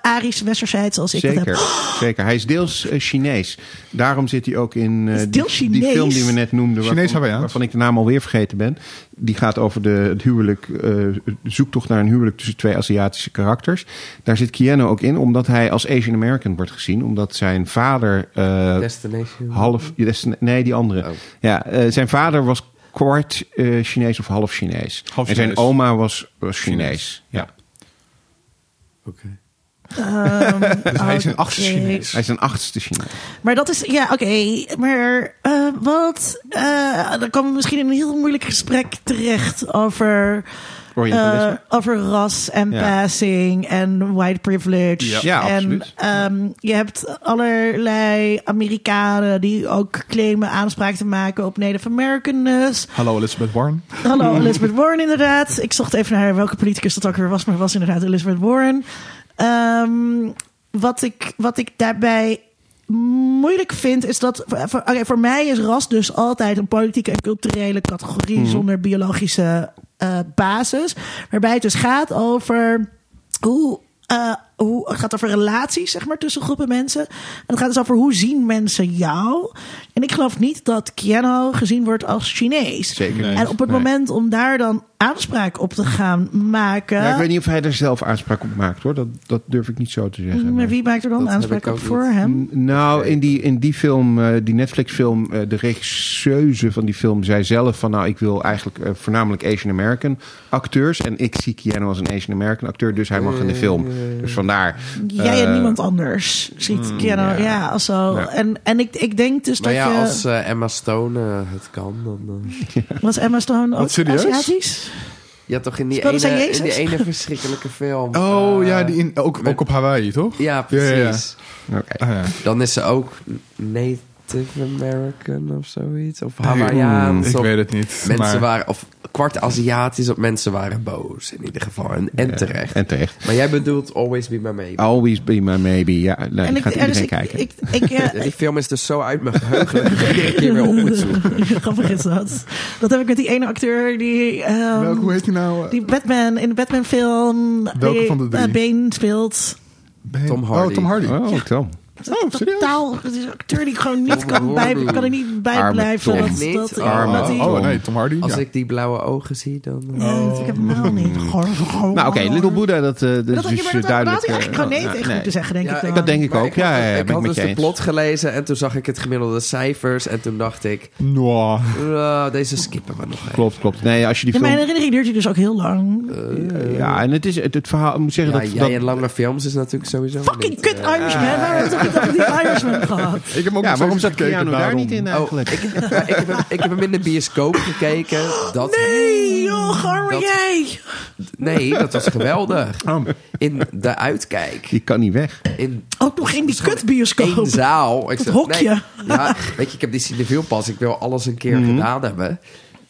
B: Arisch Westerzijd zoals ik
A: [LAUGHS]
B: dat
A: Zeker,
B: heb. [GASPS]
A: zeker. Hij is deels eh, Chinees. Daarom zit hij ook in eh,
B: Is
A: die,
B: deels
A: die
B: Chinees?
A: film die we net noemden.
C: Chinees
A: waarvan,
C: Hawaiiaans.
A: waarvan ik de naam alweer vergeten ben. Die gaat over de, het huwelijk, eh, de zoektocht naar een huwelijk tussen twee Aziatische karakters. Daar zit Keanu ook in, omdat hij als Asian American wordt gezien. Omdat zijn vader... eh,
D: Destination.
A: half... Nee, die andere.
D: Oh.
A: Ja, eh, zijn vader was kwart eh, Chinees of half Chinees.
C: Half
A: en zijn
C: Chinees.
A: oma was, was Chinees.
C: Chinees.
A: Ja.
D: Oké.
C: Dus hij is een
B: Oké.
C: achtste Chinees.
A: Hij is een achtste Chinees.
B: Maar dat is, ja, oké. Maar eh, wat, eh, dan komen we misschien in een heel moeilijk gesprek terecht over...
A: Orientalisme.
B: eh, over ras en
A: Ja.
B: passing en white privilege.
A: Ja. Ja,
B: en
A: absoluut.
B: ehm, je hebt allerlei Amerikanen die ook claimen aanspraak te maken op Native Americanness.
C: Hallo Elizabeth Warren.
B: Hallo Elizabeth Warren, inderdaad. Ik zocht even naar welke politicus dat ook weer was, maar was inderdaad Elizabeth Warren. Ehm, wat, ik, wat ik daarbij moeilijk vind, is dat. eh, Voor, voor- oké, voor mij is ras dus altijd een politieke en culturele categorie zonder biologische eh, basis. Waarbij het dus gaat over hoe. eh, hoe, het gaat over relaties, zeg maar, tussen groepen mensen. En het gaat dus over hoe zien mensen jou. En ik geloof niet dat Keanu gezien wordt als Chinees.
A: Zeker
C: Nee.
A: niet.
B: En op het
A: Nee.
B: moment om daar dan aanspraak op te gaan maken.
A: Ja, ik weet niet of hij er zelf aanspraak op maakt hoor. Dat, dat durf ik niet zo te zeggen.
B: Mm, maar wie maakt er dan
D: Dat heb
B: aanspraak
D: ik
B: op
D: ook
B: voor
D: niet.
B: hem?
A: Nou, in die, in die film, eh, die Netflix-film, eh, de regisseuse van die film zei zelf van, nou, ik wil eigenlijk eh, voornamelijk Asian American acteurs. En ik zie Keanu als een Asian American acteur, dus hij mag in de film. Dus vandaar.
B: Jij en
A: eh,
B: niemand anders ziet Keanu. Ja, als zo.
A: Ja.
B: En, en ik, ik denk dus
D: Maar
B: dat
D: ja,
B: je...
D: als eh, Emma Stone eh, het kan, dan... eh,
B: Was Emma Stone ook
C: Wat, serieus?
B: Aziatisch?
D: Ja, toch in die,
B: Speelde zij
D: ene, in
B: Jezus?
D: die ene verschrikkelijke film.
C: Oh
D: Eh,
C: ja, die in, ook,
D: met-
C: ook op Hawaii, toch?
D: Ja,
C: Ja, ja,
D: precies.
A: oké.
C: Ah, ja.
D: Dan is ze ook Native American of zoiets. Of Hawaiiaans.
C: Ik
D: of
C: weet het niet.
D: mensen
C: maar-
D: waren, of kwart Aziatisch, of mensen waren boos in ieder geval. En, en terecht.
A: En Oh. terecht.
D: Maar jij bedoelt Always Be My Maybe.
A: Always be my maybe. Ja, nee,
B: en ik,
A: gaat
B: ja,
A: iedereen
B: dus ik,
A: kijken.
B: ik, ik, eh,
D: Ja, die film is dus zo uit mijn geheugen dat ik het iedere keer weer op moet
A: [LAUGHS]
D: zoeken.
B: [LAUGHS] Grappig is dat. Dat heb ik met die ene acteur die... ehm,
C: Welke, hoe heet die nou? eh,
B: die Batman, in de Batman film...
C: Welke
B: die,
C: van de drie?
B: eh, Bane speelt.
C: Ben-
D: Tom Hardy.
C: Oh, Tom Hardy.
A: Oh, Tom.
C: Oh, serieus?
B: Totaal, het is een acteur die ik gewoon niet kan, bij, kan er niet bij
A: Arme
B: blijven.
A: Tom.
B: Dat,
D: Echt
B: dat,
D: niet? Arme
B: dat hij-
C: Oh, oh, nee, Tom Hardy.
D: Als
C: ja.
D: ik die blauwe ogen zie,
A: Oh,
D: dan... eh,
B: Nee, dat ik helemaal niet.
A: Nou, oké, Little Buddha, dat, eh dat,
B: Oh. Dat
A: is
B: had je
A: dus
B: maar dat had
A: duidelijk.
B: hij eigenlijk gewoon
A: eh,
B: nee
A: nou,
B: tegen moeten zeggen, denk
D: Ja,
B: ik dan.
D: ik-
A: Dat denk ik
D: maar
A: ook. Ja,
D: had-
A: ja, ja,
D: ik
A: ben ik
D: had
A: met
D: dus
A: je
D: de
A: eens.
D: plot gelezen en toen zag ik het gemiddelde cijfers. En toen dacht ik,
C: Nou,
D: eh, deze skippen we nog even.
A: Klopt, klopt. Nee, als je die
B: Ja, mijn
A: film...
B: herinnering duurt hij dus ook heel lang.
A: Ja, en het is het, het verhaal... Ik moet zeggen
D: Ja,
A: dat...
D: jij
A: dat
D: en lange films is natuurlijk sowieso
B: Fucking
D: niet,
B: kut
D: eh,
B: Irishman. Waarom heb ik toch niet over die Irishman gehad?
C: ik heb ook
A: ja,
C: nog
A: waarom
C: steeds
A: zat
C: gekeken,
A: Keanu daar
C: daarom.
A: niet in
D: Oh, ik,
A: eigenlijk?
D: maar ik, heb hem, ik heb hem in de bioscoop gekeken. Dat,
B: Nee, joh, arme
D: Dat-
B: jij.
D: nee, dat was geweldig.
A: Oh,
D: In de uitkijk.
A: die kan niet weg.
D: In
B: Ook nog in die
D: één
B: kutbioscoop.
D: zaal. Ik
B: Dat
D: zeg,
B: Oh, hokje.
D: nee, ja, weet je, ik heb die cineviel pas. Ik wil alles een keer gedaan hebben.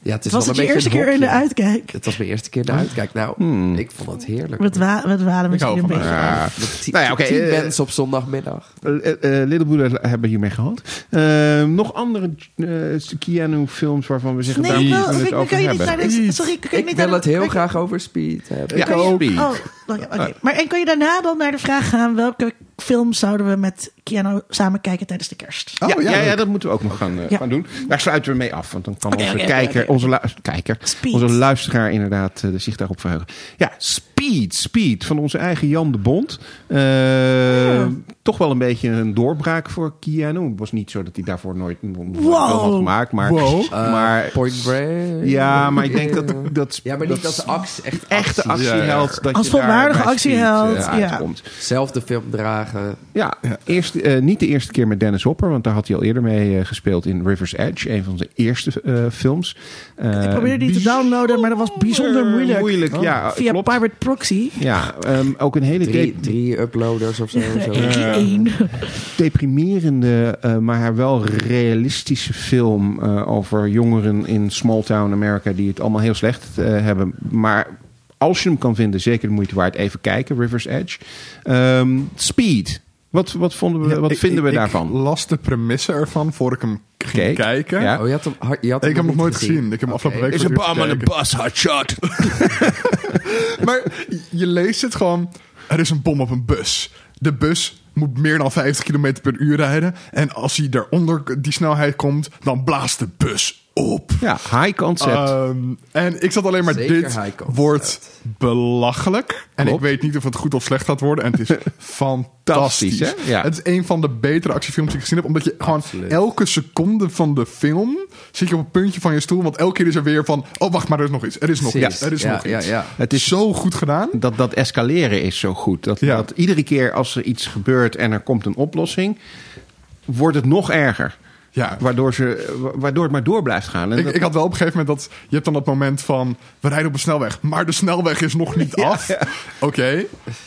D: Ja, het is
B: Was
D: wel
B: het
D: een
B: je
D: beetje
B: eerste
D: een
B: keer in de
D: hokje.
B: uitkijk?
D: Het was mijn eerste keer in de uitkijk. Nou, ik vond het heerlijk.
B: Met, wa met waren
D: Oh,
B: misschien
C: hou
B: een
C: van
B: beetje.
A: haar.
D: Met tien,
A: Nou ja, oké,
D: tien
A: eh,
D: mensen op zondagmiddag.
A: Eh, eh, eh, Little Buddha hebben we hiermee gehad. Eh, nog andere eh Keanu-films waarvan we zeggen...
B: Nee,
A: daar
B: ik wil,
A: moeten we
B: ik-
A: het
B: ik
A: over
B: kan je niet
A: hebben.
B: naar de... Sorry, ik kan je
D: Ik
B: niet
D: wil
B: naar
D: het
B: de-
D: heel graag over Speed hebben.
A: Ja,
B: Kan je-
A: ook.
B: Oh, oké, oké. Maar en kan je daarna dan naar de vraag gaan... welke film zouden we met Keanu samen kijken tijdens de kerst?
A: ja, ja, ja,
C: Oh, leuk.
A: dat moeten we ook nog gaan, eh,
B: Ja.
A: gaan doen. Daar sluiten we mee af. Want dan kan
B: Oké,
A: onze
B: oké, oké,
A: kijker,
B: oké.
A: Onze, lu- kijker
B: Speed.
A: onze luisteraar inderdaad eh, zich daarop verheugen. Ja, Speed, Speed van onze eigen Jan de Bond. Eh, Toch wel een beetje een doorbraak voor Keanu. Het was niet zo dat hij daarvoor nooit een film had gemaakt. Maar,
C: Wow.
D: Eh,
A: maar
D: Point Break.
A: ja, maar ik denk dat... dat
D: Ja, maar niet als actie. Echt
A: echte
D: actie.
A: actieheld. Dat
B: Als
A: je daar
B: volwaardige
A: bij Speed, eh,
B: actieheld, ja.
A: uitkomt.
D: Zelf de film dragen.
A: Ja, Eerst, eh, niet de eerste keer met Dennis Hopper, want daar had hij al eerder mee eh, gespeeld in River's Edge, een van zijn eerste eh, films. Eh,
B: Ik probeerde die te downloaden, maar dat was bijzonder moeilijk.
A: Moeilijk, ja.
B: Via
A: klopt.
B: Pirate Proxy.
A: Ja, ehm, ook een hele
D: Drie,
A: de-
D: drie uploaders of zo. zo.
B: Eh, Eén.
A: deprimerende, eh, maar wel realistische film eh, over jongeren in small town Amerika die het allemaal heel slecht eh, hebben, maar als je hem kan vinden, zeker de moeite waard. Even kijken, River's Edge. Ehm, Speed. Wat, wat, vonden we,
C: Ja,
A: wat
C: ik-
A: vinden we
C: ik-
A: daarvan?
C: Ik las de premisse ervan voor ik hem ging
A: Keek.
C: kijken.
A: Ja.
D: Oh, je had hem, ha- je had hem
C: Ik heb hem nog
D: niet
C: nooit gezien. Ik heb hem afgelopen
D: Oké.
C: week voor het eerst gekeken.
A: bus, hot shot.
C: Maar je leest het gewoon. Er is een bom op een bus. De bus moet meer dan 50 km per uur rijden. En als hij daaronder die snelheid komt, dan blaast de bus op.
A: [LAUGHS] Ja, high concept.
C: Ehm, en ik zat alleen maar,
D: Zeker high
C: dit
D: concept.
C: wordt belachelijk. En
A: Klopt.
C: ik weet niet of het goed of slecht gaat worden. En het [LAUGHS] is fantastisch.
A: Fantastisch, hè? Ja.
C: Het is een van de betere actiefilms die ik gezien heb. Omdat je gewoon elke seconde van de film zit je op het puntje van je stoel. Want elke keer is er weer van... Oh, wacht, maar er is nog iets. Er is nog
D: Precies.
C: iets. Er is
D: Ja,
C: nog
D: ja,
C: iets.
D: ja.
C: Het is zo goed gedaan.
A: dat, dat escaleren is zo goed. Dat,
C: Ja.
A: dat iedere keer als er iets gebeurt en er komt een oplossing, wordt het nog erger.
C: Ja.
A: Waardoor, ze, wa- waardoor het maar door blijft gaan. En
C: Ik,
A: dat-
C: ik had wel op een gegeven moment dat... Je hebt dan dat moment van... We rijden op een snelweg, maar de snelweg is nog
D: [LAUGHS]
C: niet af. Oké.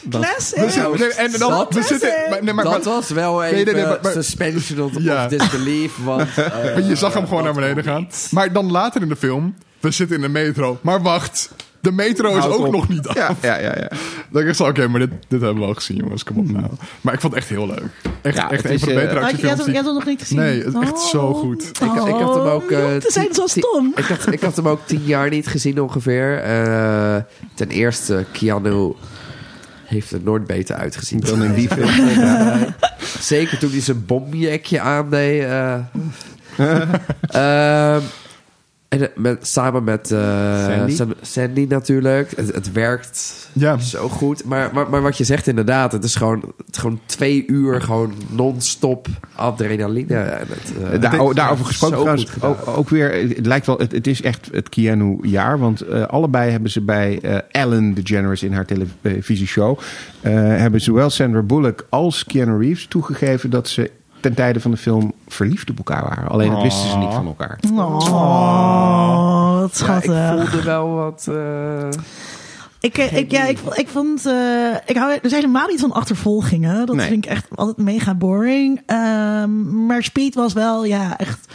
B: Classic.
C: We zitten- nee, en dan,
D: Dat
C: we
D: is
C: zitten,
B: het.
C: maar, nee, maar,
D: dat was wel
C: Nee,
D: even
C: nee, nee, maar- maar-
D: suspension of,
C: Ja.
D: of disbelief.
C: [LAUGHS]
D: Want, eh,
C: Maar je zag hem gewoon naar beneden gaan. Maar dan later in de film, we zitten in de metro. Maar wacht, de metro is
A: Houd
C: ook
A: op.
C: nog niet af.
A: Ja, ja, ja, ja.
C: [LAUGHS] Dan dacht ik zo, oké, maar dit, dit hebben we al gezien, jongens. Kom op nou. Maar ik vond het echt heel leuk. Echt,
A: Ja,
C: echt
A: het
C: een
A: is,
C: van de
A: eh,
C: betere
B: Oh, je,
C: actiefilms.
B: hebt hem, je
C: die-
B: hebt hem nog niet gezien.
C: Nee, het is echt
B: Oh.
C: zo goed. Ik-
D: Ik, ik had hem ook. eh,
B: Ze Oh, zijn
D: tien-
B: zo
D: tien-
B: stom.
D: Ik had, ik had hem ook tien jaar niet gezien ongeveer. Eh, ten eerste, Keanu heeft er nooit beter uitgezien.
A: Dan in die film.
D: Zeker toen hij zijn bomjekje aandeed. eh. Ehm, en eh, met, samen met eh,
A: Sandy?
D: Sam- Sandy natuurlijk. Het, het werkt
C: Ja.
D: zo goed. Maar, maar, maar wat je zegt inderdaad, het is gewoon, het is gewoon twee uur gewoon non-stop adrenaline. En het, eh,
A: Daar-
D: het is
A: daarover gesproken
D: zo
A: trouwens,
D: goed
B: Oh,
D: gedaan.
A: ook, ook weer, het lijkt wel, het, het is echt het Keanu-jaar. Want eh, allebei hebben ze bij eh, Ellen DeGeneres in haar televisieshow... eh, hebben zowel Sandra Bullock als Keanu Reeves toegegeven... dat ze ten tijde van de film verliefd op elkaar waren. Alleen dat wisten ze
D: Ah.
A: niet van elkaar.
B: Oh, wat
D: Ja,
B: schattig.
D: ik voelde wel wat... eh,
B: Ik, eh, ik, ja, ik, vond- ik vond. eh, ik hou er is helemaal niet van achtervolgingen. Dat
A: Nee.
B: vind ik echt altijd mega boring. Ehm, maar Speed was wel, ja, echt.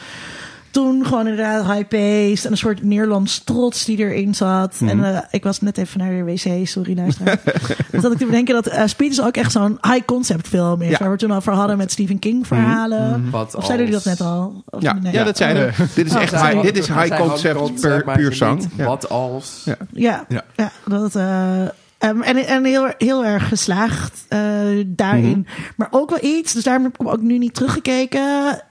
B: Toen gewoon inderdaad high-paced en een soort Nederlands trots die erin zat. En
A: Mhm.
B: eh, ik was net even naar de wc, sorry
A: [LAUGHS]
B: luisteraar. Want dat ik te bedenken dat eh, Speed is ook echt zo'n high-concept film is.
A: Ja. Mhm.
B: Waar we toen al voor hadden met Stephen King verhalen.
D: Wat
B: Of zeiden jullie dat
D: als-
B: net al? Of
A: Ja,
B: nee?
A: ja, dat zijn we. Dit is
B: Oh,
A: echt
B: sorry.
A: high, dit is
D: Hij
A: high
D: zei
A: concept
D: handconcept,
A: per,
D: maar
A: puur
D: ze
A: zang.
D: niet Wat als...
A: Ja.
B: Ja,
C: Ja.
B: ja. dat, eh, ehm, en en heel, heel erg geslaagd eh, daarin.
C: Mhm.
B: Maar ook wel iets, dus daarom heb ik hem ook nu niet teruggekeken.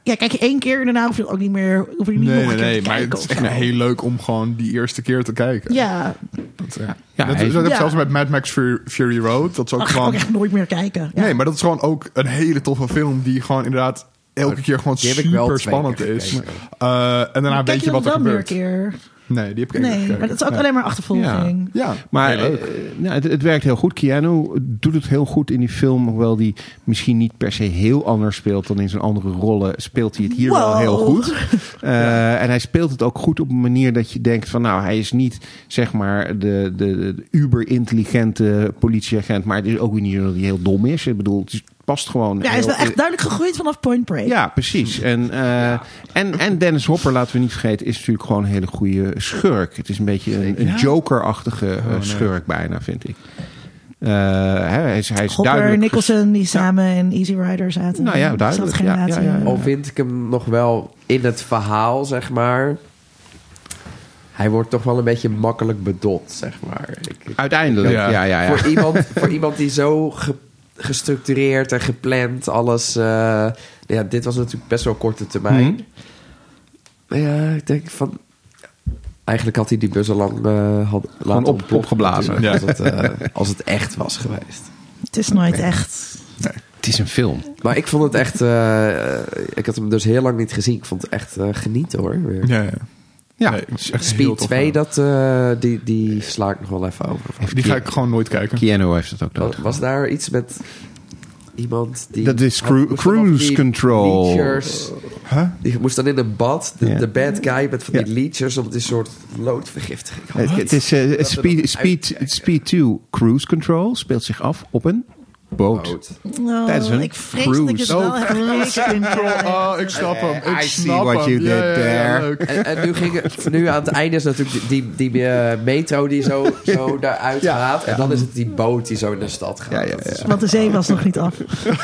B: Ja, kijk je één keer en daarna hoef je het ook niet meer. Hoef je niet nog
C: Nee, nee,
B: een keer
C: nee.
B: te
C: Maar het
B: kijken
C: is
B: of
C: echt
B: zo.
C: heel leuk om gewoon die eerste keer te kijken.
B: Ja,
C: Dat, ja.
A: Ja, hij-
C: dat, dat heb ik
B: Ja.
C: zelfs met Mad Max Fury, Fury Road. Dat is ook
B: dan ga ik
C: gewoon...
B: ook echt nooit meer kijken. Ja.
C: Nee, maar dat is gewoon ook een hele toffe film die gewoon inderdaad elke keer gewoon
D: Die heb ik wel
C: super
D: twee keer
C: spannend is.
D: gekeken.
C: Eh, en daarna
B: Maar kijk
C: weet je wat er
B: dan wel
C: gebeurt.
B: meer keer.
C: Nee, die heb ik één keer
B: Nee,
C: gekeken.
B: maar dat is ook alleen maar achtervolging.
C: Ja,
A: Maar
C: heel leuk.
A: eh, nou, het, het werkt heel goed. Keanu doet het heel goed in die film. Hoewel die misschien niet per se heel anders speelt dan in zijn andere rollen. Speelt hij het hier wel
B: Wow.
A: heel goed.
B: [LAUGHS]
A: Eh, En hij speelt het ook goed op een manier dat je denkt van... Nou, hij is niet zeg maar de, de, de uber-intelligente politieagent. Maar het is ook weer niet zo dat hij heel dom is. Ik bedoel, het is- past gewoon...
B: Ja, hij is
A: heel-
B: wel echt duidelijk gegroeid vanaf Point Break.
A: ja, precies. En, eh, en, en Dennis Hopper, laten we niet vergeten, is natuurlijk gewoon een hele goede schurk. Het is een beetje een, een joker-achtige
B: Oh,
A: eh, schurk bijna, vind ik. Eh, hè, hij is, hij is
B: Hopper,
A: duidelijk...
B: Nicholson, die samen in Easy Rider zaten.
A: Nou ja,
B: Zat
A: duidelijk.
B: geen
A: Ja, ja,
B: laten-
A: ja, ja.
D: Al vind ik hem nog wel in het verhaal, zeg maar. Hij wordt toch wel een beetje makkelijk bedot, zeg maar. Ik- ik-
A: Uiteindelijk, ja,
C: Ja.
A: ja, ja.
D: Voor, iemand, voor iemand die zo ge- gestructureerd en gepland alles... eh, ja, dit was natuurlijk best wel korte termijn. Maar Ja, ik denk van... Eigenlijk had hij die bus al lang eh, had, laten
A: op-
D: ontploffen
A: opgeblazen.
D: natuurlijk, Als, het, eh, als het echt was geweest.
B: Het is nooit echt.
A: Het is een film.
D: Maar ik vond het echt... eh, ik had hem dus heel lang niet gezien. Ik vond het echt eh, genieten hoor. Weer.
C: Ja, ja.
A: Ja.
C: Nee, het is echt heel
D: Speed
C: tof
D: 2,
C: gedaan.
D: dat, eh, die, die sla ik nog wel even over.
C: Die ga ik gewoon nooit kijken.
A: Keanu heeft het ook
D: Was,
A: nodig.
D: was daar iets met iemand die...
A: Dat is cru-
D: Hij moest dan
A: cruise
D: op die
A: control.
D: leechers-
C: Huh?
D: Die moest dan in een bad, de,
A: Ja.
D: de bad guy met van die
A: Ja.
D: leechers, om die soort loodvergiftiging.
A: Het, het is eh,
D: Dat we
A: speed,
D: dat
A: speed,
D: uitkijken.
A: speed 2 Cruise Control speelt zich af op een Boat.
D: Boot.
B: Oh,
A: Dat is een
B: ik vrees dat ik het
A: cruise.
B: wel
A: Oh,
B: heb gekeken.
C: Oh, ik snap hem. Ik
A: I see
C: snap
A: what
C: hem.
A: you
C: Ja,
A: did
C: ja, ja,
A: there.
C: leuk.
D: En, en nu, ging het, nu aan het einde is natuurlijk die, die, die, eh, metro die zo, zo
A: [LAUGHS]
D: daaruit
A: Ja,
D: gaat. En dan is het die boot die zo naar de stad gaat. Oh,
A: Ja, ja,
D: Dat is-
B: Want de zee was nog niet af.
A: Mm,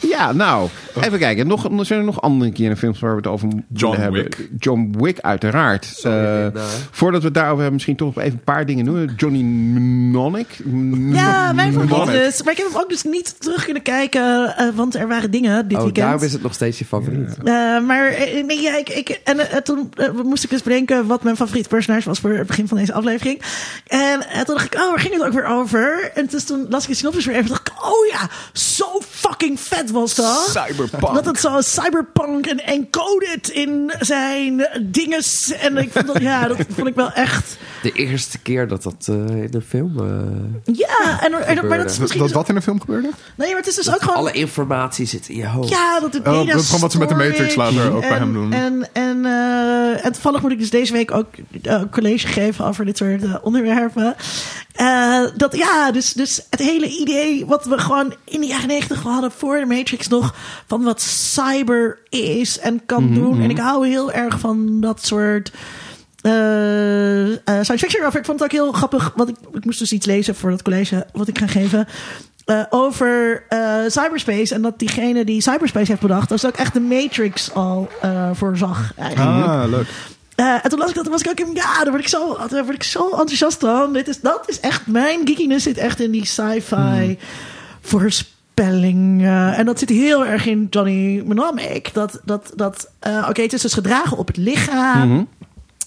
A: Ja, nou, even kijken. Nog, zijn er nog andere keer films waar we het over moeten
C: John
A: hebben?
C: Wick.
A: John Wick, uiteraard. Eh,
D: Linda.
A: voordat we het daarover hebben, misschien toch nog even een paar dingen noemen. Johnny Mnemonic.
B: Ja, mijn favoriet
C: Mnemonic.
B: dus. Maar ik heb hem ook dus niet terug kunnen kijken, eh, want er waren dingen dit
D: Oh,
B: weekend.
D: daarom is het nog steeds je favoriet.
B: Eh, maar eh, nee, ja, ik, ik, en eh, toen eh, moest ik dus bedenken wat mijn favoriete personage was voor het begin van deze aflevering. En eh, toen dacht ik, oh, waar ging het ook weer over? En dus toen las ik de synopsis weer even en dacht ik, oh ja, zo fucking vet was dat.
A: Cyberpunk.
B: Dat het zo cyberpunk en encoded in zijn dinges. En ik vond dat, ja, dat vond ik wel echt...
D: De eerste keer dat dat eh, in de film... eh,
B: Ja, en, en- maar dat is
C: Dat,
B: misschien...
C: dat wat in een film gebeurde?
B: nee, maar het is dus ook gewoon...
D: alle informatie zit in je hoofd.
B: Ja, dat de data
C: dat is gewoon Oh, wat ze met de
B: storage
C: Matrix later ook bij
B: en-
C: hem doen.
B: En, en, eh, en toevallig moet ik dus deze week ook eh, een college geven over dit soort eh, onderwerpen. Eh, dat ja, dus, dus het hele idee wat we gewoon in de jaren negentig hadden voor de Matrix nog. Van wat cyber is en kan
C: Mhm,
B: doen. En ik hou heel erg van dat soort eh eh, science fiction over. Ik vond het ook heel grappig, want ik, ik moest dus iets lezen voor dat college wat ik ga geven. eh, over eh, cyberspace. En dat diegene die cyberspace heeft bedacht, dat is ook echt de Matrix al eh voorzag. Eigenlijk.
C: Ah, leuk.
B: Eh, en toen las ik dat, toen was ik ook in, ja, daar word ik zo, daar word ik zo enthousiast van. Dit is, dat is echt, mijn geekiness zit echt in die
A: Hmm.
B: sci-fi voorspelling. eh, en dat zit heel erg in Johnny Mnemonic. Dat, dat, dat eh, oké, het is dus gedragen op het lichaam.
A: Mhm.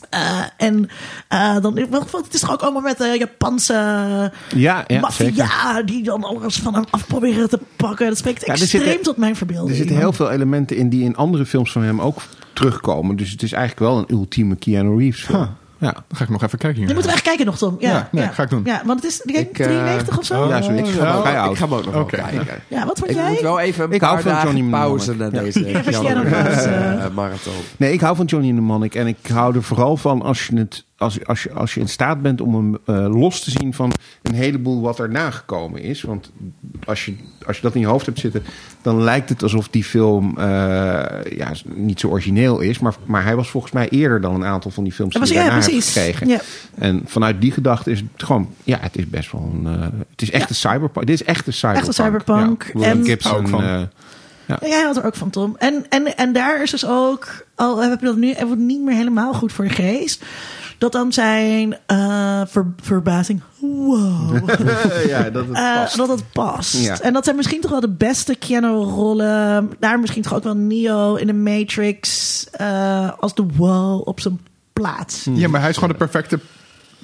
B: Eh, en eh, dan, wel, het is toch ook allemaal met de Japanse
A: Ja, ja, zeker.
B: maffia die dan alles van hem af proberen te pakken. Dat spreekt
A: er
B: extreem
A: zitten-
B: tot mijn verbeelding.
A: Er zitten heel veel elementen in die in andere films van hem ook terugkomen. Dus het is eigenlijk wel een ultieme Keanu Reeves film.
C: Huh.
A: Ja.
C: Dan ga ik nog even kijken
B: Die
C: hier.
B: moeten we echt kijken nog, Tom. Ja,
C: Ja, nee, ga ik doen.
B: Ja, want het is denk ik
D: Ik, eh,
B: 93 of zo.
A: oh, ja, zoiets. Ik ga
C: ja.
A: wel vrij
D: Ik
A: oud.
D: ga hem ook nog wel
C: Oké.
D: kijken.
B: Ja, wat vond
D: Ik
B: jij?
D: moet wel even een
A: Ik hou
D: paar
A: van Johnny
D: dagen
A: Mnemonic.
D: pauze na
A: Ja.
D: deze
B: Even
D: Keanu
B: Keanu
D: Reeves,
A: [LAUGHS]
B: Reeves,
D: eh, marathon.
A: Nee, ik hou van Johnny Mnemonic. En ik hou er vooral van als je, het, als, als je, als je in staat bent om hem eh, los te zien van een heleboel wat erna gekomen is. Want als je, als je dat in je hoofd hebt zitten, dan lijkt het alsof die film eh, ja, niet zo origineel is. Maar, maar hij was volgens mij eerder dan een aantal van die films
B: Dat
A: die
B: was,
A: je
B: ja,
A: daarna hebt
B: precies.
A: gekregen.
B: Ja.
A: En vanuit die gedachte is het gewoon, ja, het is best wel een. eh, het is echt een cyberpunk. Dit is echt een cyberpunk.
B: cyberpunk.
A: Ja, William
B: En-
A: Gibson.
C: Ook van.
A: eh,
B: Ja, Jij had er ook van, Tom. En, en, en daar is dus ook, al heb je dat nu even niet meer helemaal goed voor de geest, dat dan zijn eh, ver- verbazing,
D: [LAUGHS]
B: wow,
A: ja, dat het
B: eh,
A: past.
B: dat het past.
A: Ja.
B: En dat zijn misschien toch wel de beste Keanu-rollen. Daar misschien toch ook wel Neo in de Matrix eh, als de wow op zijn plaats.
C: Ja, maar hij is gewoon de perfecte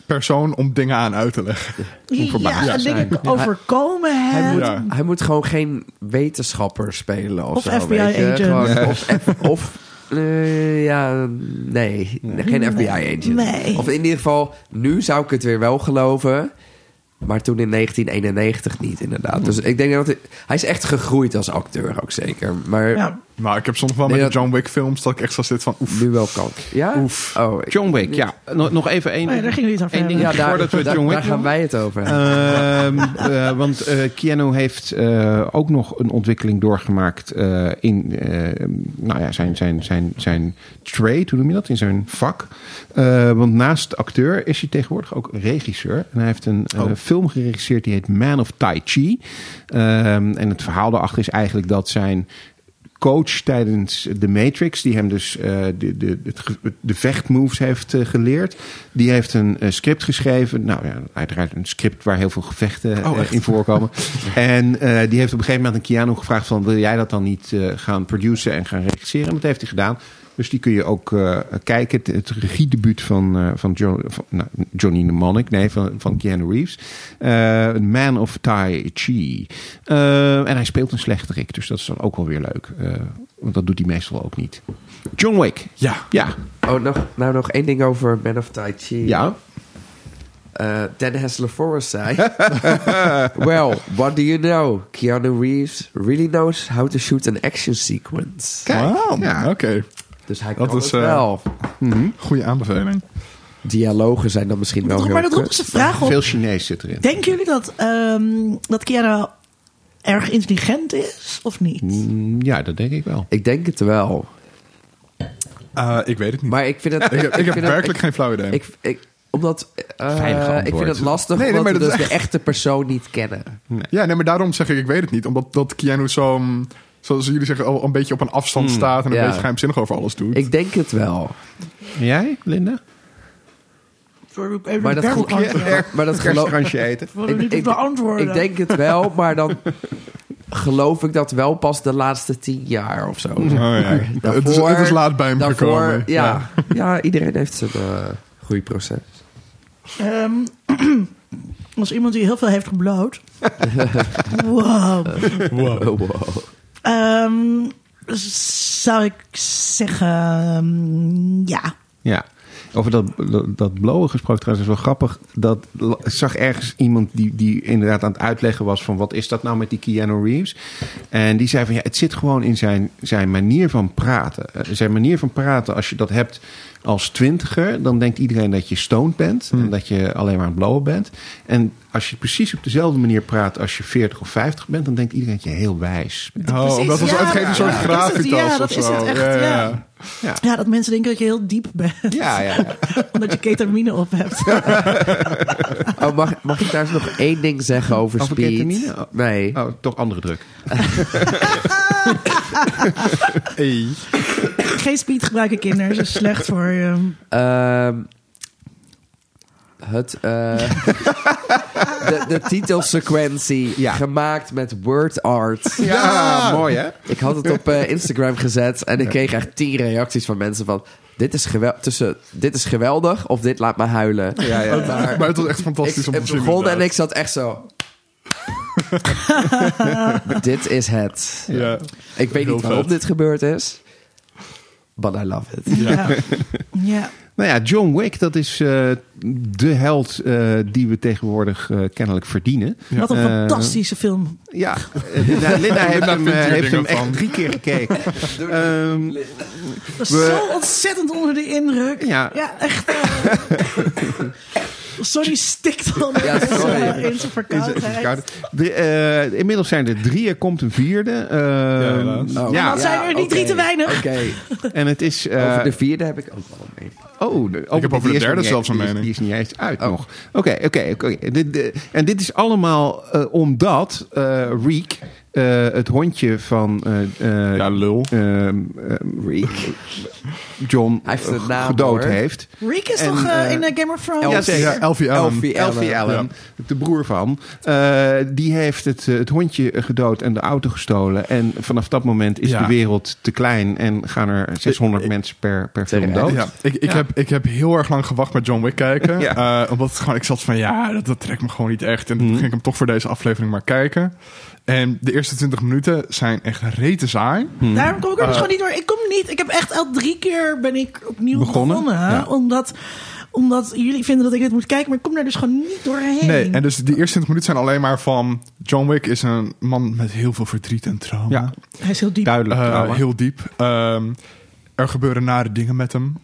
C: persoon om dingen aan uit te leggen.
B: Ja, en dingen overkomen
D: Hij
B: hem.
D: moet,
C: Ja.
D: hij moet gewoon geen wetenschapper spelen of,
B: Of
D: zo,
B: FBI
D: weet je.
B: agent.
D: Gewoon, Of, F- of eh, ja, nee, geen FBI-agent.
B: Nee.
D: Of in ieder geval, nu zou ik het weer wel geloven. Maar toen in 1991 niet, inderdaad. Dus ik denk dat hij, hij is echt gegroeid als acteur ook zeker. Maar
B: Ja.
C: Maar ik heb soms wel
D: Nee,
C: met de
D: dat-
C: John Wick films dat ik echt zo zit van... Oef,
D: nu wel kan. Ja? Oh, ik-
A: John Wick, ja. Nog, nog even één
B: Oh ja, daar gingen jullie het over
A: één ding
B: hebben.
D: ja, daar,
A: voordat we
D: daar-
A: John Wick
D: daar gaan wij het over hebben.
A: Ehm, eh, want eh, Keanu heeft eh, ook nog een ontwikkeling doorgemaakt eh, in eh, nou ja, zijn, zijn, zijn, zijn trade, hoe noem je dat? In zijn vak. Eh, want naast acteur is hij tegenwoordig ook regisseur. En hij heeft een eh,
D: Oh.
A: film geregisseerd die heet Man of Tai Chi. Ehm, en het verhaal daarachter is eigenlijk dat zijn coach tijdens de Matrix, die hem dus eh, de, de, het ge- de vechtmoves heeft eh, geleerd. Die heeft een eh, script geschreven. Nou ja, uiteraard een script waar heel veel gevechten eh, in voorkomen. en eh, die heeft op een gegeven moment aan Keanu gevraagd van... wil jij dat dan niet eh, gaan produceren en gaan regisseren? En dat heeft hij gedaan. Dus die kun je ook eh, kijken. Het, het regiedebuut van, eh, van, John, van nou, Johnny Mnemonic, nee, van, van Keanu Reeves. Eh, Een Man of Tai Chi. Eh, en hij speelt een slechterik, dus dat is dan ook wel weer leuk. Eh, want dat doet hij meestal ook niet. John Wick.
C: ja.
A: Ja,
D: Oh, nog, nou nog één ding over Man of Tai Chi.
A: ja.
D: eh Dan Hessler Forrest
C: [LAUGHS]
D: zei. [LAUGHS] well, what do you know? Keanu Reeves really knows how to shoot an action sequence.
A: Kijk,
C: Wauw,
A: ja.
C: oké.
D: Dus hij
C: Dat
D: kan
C: is,
D: het
C: eh,
D: wel.
C: Goeie aanbeveling.
D: dialogen zijn dan misschien wel heel
B: maar dat roept
D: kut.
B: dus de vraag op.
A: Veel Chinees zit erin.
B: Denken jullie dat, ehm dat Kiara erg intelligent is of niet?
A: Mm, Ja, dat denk ik wel.
D: Ik denk het wel.
C: Eh, ik weet het niet.
D: Maar ik vind het...
C: [LAUGHS] ik heb, ik heb
D: vind het-
C: werkelijk geen flauw idee.
D: Ik, ik, ik- omdat... eh,
A: Veilig
D: ik
A: antwoord.
D: vind het lastig
C: Nee, nee,
D: omdat
C: maar
D: we
C: dat is
D: dus de
C: echt-
D: echte persoon niet kennen.
C: Ja, nee, maar daarom zeg ik, ik weet het niet. Omdat dat Keanu zo'n, zoals jullie zeggen, al een beetje op een afstand staat... en een
D: Mm, ja.
C: beetje geheimzinnig over alles doet.
D: Ik denk het wel.
A: Jij, Linda?
B: Sorry, even
D: Maar dat
B: werk
D: goed-
B: antwoorden.
D: Ja, maar dat geloof
A: Kerstkransje eten.
B: Ik wil er niet op beantwoorden.
D: ik denk het
C: [LAUGHS]
D: wel, maar dan geloof ik dat wel pas de laatste tien jaar of zo.
C: Oh,
D: [LAUGHS]
C: ja. het, is,
D: Daarvoor-
C: het is laat bij hem
D: daarvoor,
C: gekomen.
D: Ja, ja. iedereen heeft zijn eh groeiproces.
B: Ehm, [CLEARS THROAT] als iemand die heel veel heeft gebloot. wow.
D: Oh, [LAUGHS] wow.
B: Ehm, zou ik zeggen, ehm, ja.
A: Ja. Over dat, dat, dat blowen gesproken trouwens is wel grappig. Dat la- zag ergens iemand die, die inderdaad aan het uitleggen was van wat is dat nou met die Keanu Reeves. En die zei van ja, het zit gewoon in zijn, zijn manier van praten. Eh, Zijn manier van praten, als je dat hebt als twintiger, dan denkt iedereen dat je stoned bent. En dat je alleen maar aan het blowen bent. En als je precies op dezelfde manier praat als je 40 of 50 bent, dan denkt iedereen dat je heel wijs bent.
C: Oh,
B: Precies,
C: omdat als
B: ja,
C: uitgever een soort
B: ja, dat is
C: grafitas
B: het, ja, dat
C: of
B: is
C: zo.
B: het echt, ja. Ja, dat mensen denken dat je heel diep bent. [LAUGHS]
A: Ja, ja, ja.
B: Omdat je ketamine op hebt.
D: Oh, mag, mag ik daar eens nog één ding zeggen over,
A: Over
D: speed?
A: ketamine? Oh.
D: Nee.
A: Oh, toch andere druk.
C: Hey.
B: Geen speed gebruiken kinderen, dat is dus slecht voor je.
D: Ehm, het,
C: [LAUGHS]
D: eh, de, de titelsequentie
A: Ja.
D: gemaakt met word art.
A: Ja, mooi hè?
D: Ik had het op eh, Instagram gezet en ik kreeg echt tien reacties van mensen van... Dit is, gewel- tussen, dit is geweldig of dit laat me huilen.
A: Ja, ja.
D: Maar,
C: [LAUGHS] Maar het was echt fantastisch
A: dus
C: om
D: ik
C: te
D: het
C: zien.
D: begon en
C: inderdaad.
D: ik zat echt zo... [LAUGHS] dit is het.
C: Ja.
D: Ik weet
C: Heel
D: niet waarom
C: vet.
D: dit gebeurd is. But I love it.
B: Ja. ja.
A: Nou ja, John Wick, dat is eh, de held eh, die we tegenwoordig eh, kennelijk verdienen.
B: Wat een
A: Eh,
B: fantastische film.
A: Ja, eh, Linda,
C: [LAUGHS]
A: Linda heeft hem,
C: vindt
A: eh,
C: hier
A: heeft hem
C: dingen
A: echt
C: van.
A: drie keer gekeken.
C: [LAUGHS]
A: Ehm,
B: Dat is zo ontzettend onder de indruk.
A: Ja.
B: Ja, echt. eh. [LAUGHS] Sorry, stikt al
D: Ja,
B: [LAUGHS]
D: sorry.
B: ja, in zijn
A: eh, is- is- is-
B: verkoudheid.
A: de, eh, inmiddels zijn er drie, er komt een vierde. Ehm,
C: helaas. Nou,
A: ja,
D: Oh,
B: dat zijn er niet drie
D: oké,
B: te weinig.
D: Oké,
A: en het is... eh,
D: over de vierde heb ik ook wel een mening.
A: Oh, de,
C: heb over
A: die
C: de
A: is
C: derde
A: nog niet
C: zelfs een
A: eens- die is-
C: mening. Oh.
A: Die is niet eens uit nog. Oké, oké, oké. Dit- de- En dit is allemaal eh, omdat eh Reek, eh, het hondje van eh, eh,
C: Ja, lul.
A: ehm, ehm, Rick John eh,
D: Hij heeft een naam,
A: gedood
D: hoor.
A: heeft.
B: Rick is
A: En,
B: toch eh,
A: eh,
B: in eh, Game of Thrones?
A: Ja, zeker.
C: Ja, Alfie Allen.
D: Alfie Allen.
A: Alfie Allen, de broer van, eh, die heeft het, eh, het hondje gedood en de auto gestolen. En vanaf dat moment is
C: Ja.
A: de wereld te klein en gaan er 600 mensen per, per film
D: Terecht.
A: dood.
C: Ja, ik, ik, Heb, ik heb heel erg lang gewacht met John Wick
D: [LAUGHS]
C: kijken.
A: Ja.
C: Eh, omdat het gewoon, ik zat van ja, dat, dat trekt me gewoon niet echt.
D: Mhm.
C: En toen ging ik hem toch voor deze aflevering maar kijken. En de eerste 20 minuten zijn echt rete saai.
B: Daarom kom ik er
A: Eh,
B: dus gewoon niet door. Ik kom niet. Ik heb echt al drie keer ben ik opnieuw begonnen.
A: Begonnen? Ja.
B: Omdat, omdat jullie vinden dat ik dit moet kijken, maar ik kom daar dus gewoon niet doorheen.
C: Nee, en dus die eerste 20 minuten zijn alleen maar van... John Wick is een man met heel veel verdriet en trauma.
A: Ja.
B: Hij is heel diep.
A: Duidelijk.
C: Eh,
A: trouwens.
C: heel diep. Ehm, er gebeuren nare dingen met hem.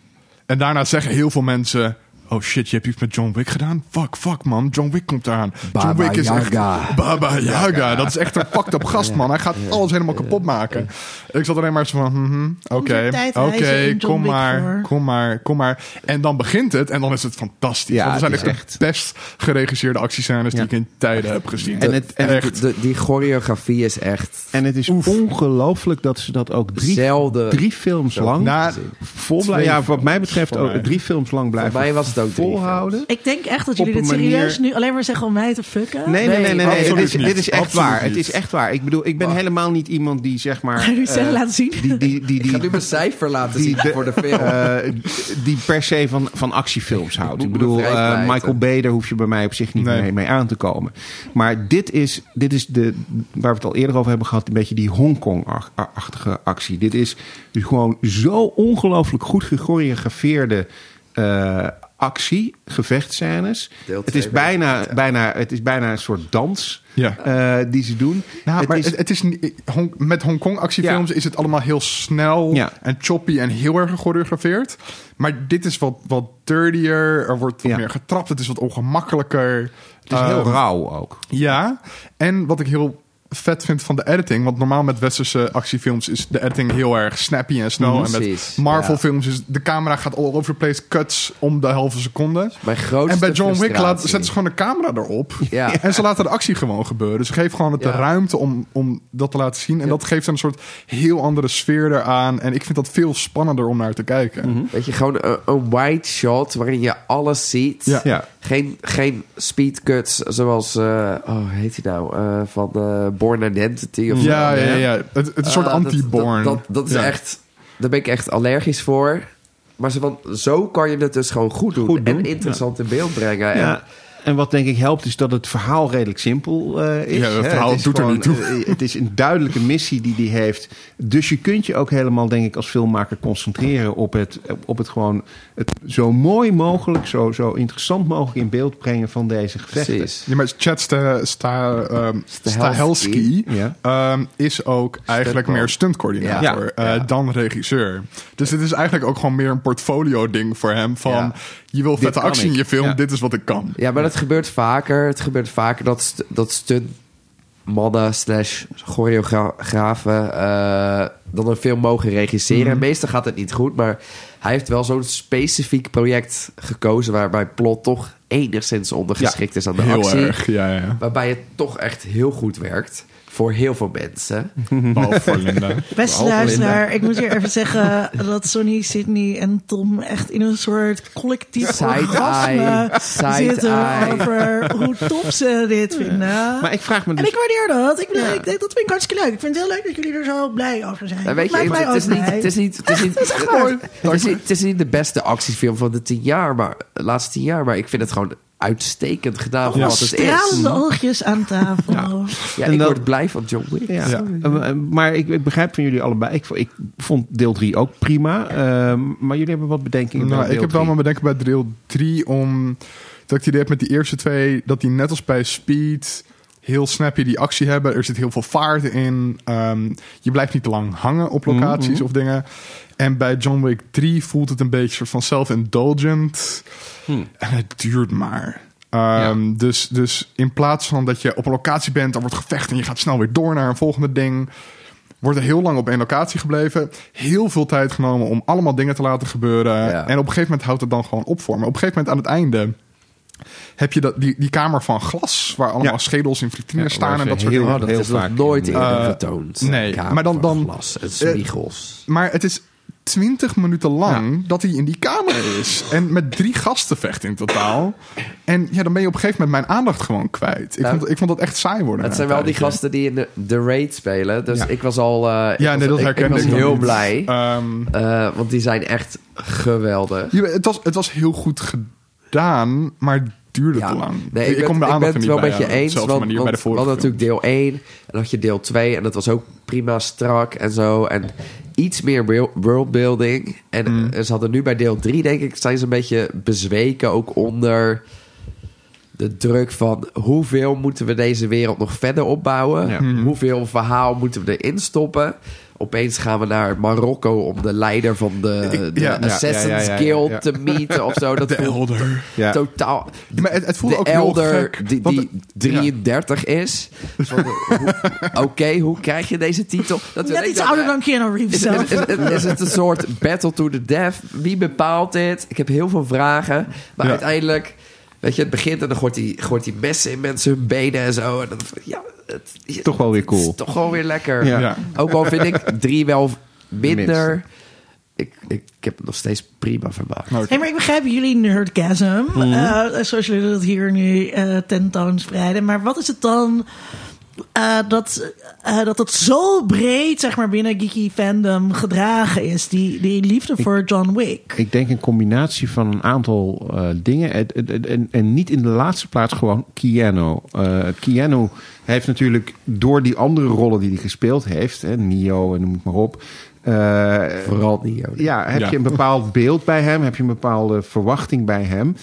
C: En daarna zeggen heel veel mensen... Oh shit, je hebt iets met John Wick gedaan? Fuck, fuck man, John Wick komt eraan. John
D: Baba
C: Wick is
D: Yaga.
C: echt... Baba Yaga. Dat is echt een fucked up gast, man. Hij gaat alles helemaal kapot maken. Ik zat alleen maar zo van... mhm,
B: Hoeveel
C: Oké,
B: tijd reizen
C: oké,
B: in John
C: kom
B: Wick
C: maar,
B: voor?
C: kom maar, kom maar. En dan begint het en dan is het fantastisch.
A: Ja,
C: Want er zijn
A: het
C: echt,
A: is
C: de best geregisseerde actiescènes
A: Ja.
C: die ik in tijden heb gezien.
A: En het- en
C: echt.
D: De, die choreografie is echt
A: En het is ongelooflijk dat ze dat ook drie,
D: zelden.
A: drie films lang
C: na-
A: vol blij-
C: twee-
A: Ja, wat mij betreft
C: Voor mij.
A: ook drie films lang blijven
D: mij was het ook drie
A: volhouden.
B: Ik denk echt dat jullie
A: Op
B: dit
A: een
B: serieus
A: manier-
B: nu alleen maar zeggen om mij te fucken.
A: Nee, nee, nee, nee. nee. Dit,
C: absoluut
A: is, dit is
C: niet.
A: echt
C: Absoluut
A: waar. Het
C: niet.
A: is echt waar. Ik bedoel, ik ben helemaal niet iemand die zeg maar.
B: Ga je nu
A: eh,
B: zelf laten zien?
A: Die, die, die,
D: Ik ga
A: die,
D: nu mijn cijfer laten zien
A: de-
D: voor de film.
A: eh, die per se van, van actiefilms houdt.
D: moet
A: Ik
D: me
A: bedoel,
D: vrijpleiten.
A: eh, Michael Bay, daar hoef je bij mij op zich niet
C: Nee.
A: mee, mee aan te komen. Maar dit is, dit is de, waar we het al eerder over hebben gehad, een beetje die Hongkong-achtige actie. Dit is dus gewoon zo ongelooflijk goed gechoreografeerde eh, actie, gevechtscènes.
D: Deel
A: Het
D: twee
A: is
D: ben ik
A: bijna, bijna, het is bijna een soort dans
C: Ja.
A: eh, die ze doen.
C: Nou,
A: het
C: maar
A: is,
C: het, het is niet- Hong- met Hongkong actiefilms is het allemaal heel snel
A: Ja.
C: en choppy en heel erg gechoreografeerd. Maar dit is wat, wat dirtier, er wordt wat
A: Ja.
C: meer getrapt, het is wat ongemakkelijker.
A: het is heel
C: Ehm,
A: rauw ook.
C: Ja, en wat ik heel vet vind van de editing, want normaal met westerse actiefilms is de editing heel erg snappy en snel. en met
D: Precies,
C: Marvel
D: ja.
C: films is de camera gaat all over the place, cuts om de halve seconde.
D: Mijn grootste
C: En bij John Wick laat,
D: frustratie.
C: zetten ze gewoon de camera erop.
D: Ja.
C: [LAUGHS] En ze laten de actie gewoon gebeuren. Ze geven gewoon het de
D: Ja.
C: ruimte om, om dat te laten zien. En dat geeft een soort heel andere sfeer eraan. En ik vind dat veel spannender om naar te kijken.
D: Weet je, gewoon een, een wide shot waarin je alles ziet.
C: Ja.
A: Ja.
D: Geen, geen speed cuts zoals, eh, oh, hoe heet hij nou? Eh, van eh, Born Identity of
C: Ja, ja,
D: zo,
C: ja,
D: hè?
C: ja. Het, het is een soort
D: Ah, dat-
C: anti-born.
D: Dat, dat, dat is
C: Ja.
D: echt, daar ben ik echt allergisch voor. Maar zo, van, zo kan je het dus gewoon goed doen,
A: Goed doen,
D: en interessant in beeld brengen. En,
A: Ja. En wat denk ik helpt is dat het verhaal redelijk simpel eh, is.
C: Ja, het
A: Hè,
C: verhaal
A: is
C: doet er niet toe.
A: eh, het is een duidelijke missie die die heeft. Dus je kunt je ook helemaal, denk ik, als filmmaker concentreren op het, op het gewoon het zo mooi mogelijk, zo, zo interessant mogelijk in beeld brengen van deze gevechten.
D: precies.
C: Ja, maar Chad Sta, Sta, ehm, Stahelski
D: Stahelski.
A: Ja.
C: ehm, is ook eigenlijk
D: Stuntman.
C: meer stuntcoördinator
A: Ja.
C: eh, dan regisseur. Dus dit is eigenlijk ook gewoon meer een portfolio ding voor hem. Van,
D: Ja.
C: je wil vette
A: kan
C: actie in
A: ik.
C: je film,
A: Ja.
C: dit is wat ik kan.
D: Ja, maar dat gebeurt vaker. Het gebeurt vaker dat, st- dat stuntmannen slash choreografen eh, dan een film mogen regisseren.
C: Mhm.
D: Meestal gaat het niet goed, maar hij heeft wel zo'n specifiek project gekozen... waarbij plot toch enigszins ondergeschikt is aan de
C: Heel
D: actie.
C: erg, ja,
A: [LAUGHS]
C: ja.
D: Waarbij het toch echt heel goed werkt voor heel veel
C: Mhm.
D: mensen.
C: Behalve voor Linda.
B: Beste luisteraar, ik moet hier even zeggen dat Sonny, Sydney en Tom echt in een soort collectief
D: Side-eye.
B: orgasme
D: Side-eye.
B: zitten over hoe top ze dit vinden.
A: Maar ik vraag me
B: en
A: dus...
B: ik waardeer dat. Ik, bedoel, ik denk dat vind ik hartstikke leuk. Ik vind het heel leuk dat jullie er zo blij over zijn. Dat
D: Nou, weet je,
B: maakt mij
D: het,
B: ook
D: is niet,
B: blij.
D: het is niet, het is niet,
B: [LAUGHS] dat is echt waar.
D: het is niet, het is niet de beste actiefilm van de tien jaar, maar de laatste tien jaar, maar ik vind het gewoon uitstekend gedaan voor
B: Allemaal
D: wat het is. Mm.
B: stralende oogjes aan tafel.
D: Ja,
A: En
D: ik
A: dat-
D: word blij van John Wick.
A: Ja.
C: Ja.
A: Eh, eh, Maar ik, ik begrijp van jullie allebei. Ik, vo- ik vond deel 3 ook prima. Ehm, maar jullie hebben wat bedenkingen bij
C: Nou, ik
A: deel
C: heb wel
A: drie.
C: mijn bedenken bij deel 3 om... Dat ik het idee heb met die eerste twee, dat die net als bij Speed heel snappy die actie hebben. Er zit heel veel vaart in. Ehm, je blijft niet te lang hangen op
A: Mhm,
C: locaties of dingen. En bij John Wick 3 voelt het een beetje soort van self-indulgent.
A: Hmm.
C: En het duurt maar. Ehm, dus, dus in plaats van dat je op een locatie bent, dan wordt gevecht en je gaat snel weer door naar een volgende ding. Wordt er heel lang op één locatie gebleven. Heel veel tijd genomen om allemaal dingen te laten gebeuren.
D: Ja.
C: En op een gegeven moment houdt het dan gewoon op voor. Maar op een gegeven moment aan het einde heb je dat, die, die kamer van glas... waar allemaal
A: Ja.
C: schedels en vitrines
A: Ja,
C: staan
A: waar
C: en
A: ze
C: dat soort
A: heel
C: dingen.
A: hard
D: dat is
A: vaak
D: nog nooit
A: in,
D: eerder
C: eh,
D: vertoond.
C: nee,
D: Een kamer
C: maar dan-
D: van
C: dan- eh,
D: glas en spiegels.
C: Maar het is 20 minuten lang dat hij in die kamer is. En met drie gasten vecht in totaal. En ja, dan ben je op een gegeven moment mijn aandacht gewoon kwijt. Ik,
D: Nou,
C: vond, ik vond dat echt saai worden.
D: het
C: na
D: zijn
C: een
D: wel die
C: tijdje.
D: gasten die in de, de raid spelen, dus
C: Ja.
D: ik was al... eh, ik
C: Ja,
D: was-
C: nee, dat
D: ik- ik,
C: herkende
D: was
C: ik nog
D: heel
C: niet.
D: blij,
C: Ehm,
D: eh, want die zijn echt geweldig.
C: ja, het, was, het was heel goed gedaan, maar het duurde te lang.
D: Nee, ik, ben,
C: kon de
D: ik
C: aandacht er
D: ben het
C: niet
D: wel
C: bij
D: met je
C: houden, op
D: eens.
C: dezelfde
D: Want,
C: manier bij
D: want
C: de
D: we hadden
C: vorige
D: natuurlijk deel 1 en dan had je deel 2 en dat was ook prima strak en zo. En iets meer world- worldbuilding. En
C: Hmm.
D: eh, ze hadden nu bij deel 3, denk ik, zijn ze een beetje bezweken ook onder de druk van hoeveel moeten we deze wereld nog verder opbouwen?
A: Ja.
D: Hoeveel verhaal moeten we erin stoppen? Opeens gaan we naar Marokko om de leider van de,
C: Ik-
D: de
C: ja, ja,
D: Assassin's
A: ja, ja, ja,
D: Guild
A: ja.
D: te meeten of
C: [LAUGHS]
D: zo. Dat
C: film.
D: voelt
C: De Elder.
A: Ja.
D: totaal
C: Maar het, het voelde
D: de
C: ook heel
D: elder
C: gek.
D: die,
C: want-
D: die 33 is. Van, hoe- Oké, hoe krijg je deze titel? Dat weet
B: Net
D: ik
B: iets
D: dan,
B: ouder
D: hè.
B: dan Keanu Reeves
D: [LAUGHS] Is, is,
B: zelf.
D: is- is- is het een soort battle to the death? Wie bepaalt dit? Ik heb heel veel vragen. Maar
C: Ja.
D: uiteindelijk, weet je, het begint en dan gooit hij, gooit hij messen in mensen hun benen en zo. En dan, ja, het,
A: Toch wel weer
D: het is
A: cool.
D: toch gewoon weer lekker.
A: Ja.
C: Ja.
D: Ook al vind ik drie wel
A: Minste.
D: minder. Ik, ik, ik heb het nog steeds prima vermaakt.
C: Nou,
B: Hey, maar ik begrijp jullie nerdgasm,
A: Mhm.
B: eh, zoals jullie dat hier nu eh tentoonspreiden. Maar wat is het dan eh, dat, eh, dat het zo breed zeg maar, binnen geeky fandom gedragen is. Die, die liefde voor John Wick.
A: Ik denk een combinatie van een aantal eh, dingen. En, en- en, en niet in de laatste plaats gewoon Keanu. Eh Keanu heeft natuurlijk door die andere rollen die hij gespeeld heeft... Hè, Neo en noem het maar op... eh,
D: Vooral die. Ja.
A: ja, heb
C: Ja.
A: je een bepaald beeld bij hem? Heb je een bepaalde verwachting bij hem?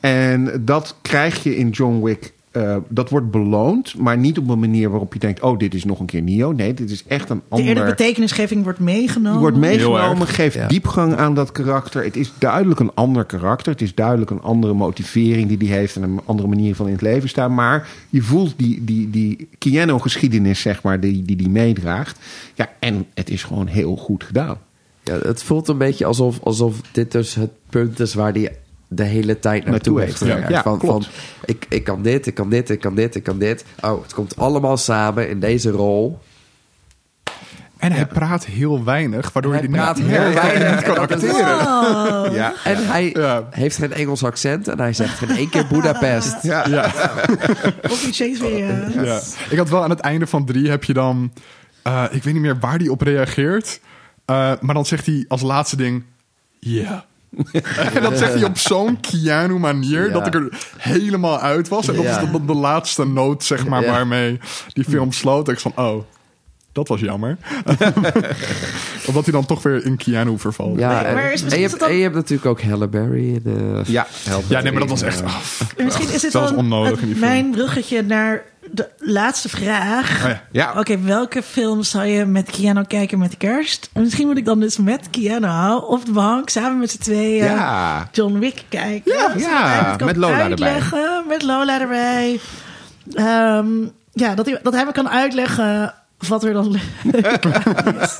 A: En dat krijg je in John Wick. eh, dat wordt beloond, maar niet op een manier waarop je denkt: oh, dit is nog een keer Neo. Nee, dit is echt een
B: De eerder
A: ander.
B: betekenisgeving wordt meegenomen.
A: Die wordt
C: Oh. Heel
A: meegenomen,
C: erg.
A: geeft
D: Ja.
A: diepgang aan dat karakter. Het is duidelijk een ander karakter. Het is duidelijk een andere motivering die die heeft en een andere manier van in het leven staan. Maar je voelt die, die, die Keanu-geschiedenis, zeg maar, die die, die meedraagt. Ja, en het is gewoon heel goed gedaan.
D: Ja, het voelt een beetje alsof, alsof dit dus het punt is waar die de hele tijd naartoe
A: Naartoe
D: heeft
A: heeft,
D: gewerkt.
A: ja. Ja,
D: van,
A: klopt.
D: van, ik, ik kan dit, ik kan dit, ik kan dit, ik kan dit. Oh, het komt allemaal samen in deze rol.
C: En hij praat heel weinig, waardoor
D: Hij
C: je die
D: praat
C: niet-
D: heel weinig.
C: kan
D: En dat is-
C: acteren.
B: Wow.
A: Ja,
D: En hij
C: Ja.
D: heeft geen Engels accent en hij zegt geen één keer Budapest.
A: ja.
B: Of die Chase weer. eh,
C: Ja. Ik had wel aan het einde van drie heb je dan... eh, ik weet niet meer waar hij op reageert. eh, maar dan zegt hij als laatste ding... Ja. [LAUGHS] en dat zegt hij op zo'n Keanu manier...
D: Ja.
C: dat ik er helemaal uit was. En dat
D: Ja.
C: is dan de laatste noot, zeg maar,
D: Ja.
C: waarmee die film sloot. En ik van, oh, dat was jammer. [LAUGHS] Omdat hij dan toch weer in Keanu vervalt. Ja,
D: Ja, en,
B: maar is
D: en je
B: misschien
D: hebt,
B: is het dan-
D: en je hebt natuurlijk ook Halle Berry. in eh, de-
A: Ja,
C: nee, maar dat was echt... ah, fuck.
B: Misschien is dit
C: Dat was
B: wel
C: onnodig in die film.
B: mijn bruggetje naar de laatste vraag.
C: Oh ja.
A: Ja.
B: Oké, welke film zou je met Keanu kijken met kerst? Misschien moet ik dan dus met Keanu op de bank samen met z'n tweeën
A: Ja.
B: John Wick kijken.
A: Ja,
B: Zodat
A: ja,
B: hij het kan
A: met Lola erbij.
B: uitleggen, Met Lola erbij. Ehm, ja, dat hij, dat hij me kan uitleggen wat er dan leuk aan is.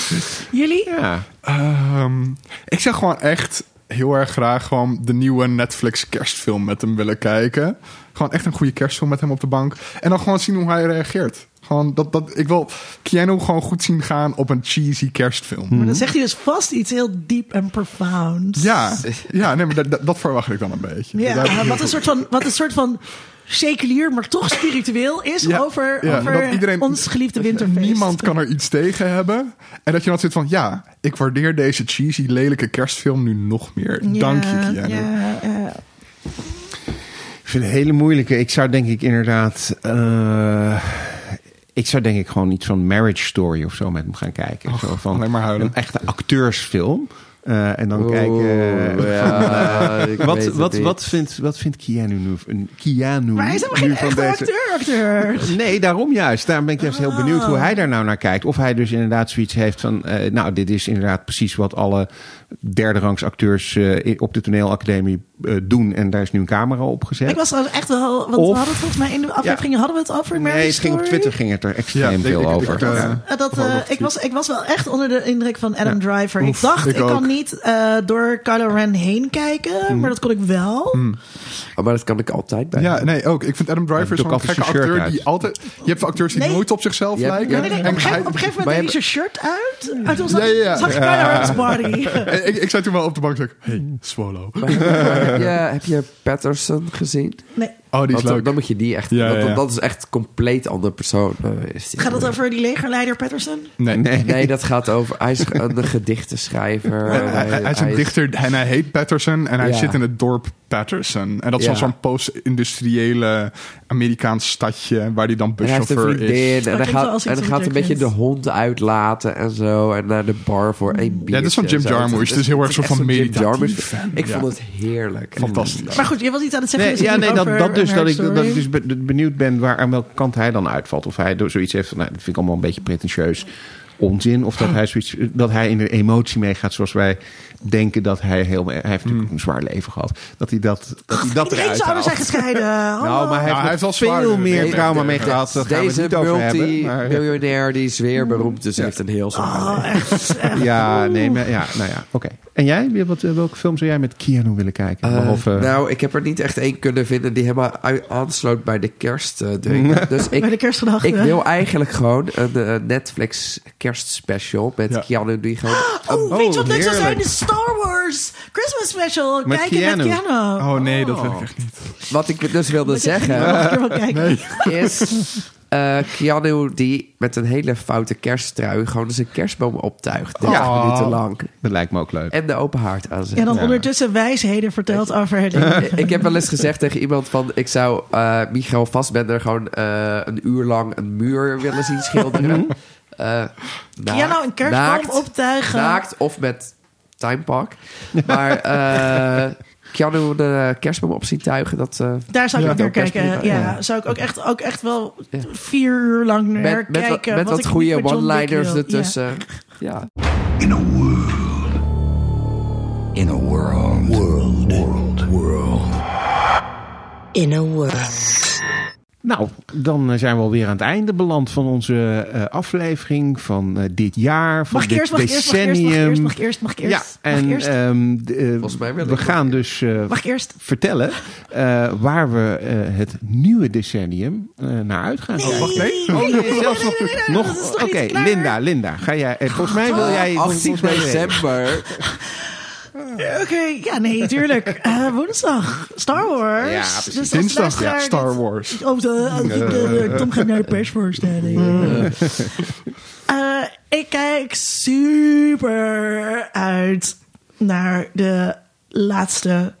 A: [LAUGHS]
B: Jullie?
A: Ja.
C: Ehm, ik zou gewoon echt heel erg graag gewoon de nieuwe Netflix kerstfilm met hem willen kijken. Gewoon echt een goede kerstfilm met hem op de bank. En dan gewoon zien hoe hij reageert. Gewoon dat, dat, ik wil Keanu gewoon goed zien gaan op een cheesy kerstfilm.
B: Maar dan zegt hij dus vast iets heel diep en profound.
C: Ja, ja nee, maar dat- dat, dat verwacht ik dan een beetje.
B: Ja,
C: Daar heb ik heel
B: wat, een
C: goed-
B: soort van, wat een soort van seculier, maar toch spiritueel is
C: Ja,
B: over,
C: ja,
B: over
C: dat iedereen-
B: ons geliefde winterfeest.
C: Niemand kan er iets tegen hebben. En dat je dan zit van, ja, ik waardeer deze cheesy, lelijke kerstfilm nu nog meer.
B: Ja,
C: Dank je, Keanu.
B: ja, ja.
A: Ik vind het een hele moeilijke. Ik zou denk ik inderdaad... eh, ik zou denk ik gewoon iets van Marriage Story of zo met hem gaan kijken. zo van
C: alleen maar huilen.
A: Een echte acteursfilm. Eh, en dan kijken... eh,
D: Oeh, ja, [LAUGHS] ik
A: wat,
D: weet het
A: wat,
D: niet.
A: wat, vindt, wat vindt Keanu nu, een Keanu
B: Maar hij is helemaal
A: nu
B: geen
A: van
B: echte
A: deze...
B: acteur, acteur.
A: Nee, daarom juist. Daarom ben ik juist heel
B: Ah.
A: benieuwd hoe hij daar nou naar kijkt. Of hij dus inderdaad zoiets heeft van... eh, nou, dit is inderdaad precies wat alle derde rangs acteurs eh, op de toneelacademie eh, doen. En daar is nu een camera op gezet.
B: Ik was trouwens echt wel... Want we
A: Of-
B: hadden het volgens mij in de aflevering... hadden we het over Marriage
A: nee, het ging op
B: Story?
A: Twitter ging het er
C: Ja,
A: extreem
C: ik-
A: veel
C: ik- ik-
A: over.
C: ik, eh,
A: Ja.
B: Eh, dat, eh, ik, was, ik was wel echt onder de indruk van Adam Driver.
C: Oef,
B: ik dacht,
C: ik
B: ik,
C: ook. Mm.
B: kan niet eh, door Kylo Ren heen kijken. Maar dat kon ik wel.
D: Oh, maar dat kan ik altijd bij.
C: Ja, nee, ook. Ik vind Adam Driver
A: doet
C: zo'n
A: altijd
C: gekke
A: zijn shirt
C: acteur
A: uit.
C: die altijd... Je hebt acteurs die
B: Nee.
C: nooit op zichzelf
D: Je hebt-
C: lijken.
D: Ja,
B: Nee, nee, op, een
C: En
B: gegeven,
C: hij-
B: op een gegeven
D: Maar
B: moment deed hij zijn shirt uit. En toen zag,
C: Ja, ja, ja.
B: zag ik Kylo Ren's body.
C: [LAUGHS] en ik, ik zei toen wel op de bank, zei ik, hey, Swallow.
D: Maar heb, je, heb, je, heb je Patterson gezien?
B: Nee.
C: Oh, die is
D: Want dan,
C: leuk.
D: dan moet je die echt...
C: Ja,
D: dat-
C: ja, ja.
D: Dat is echt een compleet andere persoon. eh, is die.
B: Gaat het over die legerleider Patterson?
C: Nee,
A: Nee.
D: Nee, dat gaat over... Hij is een gedichtenschrijver.
C: Hij, Eh, hij- hij is een dichter en hij heet Patterson en hij
D: Ja.
C: zit in het dorp Patterson. En dat is
D: Ja.
C: dan zo'n post-industriële Amerikaans stadje waar hij dan
D: En hij heeft een
C: buschauffeur is.
D: vriendin. En hij
B: klinkt wel
D: gaat,
B: als
D: en
B: iets
D: hij
B: wat
D: gaat
B: je
D: een beetje de
B: kent.
D: hond uitlaten en zo. En naar de bar voor één biertje.
C: dit is van Jim
D: en zo.
C: Jarmusch.
D: Het
C: Het is heel erg zo
D: echt
C: van
D: zo'n Jim
C: meditatief.
D: Jarmusch. Ik
C: Ja.
D: vond het heerlijk.
C: Fantastisch.
B: Maar goed, je was iets aan het zeggen.
A: Nee,
B: dus
A: ja, nee, dat,
B: over
A: dat dus. Dat ik,
B: Marriage
A: dat ik
B: Story.
A: dus be- benieuwd ben waar, aan welke kant hij dan uitvalt. Of hij door zoiets heeft van, nou, dat vind ik allemaal een beetje pretentieus onzin. Of dat hij, zoiets, dat hij in de emotie meegaat zoals wij denken dat hij heel... Hij heeft natuurlijk een zwaar leven gehad. Dat hij dat, dat, hij dat
B: Iedereen
A: eruit
B: zou er
A: haalt.
B: zijn gescheiden.
A: [LAUGHS] Nou, maar hij
C: Nou, hij
A: heeft,
C: heeft wel
A: nog veel
C: zwaarder
A: meer
C: dingen.
A: trauma
C: Ja.
A: mee gehad. Daar gaan we het
D: Deze
A: niet over hebben. maar-
D: multimiljonair die is weer beroemd. Dus heeft een heel
C: Ah.
D: zwaar leven.
A: [LAUGHS]
B: Oh,
A: ja, nee, maar, ja, nou ja, oké. En jij? Wie- Wat, welke film zou jij met Keanu willen kijken?
D: Eh,
A: Behalve,
D: nou, ik heb er niet echt één kunnen vinden die helemaal u- aansloot bij de kerst. eh, ding.
C: [LAUGHS]
D: dus ik,
B: Bij de kerstgedachte.
D: ik wil eigenlijk gewoon een eh, Netflix kerstspecial met
C: Ja.
D: Keanu die gewoon...
B: Oh,
A: Oh,
B: [GASPS] weet je wat leuk zou zijn?
A: heerlijk.
B: De Star Wars Avengers Christmas Special.
A: Met
B: kijken met
A: Keanu.
B: Keanu.
C: Oh nee, dat wil ik echt niet.
D: Wat ik dus wilde
B: Moet je echt
D: zeggen...
B: nog een
A: [LAUGHS]
B: keer wel kijken.
D: is eh Keanu die met een hele foute kersttrui gewoon eens een kerstboom optuigt. 30
A: Ja.
D: minuten lang.
A: Dat lijkt me ook leuk.
D: En de open haard aan
B: En dan
A: Ja.
B: ondertussen wijsheden verteld over
A: [LAUGHS]
B: het leven.
D: Ik heb wel eens gezegd tegen iemand van... ik zou eh Michael Vastbender gewoon eh, een uur lang een muur willen zien schilderen. Eh naakt-
B: Mhm. Keanu een kerstboom
D: naakt,
B: optuigen.
D: Naakt of met timepak. Maar
B: [LAUGHS]
D: eh Keanu een kerstboom op zien tuigen, dat... eh,
B: Daar zou ik
D: Ja.
B: ook naar kijken. Ja,
D: Kerstboom, ja.
B: zou ik ook echt, ook echt wel
D: Ja.
B: vier uur lang naar
D: met, met,
B: kijken.
D: wat, met wat
B: ik niet
D: goede
B: met John Wick
D: one-liners
B: wil.
D: ertussen. ja.
E: In a world. In a world. World. World. World.
F: in a world.
A: Nou, dan eh, zijn we alweer aan het einde beland van onze eh, aflevering van eh, dit jaar. Van
B: Mag ik
A: dit
B: eerst, mag ik eerst, mag ik eerst, mag ik
A: decennium.
B: eerst, mag ik eerst, mag ik eerst?
A: Ja,
B: Mag ik
A: en
B: eerst?
A: ehm, d- eh,
D: Volgens mij wil
A: we
D: ik
A: gaan dus eh,
B: Mag ik eerst?
A: vertellen eh, waar we eh, het nieuwe decennium eh, naar uitgaan. [LAUGHS]
B: Nee.
A: Wacht, nee. Oh, nee, zelfs nog.
B: nee, nee, dat is
A: nog
B: toch Oh,
A: Oké,
B: niet klaar?
A: Linda, Linda, ga jij. eh, volgens mij wil jij. volgens
D: 18
A: mij wil jij- [LAUGHS]
D: december.
B: Oké, ja, nee, tuurlijk. Eh, woensdag, Star Wars. Dus
A: Ja, precies.
B: als
C: Dinsdag,
B: luisteraar
C: ja,
B: dit-
C: Star Wars.
B: Of de, de- de- de- Tom gaat naar de persvoorstelling. Eh, ik kijk super uit naar de laatste,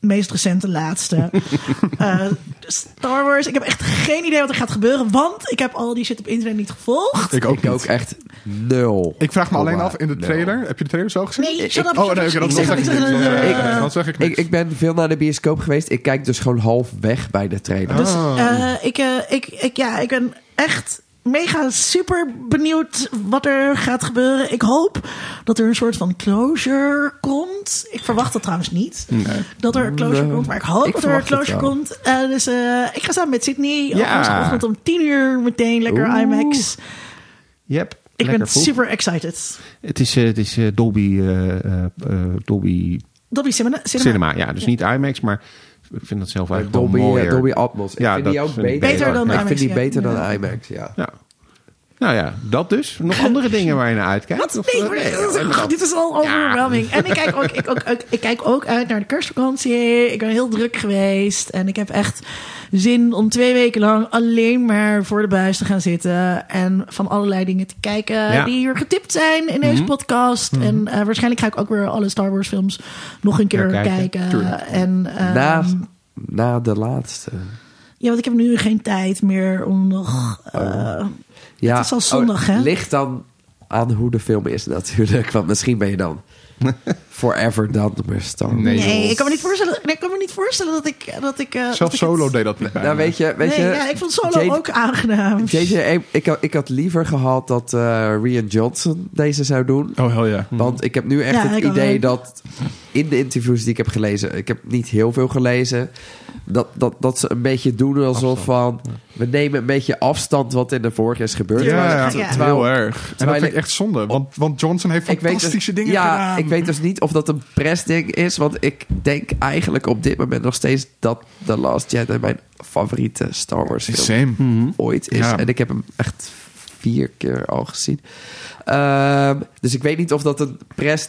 B: meest recente laatste. Eh, Star Wars. Ik heb echt geen idee wat er gaat gebeuren, want ik heb al die shit op internet niet gevolgd.
C: Ik ook
D: Ik ook
C: niet.
D: echt nul.
C: Ik vraag me alleen
D: Komma,
C: af in de
D: nul.
C: trailer. Heb je de trailer zo gezien?
B: Nee, shut up.
C: Oh, nee, oké,
B: shut up.
C: dat
B: Ik zeg-
C: zeg ik
B: ik
C: niet.
B: zeg-
C: Eh, Dat zeg ik
D: Ik,
C: niet.
D: ik ben veel naar de bioscoop geweest. Ik kijk dus gewoon half weg bij de
A: Oh,
D: trailer.
B: Dus eh, ik, eh, ik, ik, ja, ik ben echt mega super benieuwd wat er gaat gebeuren. Ik hoop dat er een soort van closure komt. Ik verwacht dat trouwens niet. Dat er een closure
D: Nee.
B: komt, maar ik hoop
D: Ik
B: dat er een
D: verwacht het
B: closure
D: wel.
B: komt. Eh, dus eh, ik ga samen met Sydney op
A: Ja.
B: woensdagochtend om tien uur meteen lekker
A: Oeh.
B: IMAX.
A: Yep,
B: Ik
A: lekker
B: ben
A: vroeg.
B: super excited.
A: Het is, eh, het is eh, Dolby, eh, eh, eh, Dolby
B: Dobby Cinema.
A: Cinema. ja. Dus niet IMAX, maar ik vind dat zelf eigenlijk
D: Dolby,
A: wel
D: eh,
A: mooier.
D: Dolby Atmos. Ik
A: Ja,
D: vind
A: dat
D: die ook
A: vind ik
D: beter.
B: beter. Beter dan
D: ik
B: IMAX,
D: vind die
B: ja.
D: beter
B: Ja.
D: dan IMAX, ja.
A: Ja. Nou ja, dat dus.
B: [LAUGHS]
A: Nog andere dingen waar je naar uitkijkt?
B: Wat?
A: Of,
B: Nee,
A: eh,
B: maar dit
A: alleen
B: is-
A: maar dat.
B: dit is al overwhelming. En ik kijk, ook, ik, ook, ook- ik kijk ook uit naar de kerstvakantie. Ik ben heel druk geweest. En ik heb echt zin om twee weken lang alleen maar voor de buis te gaan zitten. En van allerlei dingen te kijken
A: Ja. Mhm.
B: die hier getipt zijn in deze podcast. En eh, waarschijnlijk ga ik ook weer alle Star Wars films nog een keer
A: Ja, kijken.
B: kijken. En, ehm,
D: Na, na de laatste.
B: ja, want ik heb nu geen tijd meer om nog...
A: Oh.
B: eh,
D: Ja. Oh,
B: Het is al zondag, hè?
D: Ligt dan aan hoe de film is natuurlijk. Want misschien ben je
B: [LAUGHS]
D: dan forever dan maar Star Wars.
B: nee, ik kan me niet voorstellen, nee, ik kan me niet voorstellen dat ik... Dat ik eh, dat
C: Zelfs
B: ik het-
C: Solo deed dat niet bijna.
D: Nou, weet je... Weet
B: nee,
D: je
B: ja, ik vond Solo
D: J.J.
B: ook aangenaam.
D: JJ, ik, had- ik had liever gehad dat eh Rian Johnson deze zou doen.
B: Mhm.
C: Oh, hell ja.
D: Want ik heb nu echt
B: Ja,
D: het
B: ik ook.
D: idee dat in de interviews die ik heb gelezen, ik heb niet heel veel gelezen, dat, dat, dat ze een beetje doen alsof van we nemen een beetje afstand wat in de vorige is gebeurd.
C: Ja,
D: Terwijl-
C: ja,
B: Ja.
C: heel erg. En dat
D: terwijl
C: vind ik
D: ik-
C: echt zonde, want, want Johnson heeft
D: Ik weet,
C: fantastische
D: dus,
C: dingen
D: ja,
C: gedaan.
D: ik weet dus niet of dat een pressding is. Want ik denk eigenlijk op dit moment nog steeds dat The Last Jedi mijn favoriete Star Wars film
C: Same.
D: ooit is.
C: Ja.
D: En ik heb hem echt vier keer al gezien. Ehm, dus ik weet niet of dat een press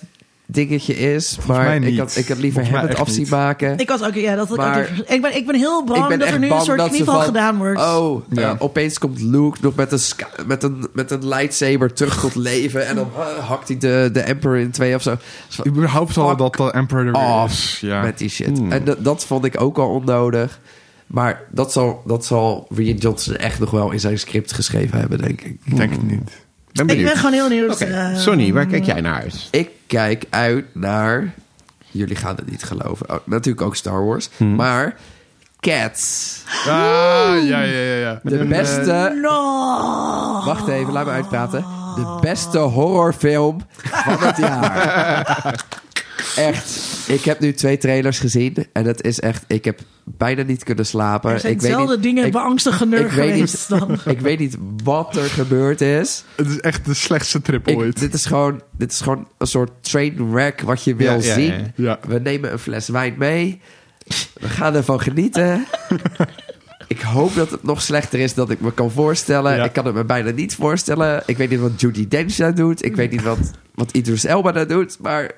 D: dingetje is. maar
C: mij niet.
D: Ik, had, ik had liever
C: Volgens mij
D: hem het
C: echt
D: af zien
C: niet.
D: maken.
B: Ik was ook, ja, dat had ik
D: Maar-
B: ook even- ik, ben, ik ben heel bang
D: ik ben
B: dat
D: echt
B: er nu
D: bang
B: een soort
D: dat ze
B: knieval
D: van,
B: gedaan wordt.
D: Oh, eh,
C: Ja.
D: opeens komt Luke nog met een, ska- met een, met een lightsaber terug tot leven. En dan eh, hakt hij de, de Emperor in twee of zo. Dus van,
C: Überhaupt al
D: Fuck
C: dat de Emperor er weer is.
D: af
C: Ja.
D: met die shit. En dat- dat vond ik ook al onnodig. Maar dat zal, dat zal Rian Johnson echt nog wel in zijn script geschreven hebben, denk ik.
C: Ik denk het niet.
A: Ben
B: ik ben
A: benieuwd.
B: gewoon heel nieuws.
A: Oké, Sonny, waar kijk jij naar uit?
D: Ik kijk uit naar... Jullie gaan het niet geloven. Oh, natuurlijk ook Star Wars. Maar Cats.
C: Ah, ja, ja, ja. ja.
D: De
B: Eh,
D: beste...
B: No.
D: Eh, Wacht even, laat me uitpraten. De beste horrorfilm van het jaar. Echt. Ik heb nu twee trailers gezien. En het is echt... Ik heb bijna niet kunnen slapen.
B: Er zijn
D: ik weet
B: zelden
D: niet,
B: dingen
D: ik-
B: beangstigender
D: ik weet
B: geweest
A: [LAUGHS]
D: niet,
B: dan...
D: Ik weet niet wat er gebeurd is.
C: eh, Het is echt de slechtste trip
D: Ik-
C: ooit.
D: dit, is gewoon, dit is gewoon een soort trainwreck wat je wil
A: Ja, ja,
D: zien.
A: ja.
C: Ja.
D: We nemen een fles wijn mee. We gaan ervan genieten.
A: [LAUGHS]
D: ik hoop dat het nog slechter is dan ik me kan voorstellen.
C: Ja.
D: Ik kan het me bijna niet voorstellen. Ik weet niet wat Judy Dench daar doet. Ik weet niet wat, wat Idris Elba daar doet. Maar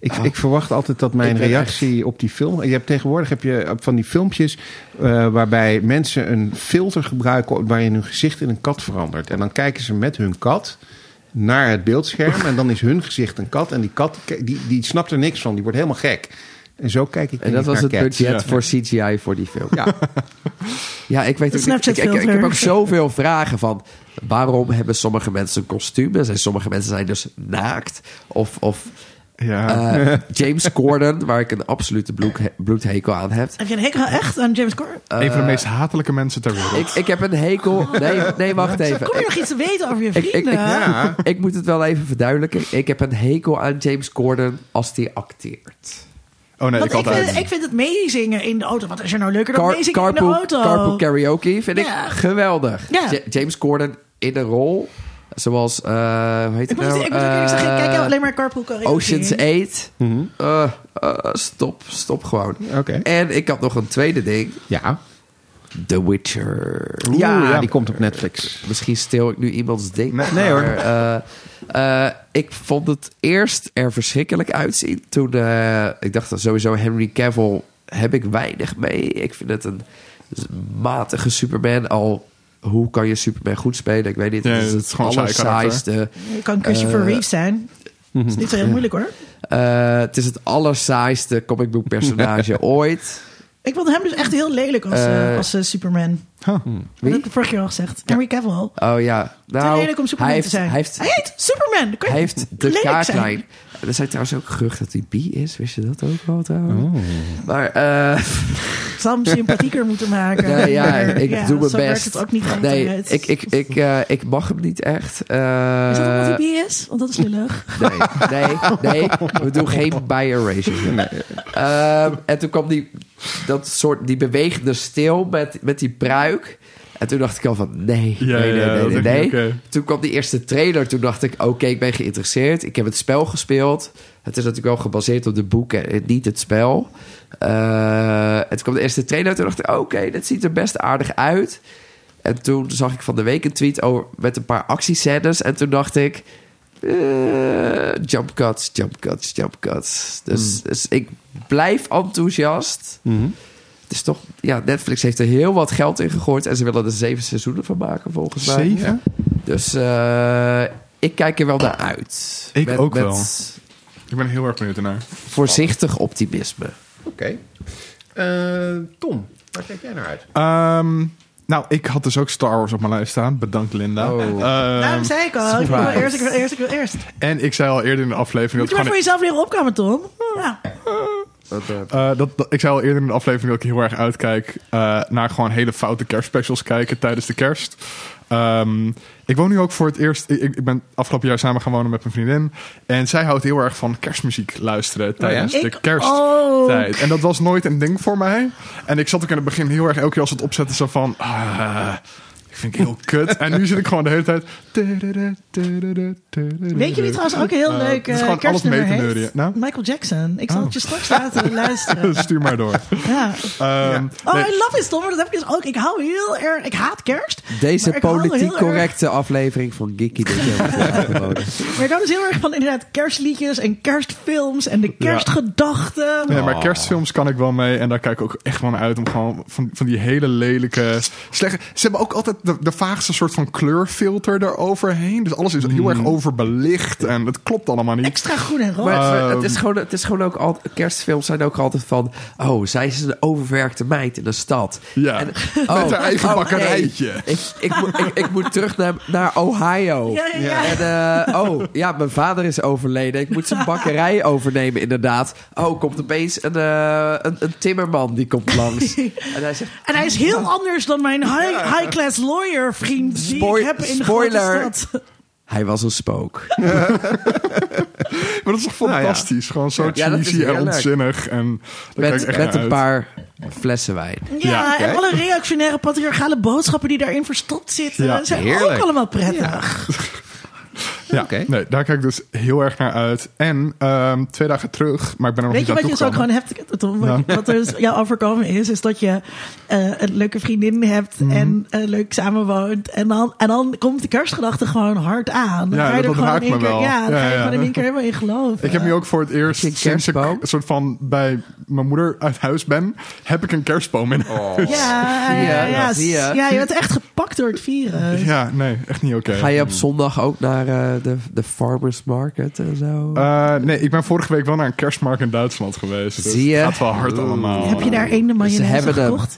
A: Ik, Ah. ik verwacht altijd dat mijn
D: Ik ben
A: reactie op die film. Je hebt tegenwoordig heb je van die filmpjes eh, waarbij mensen een filter gebruiken waarin hun gezicht in een kat verandert. En dan kijken ze met hun kat naar het beeldscherm. En dan is hun gezicht een kat. En die kat die, die snapt er niks van. Die wordt helemaal gek. En zo kijk ik
D: En dat
A: niet
D: was
A: naar
D: het
A: Cats.
D: budget voor CGI voor die film.
A: Ja.
D: Ja, ik weet
B: Het
D: ook niet- ik, ik, ik,
B: Snapchat-filter.
D: heb ook zoveel vragen van... waarom hebben sommige mensen een kostuum? En zijn sommige mensen zijn dus naakt. Of, of
C: Ja.
D: eh, James Corden, waar ik een absolute bloek- bloedhekel aan heb.
B: Heb je een hekel echt aan James Corden?
D: Eh,
C: een van de meest hatelijke mensen ter wereld.
D: Ik, ik heb een hekel... Nee, nee wacht even.
B: Kom je nog iets te weten over je
D: Ik, ik, ik,
B: vrienden?
D: ik moet het wel even verduidelijken. Ik heb een hekel aan James Corden als hij acteert.
C: Oh nee,
B: Want
C: ik
B: ik,
C: altijd.
B: vind, ik vind het meezingen in de auto. Wat is er nou leuker dan
D: Car,
B: meezingen in de
D: carpool,
B: auto?
D: carpool karaoke vind
B: Ja.
D: ik geweldig.
B: Ja.
D: Ja- James Corden in een rol zoals... eh, hoe heet
B: ik
D: het
B: moet,
D: nou?
B: ik moet ook eerlijk zeggen, ik kijk
D: Eh,
B: alleen maar carpool karaoke.
D: Ocean's 8. Eh, eh, stop, stop gewoon.
A: Mhm. Oké.
D: En ik had nog een tweede ding.
A: Ja.
D: The Witcher.
A: Oeh, ja,
D: ja.
A: die komt op Netflix.
D: Misschien steel ik nu iemands ding.
A: Nee, nee hoor.
D: maar, eh, eh, ik vond het eerst er verschrikkelijk uitzien. Toen eh, ik dacht dat sowieso Henry Cavill heb ik weinig mee. Ik vind het een matige Superman. Al hoe kan je Superman goed spelen? Ik weet niet.
C: Ja,
D: het is
C: het
D: het
C: is gewoon een saai karakter.
D: allersaaiste.
B: Je kan Christopher
D: Eh,
B: Reeve zijn. Dat is niet
D: [LAUGHS]
B: zo heel moeilijk hoor.
D: Eh, het is het allersaaiste
C: [LAUGHS]
D: comic book personage ooit.
B: Ik vond hem dus echt heel lelijk als, eh,
D: Eh,
B: als eh, Superman. Dat heb ik vorig jaar al gezegd. Henry Cavill.
D: Oh ja. Nou,
B: te lelijk om Superman
D: hij heeft,
B: te zijn.
D: Hij heeft,
B: hij heet Superman. Dan kan je
D: hij heeft de
B: lelijk zijn.
D: kaaklijn. Er zijn trouwens ook geruchten dat hij bi is. Wist je dat ook wel trouwens? Maar eh
B: Ik zal hem sympathieker moeten maken.
D: ja,
B: [LAUGHS]
D: ja,
B: Maar
D: ik doe mijn
B: zo
D: best.
B: werkt het ook niet
D: nee,
B: altijd.
D: ik, ik, ik, eh, ik mag hem niet echt. Eh,
B: Is dat omdat hij bi is? Want dat is
C: [LAUGHS] Ehm,
B: lullig.
D: Nee, nee, nee. We doen geen bi-erasure. Ehm, en toen kwam die, dat soort, die bewegende steel met, met die pruik. En toen dacht ik al van, nee,
C: Ja,
D: nee, nee,
C: ja,
D: nee,
C: dat
D: nee.
C: dacht
D: nee.
C: ik, oké.
D: Toen kwam die eerste trailer. Toen dacht ik, oké, ik ben geïnteresseerd. Ik heb het spel gespeeld. Het is natuurlijk wel gebaseerd op de boeken en niet het spel. Eh, en toen kwam de eerste trailer. Toen dacht ik, oké, dat ziet er best aardig uit. En toen zag ik van de week een tweet over, met een paar actiescènes. En toen dacht ik, eh, jump cuts, jump cuts, jump cuts. Dus,
C: Mm.
D: dus ik blijf enthousiast.
C: Mhm.
D: Het is toch, ja, Netflix heeft er heel wat geld in gegooid. En ze willen er zeven seizoenen van maken, volgens mij.
C: Zeven?
D: Dus eh, ik kijk er wel naar uit.
C: Ik ook wel.
D: Met
C: Ik ben heel erg benieuwd naar.
D: voorzichtig optimisme.
A: Oké. Eh, Tom, waar kijk jij naar uit?
C: Ehm, nou, ik had dus ook Star Wars op mijn lijst staan. Bedankt, Linda.
D: Oh.
C: Ehm,
B: Daarom zei ik al. Ik wil
D: surprise.
B: eerst, ik wil eerst, ik wil eerst.
C: en ik zei al eerder in de aflevering
B: Moet je
C: dat
B: maar
C: ik
B: voor
C: gewoon...
B: jezelf leren opkomen, Tom. Ja.
D: Want, eh,
C: eh, dat, dat- ik zei al eerder in de aflevering dat ik heel erg uitkijk eh, naar gewoon hele foute kerstspecials kijken tijdens de kerst. Ehm, ik woon nu ook voor het eerst. Ik, ik ben afgelopen jaar samen gaan wonen met mijn vriendin. En zij houdt heel erg van kerstmuziek luisteren tijdens de
B: Ik
C: kerst.
B: ook.
C: tijd. En dat was nooit een ding voor mij. En ik zat ook in het begin heel erg elke keer als het opzetten zo van... ah, ik vind het heel kut. En nu zit ik gewoon de hele tijd...
B: Weet je wie trouwens ook een heel
C: Eh,
B: leuk
C: het is
B: eh,
C: gewoon alles
B: kerstnummer
C: mee te
B: heeft?
C: neuren, ja. Nou?
B: Michael Jackson. Ik zal het je straks
C: [LAUGHS]
B: laten luisteren.
C: Stuur maar door.
B: Ja.
C: Ehm,
B: Oh,
C: nee,
B: I love it, Tom. maar Dat heb ik dus ook. Ik hou heel erg... Ik haat kerst.
D: Deze
B: maar ik hou heel
D: politiek
B: erg-
D: correcte aflevering van Geeky Dickie.
B: [LAUGHS] Maar ik hou dus heel erg van inderdaad kerstliedjes en kerstfilms en de kerstgedachten.
C: nee,
D: Oh.
C: maar kerstfilms kan ik wel mee. En daar kijk ik ook echt van uit. Om gewoon van, van die hele lelijke... Slechte, ze hebben ook altijd de, de vaagste soort van kleurfilter eroverheen. Dus alles is heel
D: Hmm.
C: erg overbelicht. En het klopt allemaal niet.
B: Extra groen en rood.
D: Maar, maar
C: Ehm,
D: het, is gewoon, het is gewoon ook al kerstfilms zijn ook altijd van... Oh, zij is een overwerkte meid in de stad.
C: Ja. Met haar eigen bakkerijtje.
D: nee. Oh. Ik, ik, moet- ik, ik moet terug naar, naar Ohio.
B: Ja, ja, ja.
D: En, eh, oh, ja, mijn vader is overleden. Ik moet zijn bakkerij overnemen, inderdaad. Oh, komt opeens een, eh, een, een timmerman die komt
B: [LAUGHS]
D: langs. En hij zegt...
B: En hij is heel anders dan mijn high- high-class lawyer vriend die
D: Spoil-
B: ik heb in de
D: spoiler.
B: grote stad.
D: Hij was een spook.
C: Maar dat is toch fantastisch? Gewoon zo
D: Nou Ja, dat is
C: cheesy en
D: heerlijk.
C: onzinnig. En daar kijk ik echt
D: Met, met
C: naar
D: een
C: uit.
D: paar flessen wijn.
B: Ja,
C: Ja, oké.
B: en alle reactionaire patriarchale boodschappen die daarin verstopt zitten,
C: Ja,
B: zijn
A: heerlijk.
B: ook allemaal prettig.
C: Ja,
A: Oké.
C: nee, daar kijk ik dus heel erg naar uit. En ehm, twee dagen terug, maar ik ben er nog
B: Weet je
C: niet
B: wat je
C: aan
B: dus ook gewoon
C: toegekomen.
B: hebt, Tom? Wat- Wat er dus jou overkomen is, is dat je eh, een leuke vriendin hebt
C: Mhm.
B: en eh, leuk samenwoont. En dan, en dan komt de kerstgedachte gewoon hard aan. Dan
C: Ja,
B: ga je
C: dat
B: er gewoon
C: raakt
B: in één
C: me
B: keer,
C: wel.
B: Ja, dan
C: Ja,
B: ga je
C: ja.
B: gewoon in één keer helemaal in geloven.
C: Ik heb nu ook voor het eerst
D: Heb je een
C: sinds ik
D: kerstboom?
C: een soort van bij mijn moeder uit huis ben, heb ik een kerstboom in huis.
B: Ja, ja, ja, ja,
D: Zie je?
B: ja, je bent echt gepakt door het virus.
C: Ja, nee, echt niet oké.
D: Ga je op zondag ook naar eh, de, de farmers market en zo?
C: Eh, nee, ik ben vorige week wel naar een kerstmarkt in Duitsland geweest. Dus
D: Zie je?
C: Het gaat wel hard allemaal.
B: Heb je daar één de mayonaise
D: hebben hem.
B: gekocht?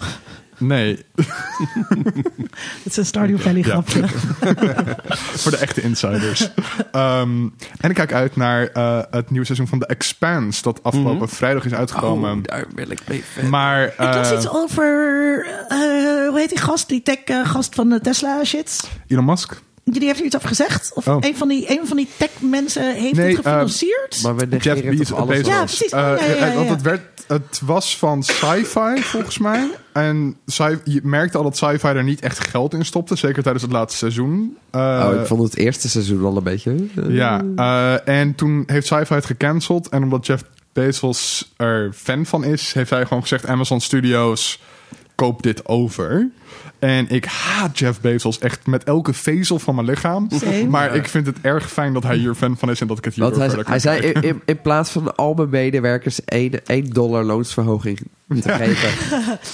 C: Nee,
B: Het
C: [LAUGHS]
B: is een Stardew Valley
C: Ja. Eh,
B: grapje.
C: voor de echte insiders. Ehm, en ik kijk uit naar eh, het nieuwe seizoen van The Expanse, dat afgelopen vrijdag is uitgekomen.
D: oh, daar wil ik mee verder.
C: Maar
B: Ik las
C: eh,
B: iets over, eh, hoe heet die gast? Die tech eh, gast van de Tesla shit.
C: Elon Musk?
B: Jullie heeft er iets over gezegd? Of
C: Oh.
B: een, van die, een van die tech mensen heeft
C: Nee,
B: het
C: eh,
B: gefinancierd?
D: Maar we
C: Jeff
D: negeren
C: Bezos.
D: toch alles
C: Bezos.
B: Ja,
D: wel?
B: precies.
C: Eh,
B: Ja, ja, ja, ja.
C: Want het, werd, het was van sci-fi, volgens mij. En sci- je merkte al dat sci-fi er niet echt geld in stopte. Zeker tijdens het laatste seizoen. Eh,
D: Oh, ik vond het eerste seizoen al een beetje... eh,
C: Ja, eh, en toen heeft sci-fi het gecanceld. En omdat Jeff Bezos er fan van is, heeft hij gewoon gezegd... Amazon Studios, koop dit over. En ik haat Jeff Bezos echt met elke vezel van mijn lichaam.
B: Same.
C: Maar ik vind het erg fijn dat hij hier fan van is en dat ik het hier
D: Want
C: over
D: hij,
C: verder kan
D: hij zei
C: kijken.
D: in, in, in plaats van al mijn medewerkers 1, 1 dollar loonsverhoging te geven,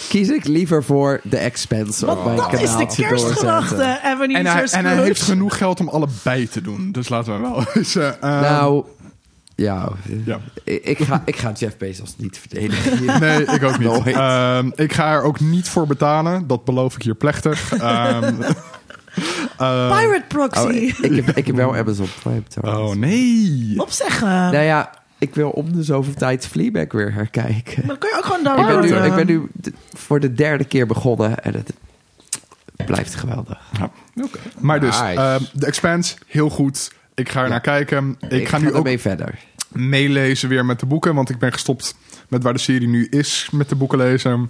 D: kies ik liever voor de expense op Oh, mijn
B: Want dat is
D: kanaal
B: de
D: te doorzetten.
B: kerstgedachte, Ebenezer
C: En hij, en hij
B: Scrooge.
C: heeft genoeg geld om allebei te doen. Dus laten we wel [LAUGHS] eens... eh, eh,
D: Nou, ja,
C: Ja.
D: Ik, ik ga, ik ga Jeff Bezos niet verdedigen. hier.
C: [LAUGHS] Nee, ik ook niet.
D: Nooit.
C: Ehm, ik ga er ook niet voor betalen. Dat beloof ik hier plechtig. Ehm, [LAUGHS] eh,
B: Pirate Proxy.
D: Oh, ik, ik heb, ik heb wel Amazon Prime trouwens.
C: oh nee.
B: Opzeggen.
D: Nou ja, ik wil om de zoveel tijd Fleabag weer herkijken.
B: Maar dan kun je ook gewoon
D: Ik ben
B: downloaden.
A: Ehm.
D: nu, ik ben nu d- voor de derde keer begonnen en het blijft geweldig.
C: Maar dus,
A: Nice.
C: ehm, The Expanse, heel goed. Ik ga er naar kijken. Ik, ga nu ook
D: ermee verder.
C: meelezen weer met de boeken. Want ik ben gestopt met waar de serie nu is met de boeken lezen.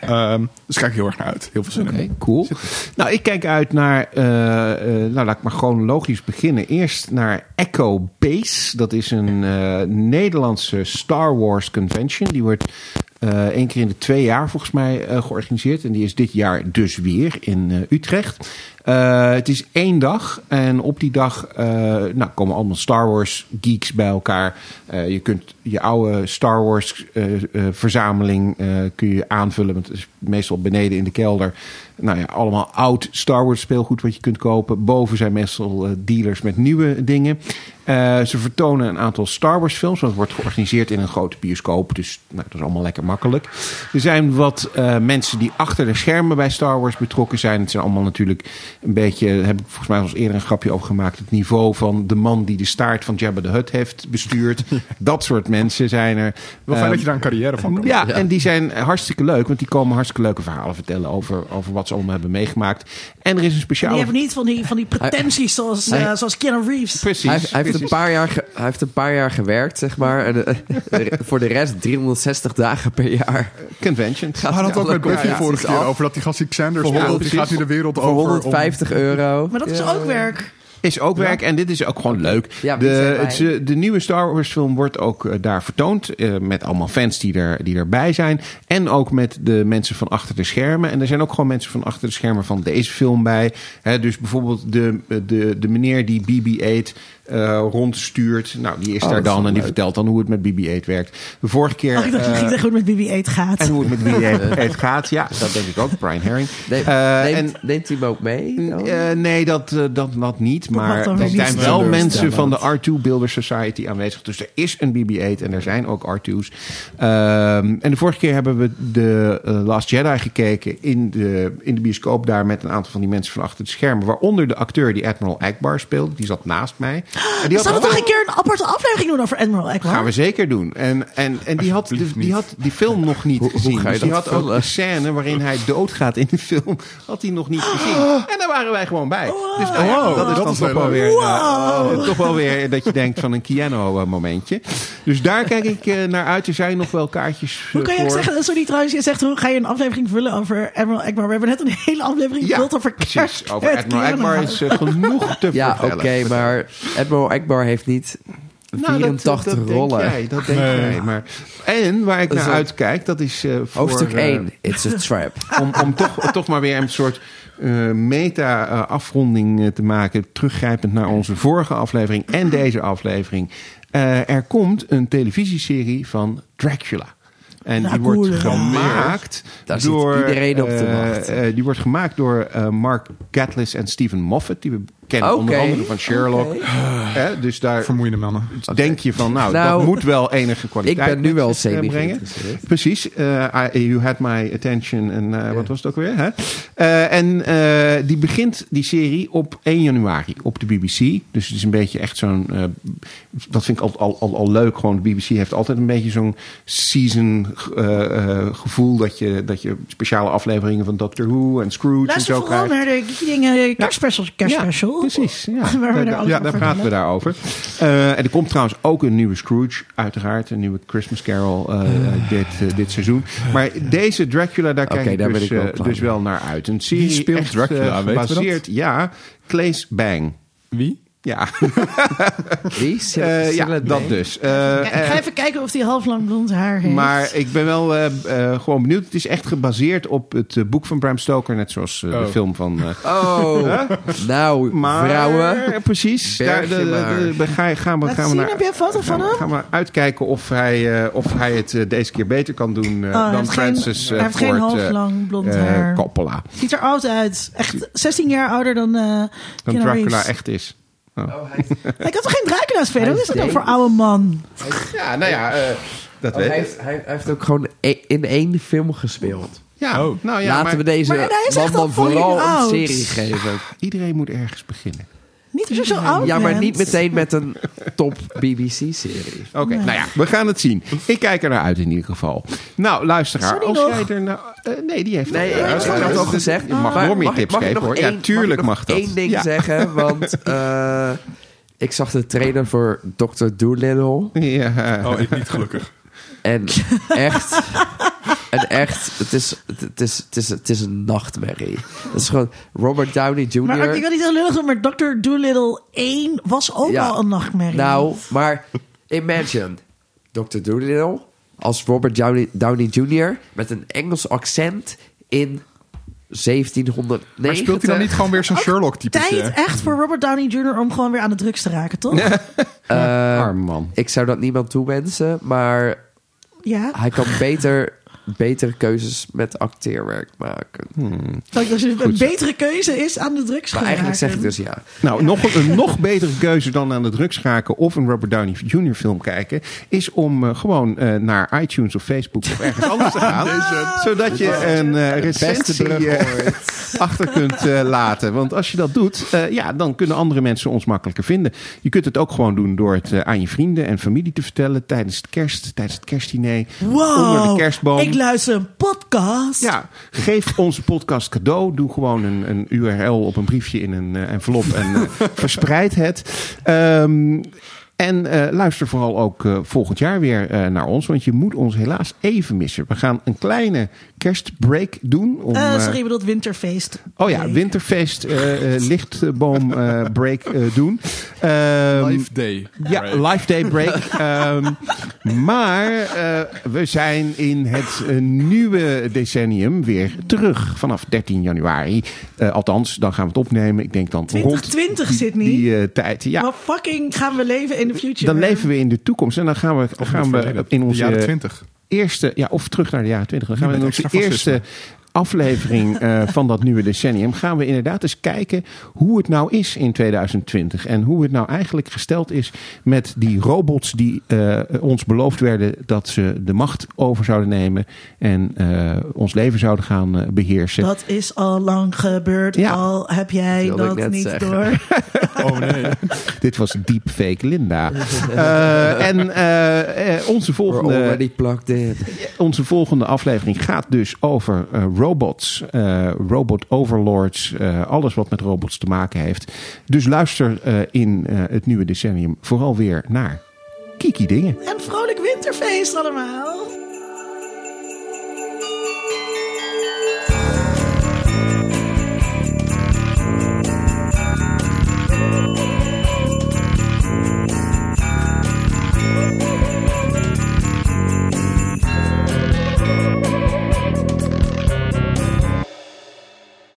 C: Ehm, dus kijk heel erg naar uit. Heel veel zin
A: Oké,
C: in.
A: cool. Nou, ik kijk uit naar, eh, eh, nou laat ik maar chronologisch beginnen. Eerst naar Echo Base. Dat is een eh, Nederlandse Star Wars convention. Die wordt eh één keer in de twee jaar volgens mij eh, georganiseerd. En die is dit jaar dus weer in eh, Utrecht. Eh, het is één dag en op die dag eh, nou, komen allemaal Star Wars geeks bij elkaar. Eh, je kunt je oude Star Wars eh, eh, verzameling eh, kun je aanvullen. Want het is meestal beneden in de kelder. Nou ja, allemaal oud Star Wars speelgoed wat je kunt kopen. Boven zijn meestal eh, dealers met nieuwe dingen. Eh, ze vertonen een aantal Star Wars films. Want het wordt georganiseerd in een grote bioscoop. Dus nou, dat is allemaal lekker makkelijk. Er zijn wat eh, mensen die achter de schermen bij Star Wars betrokken zijn. Het zijn allemaal natuurlijk een beetje... daar heb ik volgens mij al eens eerder een grapje over gemaakt. Het niveau van de man die de staart van Jabba the Hutt heeft
D: [LAUGHS]
A: bestuurd. dat soort mensen zijn er.
C: Wel fijn
A: Ehm,
C: dat je daar een carrière van kan.
A: ja, en die zijn hartstikke leuk, want die komen hartstikke leuke verhalen vertellen over, over wat ze allemaal hebben meegemaakt. En er is een
B: Die
A: speciale.
B: hebben niet van die, van die pretenties zoals, eh,
D: Hij-
B: zoals Keanu Reeves.
A: Precies.
D: Hij, hij, heeft
A: precies.
D: een paar jaar ge- hij heeft een paar jaar gewerkt, zeg maar. En, eh, [LAUGHS] voor de rest 360 dagen per
A: [LAUGHS]
D: jaar.
A: Convention.
D: Gaat
C: Hij had
D: hij
C: het ook
D: alle
C: met Buffy
D: competities
C: vorige keer
D: af.
C: over dat die gast die Xander
A: Voor
C: speelt. Die
A: honderd-
C: gaat nu de wereld
D: Voor
C: over. om-
D: 150 euro.
B: Maar dat is ook werk.
A: Is ook werk en dit is ook gewoon leuk.
D: Ja, wie zijn
A: de,
D: wij?
A: het, eh, de nieuwe Star Wars film wordt ook eh, daar vertoond. eh, met allemaal fans die, er, die erbij zijn. En ook met de mensen van achter de schermen. En er zijn ook gewoon mensen van achter de schermen van deze film bij. Hè, dus bijvoorbeeld de, de, de meneer die BB-8 eh, rondstuurt. Nou, die is
D: Oh,
A: daar
D: dat is
A: dan en die
D: wel leuk.
A: vertelt dan hoe het met BB-8 werkt. De vorige keer...
B: Oh, ik dacht,
A: eh,
B: je ging zeggen hoe het met BB-8 gaat.
A: en hoe het met BB-8 gaat. Ja, dat denk ik ook. Brian Herring.
D: Neem-
A: Eh, en-
D: neemt, neemt hij hem ook mee? Oh. dan?
A: eh, nee, dat, eh, dat, dat niet. Maar
B: mag dan weer
A: er
B: niet.
A: zijn wel mensen
D: Teleurstellend.
A: van de R2 Builder Society aanwezig. Dus er is een BB-8 en er zijn ook R2's. Ehm, en de vorige keer hebben we de eh, Last Jedi gekeken in de, in de bioscoop daar met een aantal van die mensen van achter de schermen. Waaronder de acteur die Admiral Akbar speelt. Die zat naast mij. En die
B: Zouden we
A: ook-
B: toch een keer een aparte aflevering doen over Admiral Ackbar?
A: Gaan we zeker doen. En, en, en die, had,
C: Alsjeblieft
A: die, die
C: niet.
A: had die film nog niet gezien.
D: ga je
A: dus die
D: dat
A: had ook
D: vullen?
A: de scène waarin hij doodgaat in de film. Had hij nog niet gezien. En daar waren wij gewoon bij. Dus nou ja,
C: Oh, dat is
A: dan
C: dan
A: toch wel weer, eh, eh, toch wel weer dat je denkt van een Keanu-momentje. Dus daar kijk ik eh, naar uit. Er zijn nog wel kaartjes eh,
B: Hoe kan je ook
A: voor.
B: zeggen, sorry trouwens, je zegt hoe ga je een aflevering vullen over Admiral Ekbar? We hebben net een hele aflevering
A: Ja,
B: gevuld over
A: precies.
B: kerst
A: Over
B: met
A: Admiral
B: Keanu.
A: Akbar is eh, genoeg te
D: Ja, oké,
A: vertellen.
D: maar Admiral Akbar heeft niet
A: Nou, dat-
D: 84
A: dat,
D: rollen.
A: Denk jij, dat denk jij. Maar, en waar ik
D: Dat is
A: naar
D: wel-
A: uitkijk, dat is eh, voor...
D: Hoofdstuk
A: eh,
D: 1, It's a
A: [LAUGHS]
D: Trap.
A: om om toch, toch maar weer een soort eh, meta-afronding eh, te maken. Teruggrijpend naar onze vorige aflevering en deze aflevering. Eh, er komt een televisieserie van Dracula. En
B: Nou,
A: die wordt
B: cool, hè?
A: gemaakt
D: Daar zit
A: door...
D: iedereen op te
A: eh,
D: wachten.
A: eh, die wordt gemaakt door eh, Mark Gatlis en Stephen Moffat. Die we kennen
D: Oké.
A: onder andere van Sherlock. Eh, dus daar
C: Vermoeiende mannen.
A: denk je van, nou,
D: Nou,
A: dat moet wel enige kwaliteit
D: ik ben nu wel
A: met zich, eh,
D: semi
A: brengen.
D: geïnteresseerd.
A: Precies. eh, I- you had my attention. En eh, wat was het ook weer? Hè? Eh, en eh, die begint, die serie, op 1 januari op de BBC. Dus het is een beetje echt zo'n... eh, dat vind ik al, al, al, al leuk. Gewoon, de BBC heeft altijd een beetje zo'n season eh, eh, gevoel... Dat je, dat je speciale afleveringen van Doctor Who en Scrooge en zo
B: Luister
A: krijgt.
B: vooral naar de Geeky dingen kerstspecial. kerstspecial.
A: Ja, precies. Ja.
B: [LAUGHS] Waar we daar alles
A: ja,
B: over
A: daar praten we
B: vertellen.
A: daarover. Eh, en er komt trouwens ook een nieuwe Scrooge, uiteraard. Een nieuwe Christmas Carol
B: Ah.
A: eh, eh, dit, eh, dit seizoen. Maar deze Dracula, daar kijk
D: Oké,
A: ik
D: daar ben
A: dus,
D: ik wel
A: eh,
D: klaar
A: dus
D: mee.
A: wel naar uit. Een serie
C: speelt
A: echt,
C: Dracula?
A: eh,
C: Weten we dat?
A: gebaseerd, ja, Claes Bang.
C: Wie?
A: Ja,
D: Wie? Sil-
A: eh, ja
D: Silent
A: dat
D: Bay?
A: dus. Eh,
B: Ja, ik ga
A: eh,
B: even kijken of hij half lang blond haar heeft.
A: maar ik ben wel eh, eh, gewoon benieuwd. Het is echt gebaseerd op het eh, boek van Bram Stoker. Net zoals eh, de
C: Oh.
A: film van eh,
D: Oh, nou,
A: Maar, eh,
D: [LAUGHS] vrouwen.
A: Precies. Daar
D: berg
A: de,
D: je maar.
A: de, de- ga, gaan we,
B: Laat
A: gaan we
B: zien,
A: naar,
B: heb je een foto van
A: gaan we-
B: hem? Oh,
A: Gaan we uitkijken of hij, eh, of hij het eh, deze keer beter kan doen eh,
B: Oh, hij
A: dan
B: heeft geen-
A: Francis eh,
B: hij heeft geen
A: Ford, eh,
B: hoofdlang blond
A: eh,
B: haar.
A: Coppola.
B: Ziet er oud uit. Echt 16 jaar ouder dan, eh
A: Dan
B: Keanu
A: Dracula
B: Reeves.
A: echt Oh, is.
B: Ik had toch geen Dracula's verder? Wat is dat nou
D: Hij
B: voor
D: is
B: oude man?
A: Ja, nou ja, eh, dat
D: Hij
A: weet ik.
D: heeft, hij hij heeft ook gewoon e- in één film gespeeld.
A: Ja,
C: Oh.
A: nou ja,
D: Laten
A: maar
D: we deze
B: Maar hij is echt
D: man
B: al
D: dan vooral
B: fucking
D: een
B: oud.
D: serie geven.
A: iedereen moet ergens beginnen.
B: Niet als je zo oud
D: Ja, maar
B: bent.
D: niet meteen met een top BBC-serie.
A: Oké, nou ja, we gaan het zien. Ik kijk er naar uit in ieder geval. Nou, luisteraar,
B: Sorry
A: als
B: nog?
A: jij er nou... eh, nee, die heeft
D: Nee,
A: al-
D: ik
A: Ja,
D: heb
A: dat
D: het
A: is-
D: al gezegd.
A: Je mag
D: Maar
A: Norm je
D: mag ik-
A: tips
D: mag ik
A: geven,
D: nog
A: hoor.
D: één-
A: ja, tuurlijk mag,
D: mag, ik nog
A: dat.
D: één ding
A: Ja.
D: zeggen,
A: [LAUGHS]
D: want eh, ik zag de trailer voor Dr. Doolittle.
A: Ja.
C: Oh, ik niet gelukkig.
D: En
A: [LAUGHS]
D: echt, en echt het, is, het, is, het, is, het is een nachtmerrie. Het is gewoon Robert Downey Jr.
B: Maar ik wil niet heel lullig doen, maar Dr. Doolittle 1 was ook
D: Ja.
B: al een nachtmerrie.
D: Nou, maar imagine Dr. Doolittle als Robert Downey, Downey Jr. met een Engels accent in 1790.
C: Maar speelt hij dan niet gewoon weer zo'n
B: Tijd
C: Sherlock-typetje?
B: echt voor Robert Downey Jr. om gewoon weer aan de drugs te raken, toch?
D: Eh,
A: Arm man.
D: Ik zou dat niemand toewensen, maar
B: Ja.
D: hij kan
C: [LAUGHS]
D: beter, betere keuzes met acteerwerk maken.
B: Dat als je een betere keuze is aan de drugs
D: Maar
C: Hm.
B: gaan
D: eigenlijk zeg ik
B: raken.
D: dus ja.
A: Nou, nog een, een nog betere keuze dan aan de drugs raken of een Robert Downey Jr. film kijken, is om eh, gewoon eh, naar iTunes of Facebook of ergens anders te gaan. zodat je een eh recensie eh, achter kunt eh, laten. Want als je dat doet, eh, ja, dan kunnen andere mensen ons makkelijker vinden. Je kunt het ook gewoon doen door het eh, aan je vrienden en familie te vertellen tijdens de kerst, tijdens het kerstdiner,
B: Wow,
A: dus, onder de kerstboom.
B: ik luister een podcast.
A: Ja, geef onze podcast cadeau. Doe gewoon een, een URL op een briefje in een eh, envelop en
B: [LAUGHS]
A: eh, verspreid het. Ehm, en eh, luister vooral ook eh, volgend jaar weer eh, naar ons, want je moet ons helaas even missen. We gaan een kleine kerstbreak doen. Om,
B: Eh,
A: eh,
B: sorry, je bedoelt winterfeest.
A: oh ja, winterfeest, eh, eh, lichtboom eh, break eh, doen. Ehm,
C: Life Day.
A: ja,
C: Right.
A: live day break.
C: [LAUGHS]
A: Ehm, maar eh, we zijn in het eh, nieuwe decennium weer terug. Vanaf 13 januari. Eh, althans, dan gaan we het opnemen. Ik denk dan rond
B: 2020, Sydney.
A: die eh, tijd. Ja,
B: Maar fucking gaan we leven in de future.
A: dan leven we in de toekomst. En dan gaan we, gaan we in onze
C: eh, jaren 20.
A: eerste, ja, of terug naar de jaren 20. Dan gaan we
C: Ja,
A: in
C: met
A: onze
C: extra
A: eerste aflevering eh, van dat nieuwe decennium. Gaan we inderdaad eens kijken hoe het nou is in 2020. En hoe het nou eigenlijk gesteld is met die robots die eh, ons beloofd werden dat ze de macht over zouden nemen. En eh, ons leven zouden gaan eh, beheersen.
B: Dat is al lang gebeurd.
A: Ja.
B: Al heb jij
D: Wilde ik
B: dat
D: net
B: niet
D: zeggen.
B: door.
C: Oh nee.
A: Dit was Deepfake Linda. Eh, en eh, eh, onze
D: We're
A: volgende...
D: already plugged in.
A: Onze volgende aflevering gaat dus over eh, robots, eh, robot overlords, eh, alles wat met robots te maken heeft. Dus luister eh, in eh, het nieuwe decennium vooral weer naar Kiki Dingen.
B: En vrolijk winterfeest allemaal.